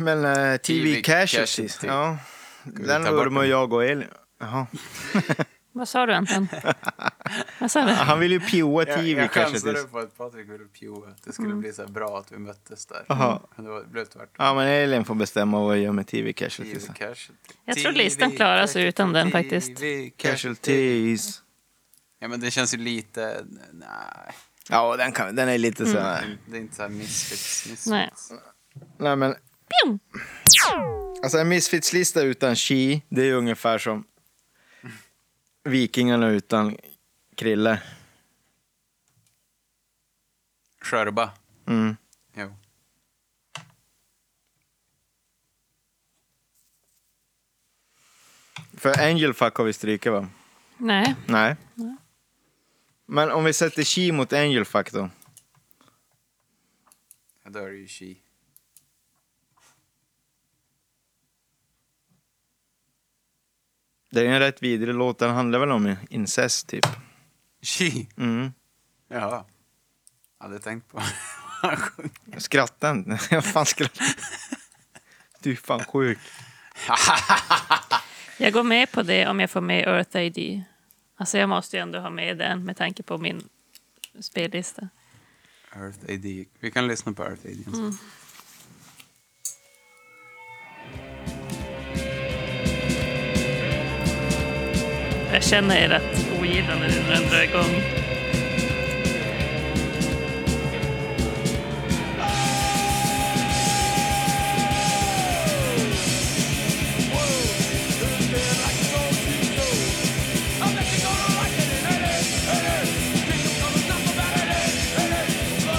[SPEAKER 1] men eh, TV,
[SPEAKER 2] TV
[SPEAKER 1] Casualty.
[SPEAKER 2] Casualty.
[SPEAKER 1] Ja.
[SPEAKER 2] vi
[SPEAKER 1] Den
[SPEAKER 2] ta bort
[SPEAKER 1] vurmar
[SPEAKER 2] den?
[SPEAKER 1] jag och Elin. Jaha.
[SPEAKER 3] Vad sa du, Anton? Vad sa du?
[SPEAKER 1] Han vill ju pioa Tivi
[SPEAKER 2] jag
[SPEAKER 1] kanske.
[SPEAKER 2] chansade
[SPEAKER 1] tills- Mm.
[SPEAKER 2] på att Patrik ville pjoa. Det skulle bli så här bra att vi möttes där.
[SPEAKER 1] Aha.
[SPEAKER 2] Men det var- det blev tvärtom.
[SPEAKER 1] Ja, men Elin får bestämma vad jag gör med TV
[SPEAKER 2] TV
[SPEAKER 1] casualties.
[SPEAKER 2] casualty.
[SPEAKER 3] Jag tror listan klarar sig utan den faktiskt.
[SPEAKER 2] TV casualty.
[SPEAKER 1] Casualties.
[SPEAKER 2] Ja, men det känns ju lite... Nej,
[SPEAKER 1] Ja, den, kan, den är lite så här.
[SPEAKER 2] det är inte så här misfits. misfits.
[SPEAKER 3] Nej.
[SPEAKER 1] Nej, men...
[SPEAKER 3] Pjum!
[SPEAKER 1] Alltså en Misfits-lista utan Chi, det är ju ungefär som Vikingarna utan Krille.
[SPEAKER 2] Skörba.
[SPEAKER 1] Mm.
[SPEAKER 2] Jo.
[SPEAKER 1] För Angelfuck har vi stryka va?
[SPEAKER 3] Nej.
[SPEAKER 1] Nej. Men om vi sätter Chi mot Angelfuck då?
[SPEAKER 2] Ja, Då är det ju chi.
[SPEAKER 1] Det är ju en rätt vidrig låt, den handlar väl om incest typ.
[SPEAKER 2] Chi?
[SPEAKER 1] Mm.
[SPEAKER 2] Jaha. Hade tänkt på. Han sjunger.
[SPEAKER 1] Skratta inte. Jag fan skrattar. Du är fan sjuk.
[SPEAKER 3] Jag går med på det om jag får med Earth ID. Alltså jag måste ju ändå ha med den med tanke på min spellista.
[SPEAKER 2] Earth AD. Vi kan lyssna på Earth AD. Mm.
[SPEAKER 3] Jag känner er att ogillande nu när den drar igång.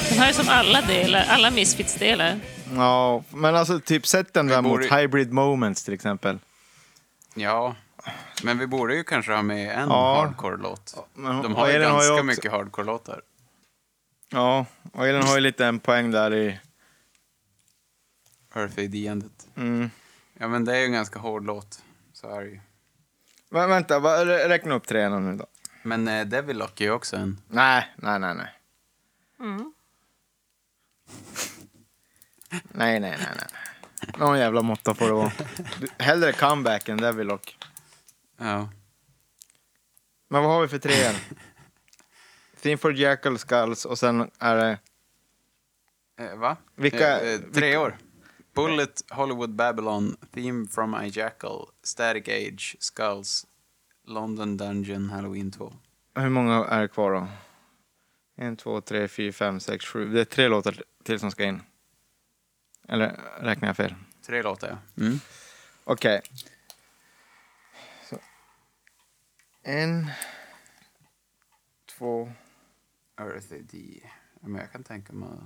[SPEAKER 3] Den har ju som alla delar, alla Misfits-delar.
[SPEAKER 1] Ja, men alltså typ sätt den där
[SPEAKER 2] Vi borde-
[SPEAKER 1] mot Hybrid Moments till exempel.
[SPEAKER 2] Ja. Men vi borde ju kanske ha med en
[SPEAKER 1] Ja.
[SPEAKER 2] hardcore-låt.
[SPEAKER 1] men-
[SPEAKER 2] De
[SPEAKER 1] och
[SPEAKER 2] har ju
[SPEAKER 1] Elin har ju
[SPEAKER 2] ganska
[SPEAKER 1] också-
[SPEAKER 2] mycket hardcore-låtar.
[SPEAKER 1] Ja, och Elin har ju lite en poäng där i...
[SPEAKER 2] Earth AD-andet.
[SPEAKER 1] Mm.
[SPEAKER 2] Ja, men det är ju en ganska hård låt. Så är det ju.
[SPEAKER 1] Vä- vänta, va, rä- räkna upp tre nu då.
[SPEAKER 2] Men eh, Devil Lock är ju också en.
[SPEAKER 1] Nej, nej, nej, nej. Nej, nej, nej, nej. Någon jävla måtta får det vara. Du, hellre comeback än Devilock.
[SPEAKER 2] Ja.
[SPEAKER 1] Men vad har vi för trean? Theme for Jackal Skulls och sen är det...
[SPEAKER 2] Eh, va?
[SPEAKER 1] Vilka-
[SPEAKER 2] Eh, eh, tre år. Bullet, Hollywood Babylon, Theme from I Jackal, Static Age, Skulls, London Dungeon, Halloween 2.
[SPEAKER 1] Hur många är det kvar då? En, två, tre, fyra, fem, sex, sju. Det är tre låtar till som ska in. Eller räknar jag fel?
[SPEAKER 2] Tre låtar, ja. Mm.
[SPEAKER 1] Okej. Så. En, två...
[SPEAKER 2] Earth AD. Ja, Men jag kan tänka mig att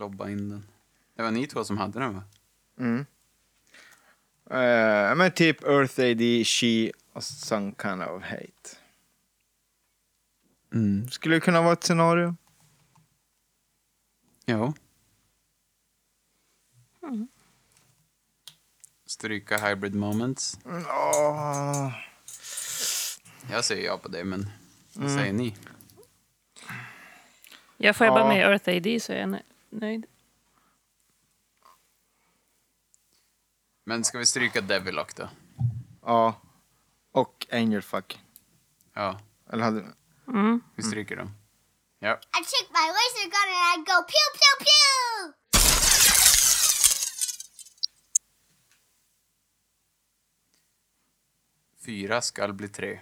[SPEAKER 2] lobba in den. Det var ni två som hade den, va?
[SPEAKER 1] Mm. Eh, men typ Earth AD, She och Some Kind of Hate.
[SPEAKER 2] Mm.
[SPEAKER 1] Skulle det kunna vara ett scenario?
[SPEAKER 2] Ja. Stryka Hybrid Moments.
[SPEAKER 1] Ja.
[SPEAKER 2] Jag säger ja på det, men vad säger ni?
[SPEAKER 3] Jag får jag bara
[SPEAKER 1] Ja.
[SPEAKER 3] med Earth ID så är jag nö- nöjd.
[SPEAKER 2] Men ska vi stryka Devil Lock då?
[SPEAKER 1] Ja. Och Angelfuck.
[SPEAKER 2] Ja,
[SPEAKER 1] Eller hade...
[SPEAKER 2] vi stryker dem. Ja.
[SPEAKER 4] I check my laser gun and I go pew pew pew.
[SPEAKER 2] Fyra skall bli tre.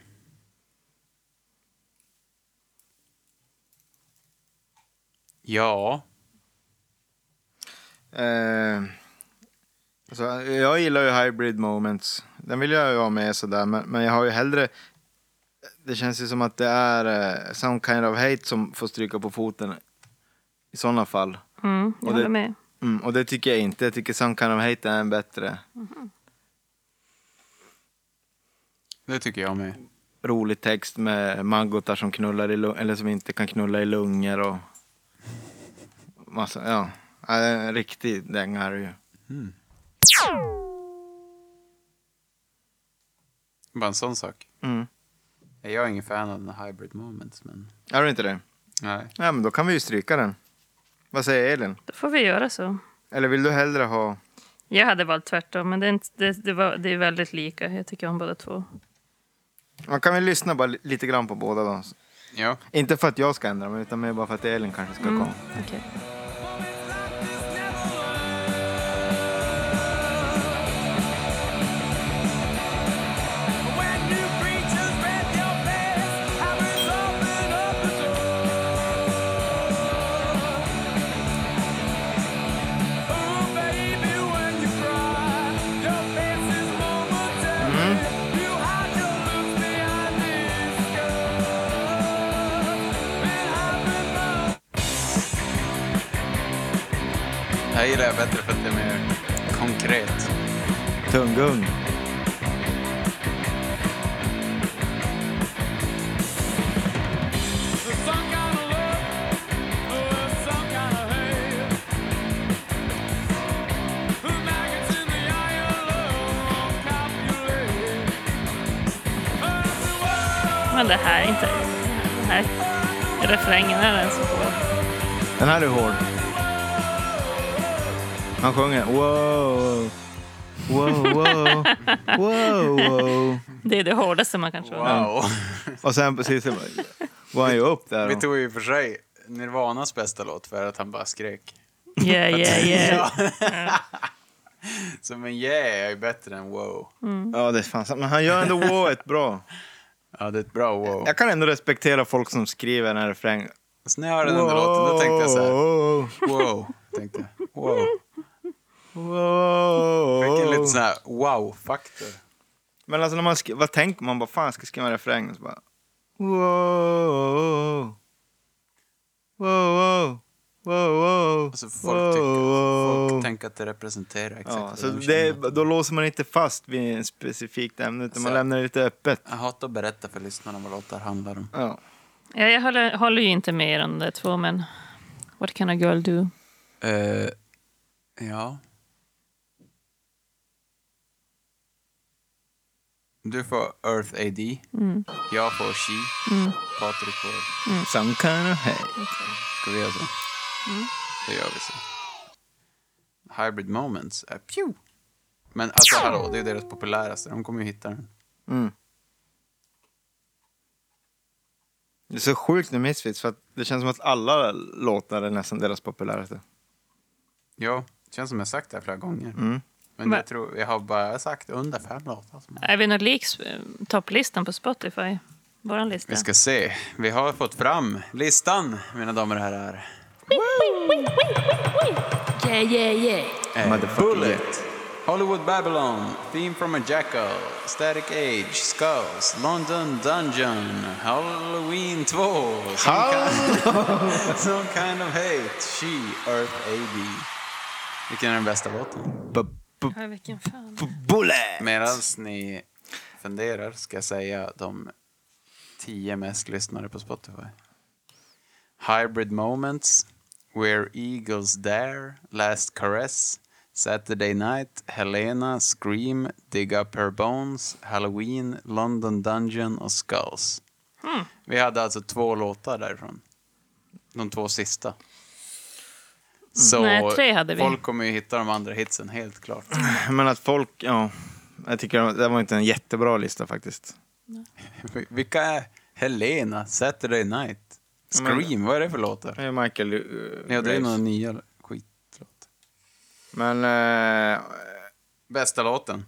[SPEAKER 2] Ja.
[SPEAKER 1] Eh, alltså, jag gillar ju Hybrid Moments. Den vill jag ju ha med sådär, men, men jag har ju hellre... Det känns ju som att det är eh, Some Kind of Hate som får stryka på foten i sådana fall.
[SPEAKER 3] Mm, jag
[SPEAKER 1] Och det-
[SPEAKER 3] håller med.
[SPEAKER 1] Mm, och det tycker jag inte. Jag tycker Some Kind of Hate är en bättre,
[SPEAKER 2] Det tycker jag med.
[SPEAKER 1] rolig text med maggotar som knullar i lung- eller som inte kan knulla i lungor och massa, ja. Ja, det är En riktig dänga är det ju.
[SPEAKER 2] Bara en sån sak.
[SPEAKER 1] Mm.
[SPEAKER 2] Jag är ingen fan av den här hybrid moments, men...
[SPEAKER 1] Är du inte det?
[SPEAKER 2] Nej.
[SPEAKER 1] Ja, men då kan vi ju stryka den. Vad säger Elin?
[SPEAKER 3] Då får vi göra så.
[SPEAKER 1] Eller vill du hellre ha...
[SPEAKER 3] Jag hade valt tvärtom, men det är, inte, det, det, var, det är väldigt lika. Jag tycker om båda två.
[SPEAKER 1] Man kan väl lyssna bara li- lite grann på båda dem.
[SPEAKER 2] Ja.
[SPEAKER 1] Inte för att jag ska ändra mig, utan mer bara för att Elin kanske
[SPEAKER 2] Mm.
[SPEAKER 1] ska komma.
[SPEAKER 3] Okej.
[SPEAKER 2] Det här gillar jag bättre för att det är mer konkret.
[SPEAKER 1] Tunggung.
[SPEAKER 3] Men det här är inte... Den här refrängen är den som går.
[SPEAKER 1] Den här är hård. Han sjunger wow, wow, wow, wow, wow.
[SPEAKER 3] Det är det hårdaste man kan tro.
[SPEAKER 2] Wow.
[SPEAKER 1] Och sen precis så bara- var han ju upp där.
[SPEAKER 2] Vi
[SPEAKER 1] Och,
[SPEAKER 2] tog ju för sig Nirvanas bästa låt för att han bara skrek.
[SPEAKER 3] Yeah, yeah, yeah.
[SPEAKER 2] Så men yeah är ju bättre än wow.
[SPEAKER 1] ja, det är fan sant. Men han gör ändå wowet bra.
[SPEAKER 2] Ja, det är ett bra wow.
[SPEAKER 1] Jag kan ändå respektera folk som skriver en här refräng.
[SPEAKER 2] Så när jag hörde den där låten då tänkte jag så här,
[SPEAKER 1] Wow,
[SPEAKER 2] wow. Tänkte jag. Wow. Fick en lite
[SPEAKER 1] wow.
[SPEAKER 2] sån här wow-faktor.
[SPEAKER 1] Men alltså när man skri- vad tänker man? Bara fan, jag ska skriva en refräng. Och så bara wow, wow, wow, wow, wow.
[SPEAKER 2] Alltså folk, tycker,
[SPEAKER 1] wow.
[SPEAKER 2] folk tänker att det representerar exakt
[SPEAKER 1] Ja,
[SPEAKER 2] vad
[SPEAKER 1] så
[SPEAKER 2] de
[SPEAKER 1] det,
[SPEAKER 2] känner.
[SPEAKER 1] då låser man inte fast vid en specifikt ämne utan man
[SPEAKER 2] Så-
[SPEAKER 1] lämnar det lite öppet.
[SPEAKER 2] Jag hatar att berätta för lyssnarna vad låtar handlar om.
[SPEAKER 1] Ja.
[SPEAKER 3] Ja, jag håller, håller ju inte med er om de två, men what can a girl do?
[SPEAKER 2] Eh, ja. Du får Earth AD.
[SPEAKER 1] Mm.
[SPEAKER 2] Jag får She. Patrik får...
[SPEAKER 1] Some kind of hey.
[SPEAKER 2] Ska vi göra så? Då gör vi så. Hybrid Moments är pju. Men alltså hallå, det är ju deras populäraste. De kommer ju hitta den.
[SPEAKER 1] Det är så sjukt med Misfits för att det känns som att alla låtar är nästan deras populäraste.
[SPEAKER 2] Ja, det känns som jag sagt det här flera gånger. Men
[SPEAKER 3] Men-
[SPEAKER 2] jag tror, jag har bara sagt under fem låtar. som-
[SPEAKER 3] Är vi nog liks eh, topplistan på Spotify? Vår lista.
[SPEAKER 2] Vi ska se. Vi har fått fram listan, mina damer och herrar.
[SPEAKER 3] Yeah, yeah, yeah.
[SPEAKER 2] Eh,
[SPEAKER 1] Motherfucker.
[SPEAKER 2] Bullet, Hollywood Babylon, Theme from a Jackal, Static Age, Skulls, London Dungeon, Halloween 2, Some, kind, some kind of Hate, She, Earth AB. Vilken är den bästa låten?
[SPEAKER 1] B- b-
[SPEAKER 3] Ja, vilken fan.
[SPEAKER 1] b- Bullet!
[SPEAKER 2] Medan ni funderar ska jag säga de tio mest lyssnade på Spotify. Hybrid Moments, Where Eagles Dare, Last Caress, Saturday Night, Helena, Scream, Dig Up Her Bones, Halloween, London Dungeon och Skulls.
[SPEAKER 3] Hmm.
[SPEAKER 2] Vi hade alltså två låtar därifrån. De två sista. Så
[SPEAKER 3] Mm. Nej, tre hade vi.
[SPEAKER 2] folk kommer ju hitta de andra hitsen helt klart.
[SPEAKER 1] Men att folk, ja. Jag tycker det var inte en jättebra lista faktiskt.
[SPEAKER 2] Vi- Vilka är Helena, Saturday Night, Scream, vad är det för låtar?
[SPEAKER 1] Det är Michael eh,
[SPEAKER 2] Ja, det är
[SPEAKER 1] Graves.
[SPEAKER 2] några nya skitlåt.
[SPEAKER 1] Men eh,
[SPEAKER 2] Bästa låten,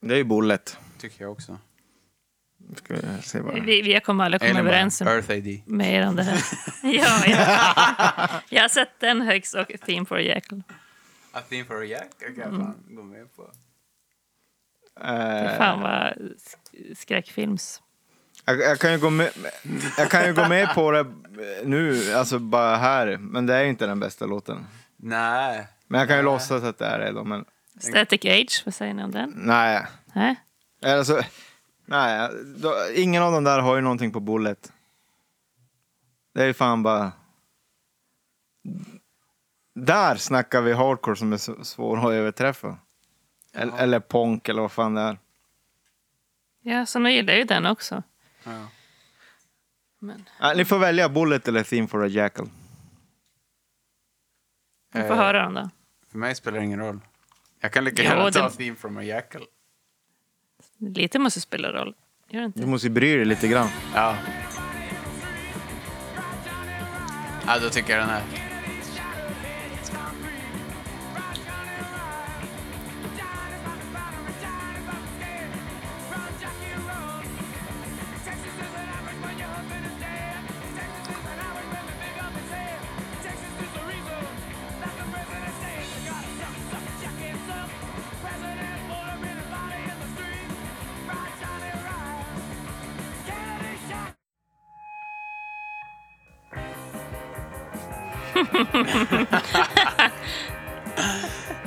[SPEAKER 1] det är ju Bullet.
[SPEAKER 2] tycker jag också.
[SPEAKER 1] Ska vi se vad det är.
[SPEAKER 3] Vi, vi kommer aldrig komma
[SPEAKER 2] Eller
[SPEAKER 3] överens om
[SPEAKER 2] Earth AD.
[SPEAKER 3] mer om det här. ja, ja. Jag har sett den högst och Theme for a Jackal.
[SPEAKER 2] A Theme for a Jack, jag kan
[SPEAKER 3] Mm.
[SPEAKER 2] fan gå med på.
[SPEAKER 1] Eh,
[SPEAKER 3] Fan vad sk- skräckfilms...
[SPEAKER 1] Jag, jag, kan ju gå med, jag kan ju gå med på det nu, alltså bara här, men det är ju inte den bästa låten.
[SPEAKER 2] Nej,
[SPEAKER 1] Men jag kan ju låtsas att det är det då, men
[SPEAKER 3] Static Age, vad säger ni om den?
[SPEAKER 1] nej.
[SPEAKER 3] Nej?
[SPEAKER 1] Alltså, nej, då, ingen av de där har ju någonting på Bullet. Det är ju fan bara... Där snackar vi hardcore som är så- svår att överträffa. Eller, eller ponk eller vad fan det är.
[SPEAKER 3] Ja, så nu gillar jag ju den också.
[SPEAKER 2] Ja.
[SPEAKER 3] Men
[SPEAKER 1] Ja, ni får välja Bullet eller Theme for a Jackal.
[SPEAKER 3] vi får höra dem då.
[SPEAKER 2] för mig spelar det ingen roll. Jag kan lika
[SPEAKER 3] Jo,
[SPEAKER 2] gärna ta
[SPEAKER 3] det-
[SPEAKER 2] Theme from a Jackal.
[SPEAKER 3] Lite måste spela roll. Gör det
[SPEAKER 1] Du
[SPEAKER 3] inte?
[SPEAKER 1] måste ju bry dig lite grann.
[SPEAKER 2] Ja. Ja, då tycker jag den här.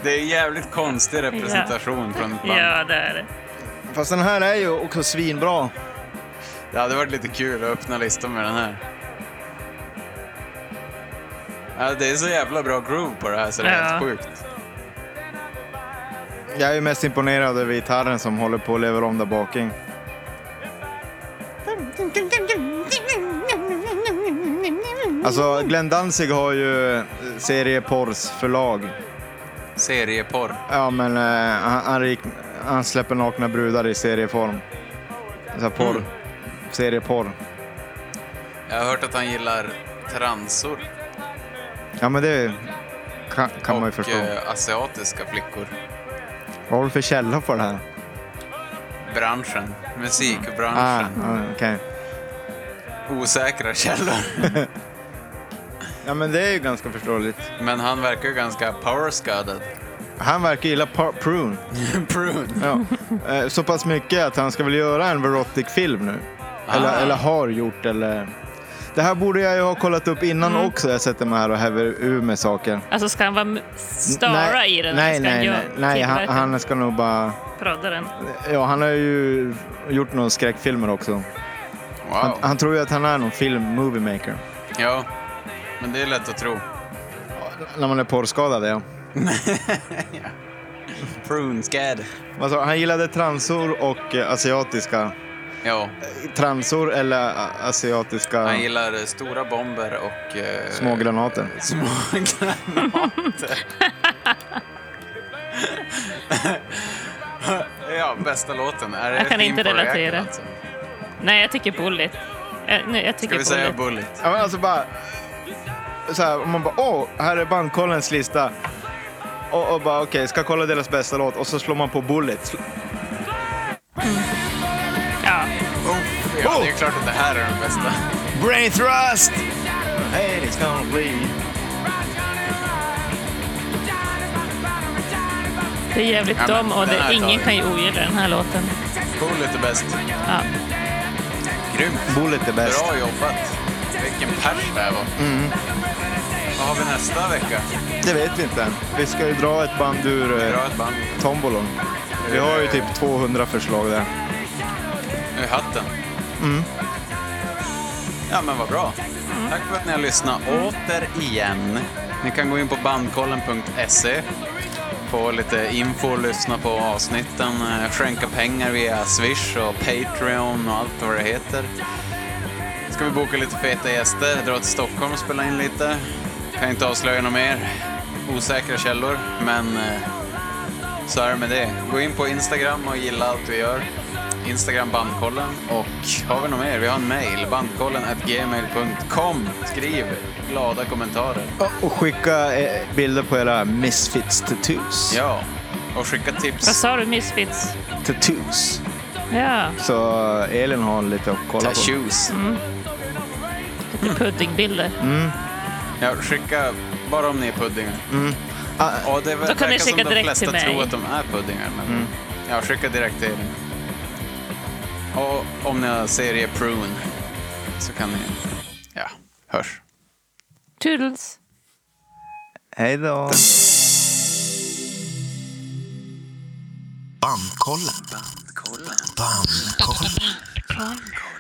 [SPEAKER 2] Det är jävligt konstig representation från ett band.
[SPEAKER 3] Ja, det är det.
[SPEAKER 1] Fast den här är ju också svinbra.
[SPEAKER 2] Det hade varit lite kul att öppna listan med den här. Ja, det är så jävla bra groove på det här så det är
[SPEAKER 3] Ja.
[SPEAKER 2] helt sjukt.
[SPEAKER 1] Jag är ju mest imponerad över gitarren som håller på att leva om där baking. Alltså, Glenn Danzig har ju eh, serieporrs förlag.
[SPEAKER 2] Serieporr.
[SPEAKER 1] Ja, men eh, han, han, rik- han släpper nakna brudar i serieform. Så här porr.
[SPEAKER 2] Mm.
[SPEAKER 1] Serieporr.
[SPEAKER 2] Jag har hört att han gillar transor
[SPEAKER 1] Ja, men det kan, kan man ju
[SPEAKER 2] och
[SPEAKER 1] förstå.
[SPEAKER 2] eh, asiatiska flickor.
[SPEAKER 1] Vad har du för källa på det här?
[SPEAKER 2] Branschen.
[SPEAKER 1] Ah,
[SPEAKER 2] Musikbranschen.
[SPEAKER 1] ah, okej.
[SPEAKER 2] Osäkra källor.
[SPEAKER 1] Ja, men det är ju ganska förståeligt.
[SPEAKER 2] Men han verkar ju ganska powerscudded.
[SPEAKER 1] Han verkar gilla par- prune.
[SPEAKER 2] Prune.
[SPEAKER 1] Ja. Eh, Så pass mycket att han ska väl göra en Verotic-film nu.
[SPEAKER 2] Ah.
[SPEAKER 1] Eller, eller har gjort. Eller... Det här borde jag ju ha kollat upp innan
[SPEAKER 3] Mm.
[SPEAKER 1] också. Jag sätter mig här och häver ur med saker.
[SPEAKER 3] Alltså, ska han vara m- stara
[SPEAKER 1] nej,
[SPEAKER 3] i den?
[SPEAKER 1] Nej,
[SPEAKER 3] eller ska
[SPEAKER 1] nej,
[SPEAKER 3] han
[SPEAKER 1] nej. nej han,
[SPEAKER 3] tillverka den?
[SPEAKER 1] han ska nog bara...
[SPEAKER 3] Prodda den.
[SPEAKER 1] Ja, han har ju gjort några skräckfilmer också. Han,
[SPEAKER 2] Wow.
[SPEAKER 1] han tror ju att han är någon film-moviemaker.
[SPEAKER 2] Ja. Men det är lätt att tro.
[SPEAKER 1] När man är porrskadad, ja.
[SPEAKER 2] Prune scad.
[SPEAKER 1] Alltså, han gillade transor och eh, asiatiska.
[SPEAKER 2] Ja.
[SPEAKER 1] Transor eller ä, asiatiska
[SPEAKER 2] Han gillar eh, stora bomber och... Eh,
[SPEAKER 1] små granater.
[SPEAKER 2] Små granater. ja, bästa låten. Är det
[SPEAKER 3] Jag kan
[SPEAKER 2] Theme
[SPEAKER 3] inte
[SPEAKER 2] for a Record,
[SPEAKER 3] relatera.
[SPEAKER 2] Alltså?
[SPEAKER 3] Nej, jag tycker Bullet. Jag, nej, jag
[SPEAKER 2] Ska
[SPEAKER 3] tycker
[SPEAKER 2] vi säga
[SPEAKER 3] Bullet.
[SPEAKER 2] Bullet?
[SPEAKER 1] Ja, men alltså bara... Så här, man bara, åh, här är bandkollens lista. Och, och bara, okej, ska kolla deras bästa låt. Och så slår man på Bullet.
[SPEAKER 3] ja.
[SPEAKER 2] Oh, ja, det är ju klart att det här är den bästa.
[SPEAKER 1] Brain thrust! Hey, it's gonna bleed.
[SPEAKER 3] Det är jävligt
[SPEAKER 2] Ja, men
[SPEAKER 3] dum och
[SPEAKER 2] den
[SPEAKER 3] det,
[SPEAKER 2] här tar
[SPEAKER 3] ingen
[SPEAKER 2] vi.
[SPEAKER 3] kan ju ogilla den här låten.
[SPEAKER 2] Bullet är bäst.
[SPEAKER 3] Ja.
[SPEAKER 2] Grymt.
[SPEAKER 1] Bullet är bäst.
[SPEAKER 2] Bra jobbat. Vilken pers det här var. Vad har vi nästa vecka?
[SPEAKER 1] Det vet vi inte än. Vi ska ju dra ett band ur eh,
[SPEAKER 2] Bra ett band.
[SPEAKER 1] tombolon. Vi har ju typ 200 förslag där.
[SPEAKER 2] Nu är hatten. Ja, men vad bra. Tack för att ni har lyssnat återigen. Ni kan gå in på bandkollen.se, få lite info, lyssna på avsnitten, eh, skänka pengar via Swish och Patreon och allt vad det heter. Ska vi boka lite feta gäster, dra till Stockholm och spela in lite. Kan inte avslöja något mer. Osäkra källor, men eh, så är det med det. Gå in på Instagram och gilla allt vi gör. Instagram bandkollen och har vi något mer? Vi har en mail, bandkollen gmail.com. Skriv glada kommentarer.
[SPEAKER 1] Och- Och skicka eh, bilder på era misfits tattoos.
[SPEAKER 2] Ja, och skicka
[SPEAKER 3] Vad
[SPEAKER 2] tips.
[SPEAKER 3] sa du, Misfits?
[SPEAKER 1] Tattoos.
[SPEAKER 3] Ja,
[SPEAKER 1] Så eh, Elin har lite att kolla på.
[SPEAKER 2] Tattoos.
[SPEAKER 3] lite puddingbilder.
[SPEAKER 1] Mm.
[SPEAKER 2] Ja, skicka bara om ni är puddingar.
[SPEAKER 1] Ah,
[SPEAKER 2] Och det
[SPEAKER 3] Då kan ni
[SPEAKER 2] verkar som de
[SPEAKER 3] skicka direkt
[SPEAKER 2] flesta
[SPEAKER 3] till mig.
[SPEAKER 2] tror att de är puddingar. Men ja, skicka direkt till Elin. Och om ni har serie Prune så kan ni... Ja, hörs.
[SPEAKER 3] Toodles.
[SPEAKER 1] Hej då.
[SPEAKER 6] Bandkollen. Bandkollen. Bandkollen.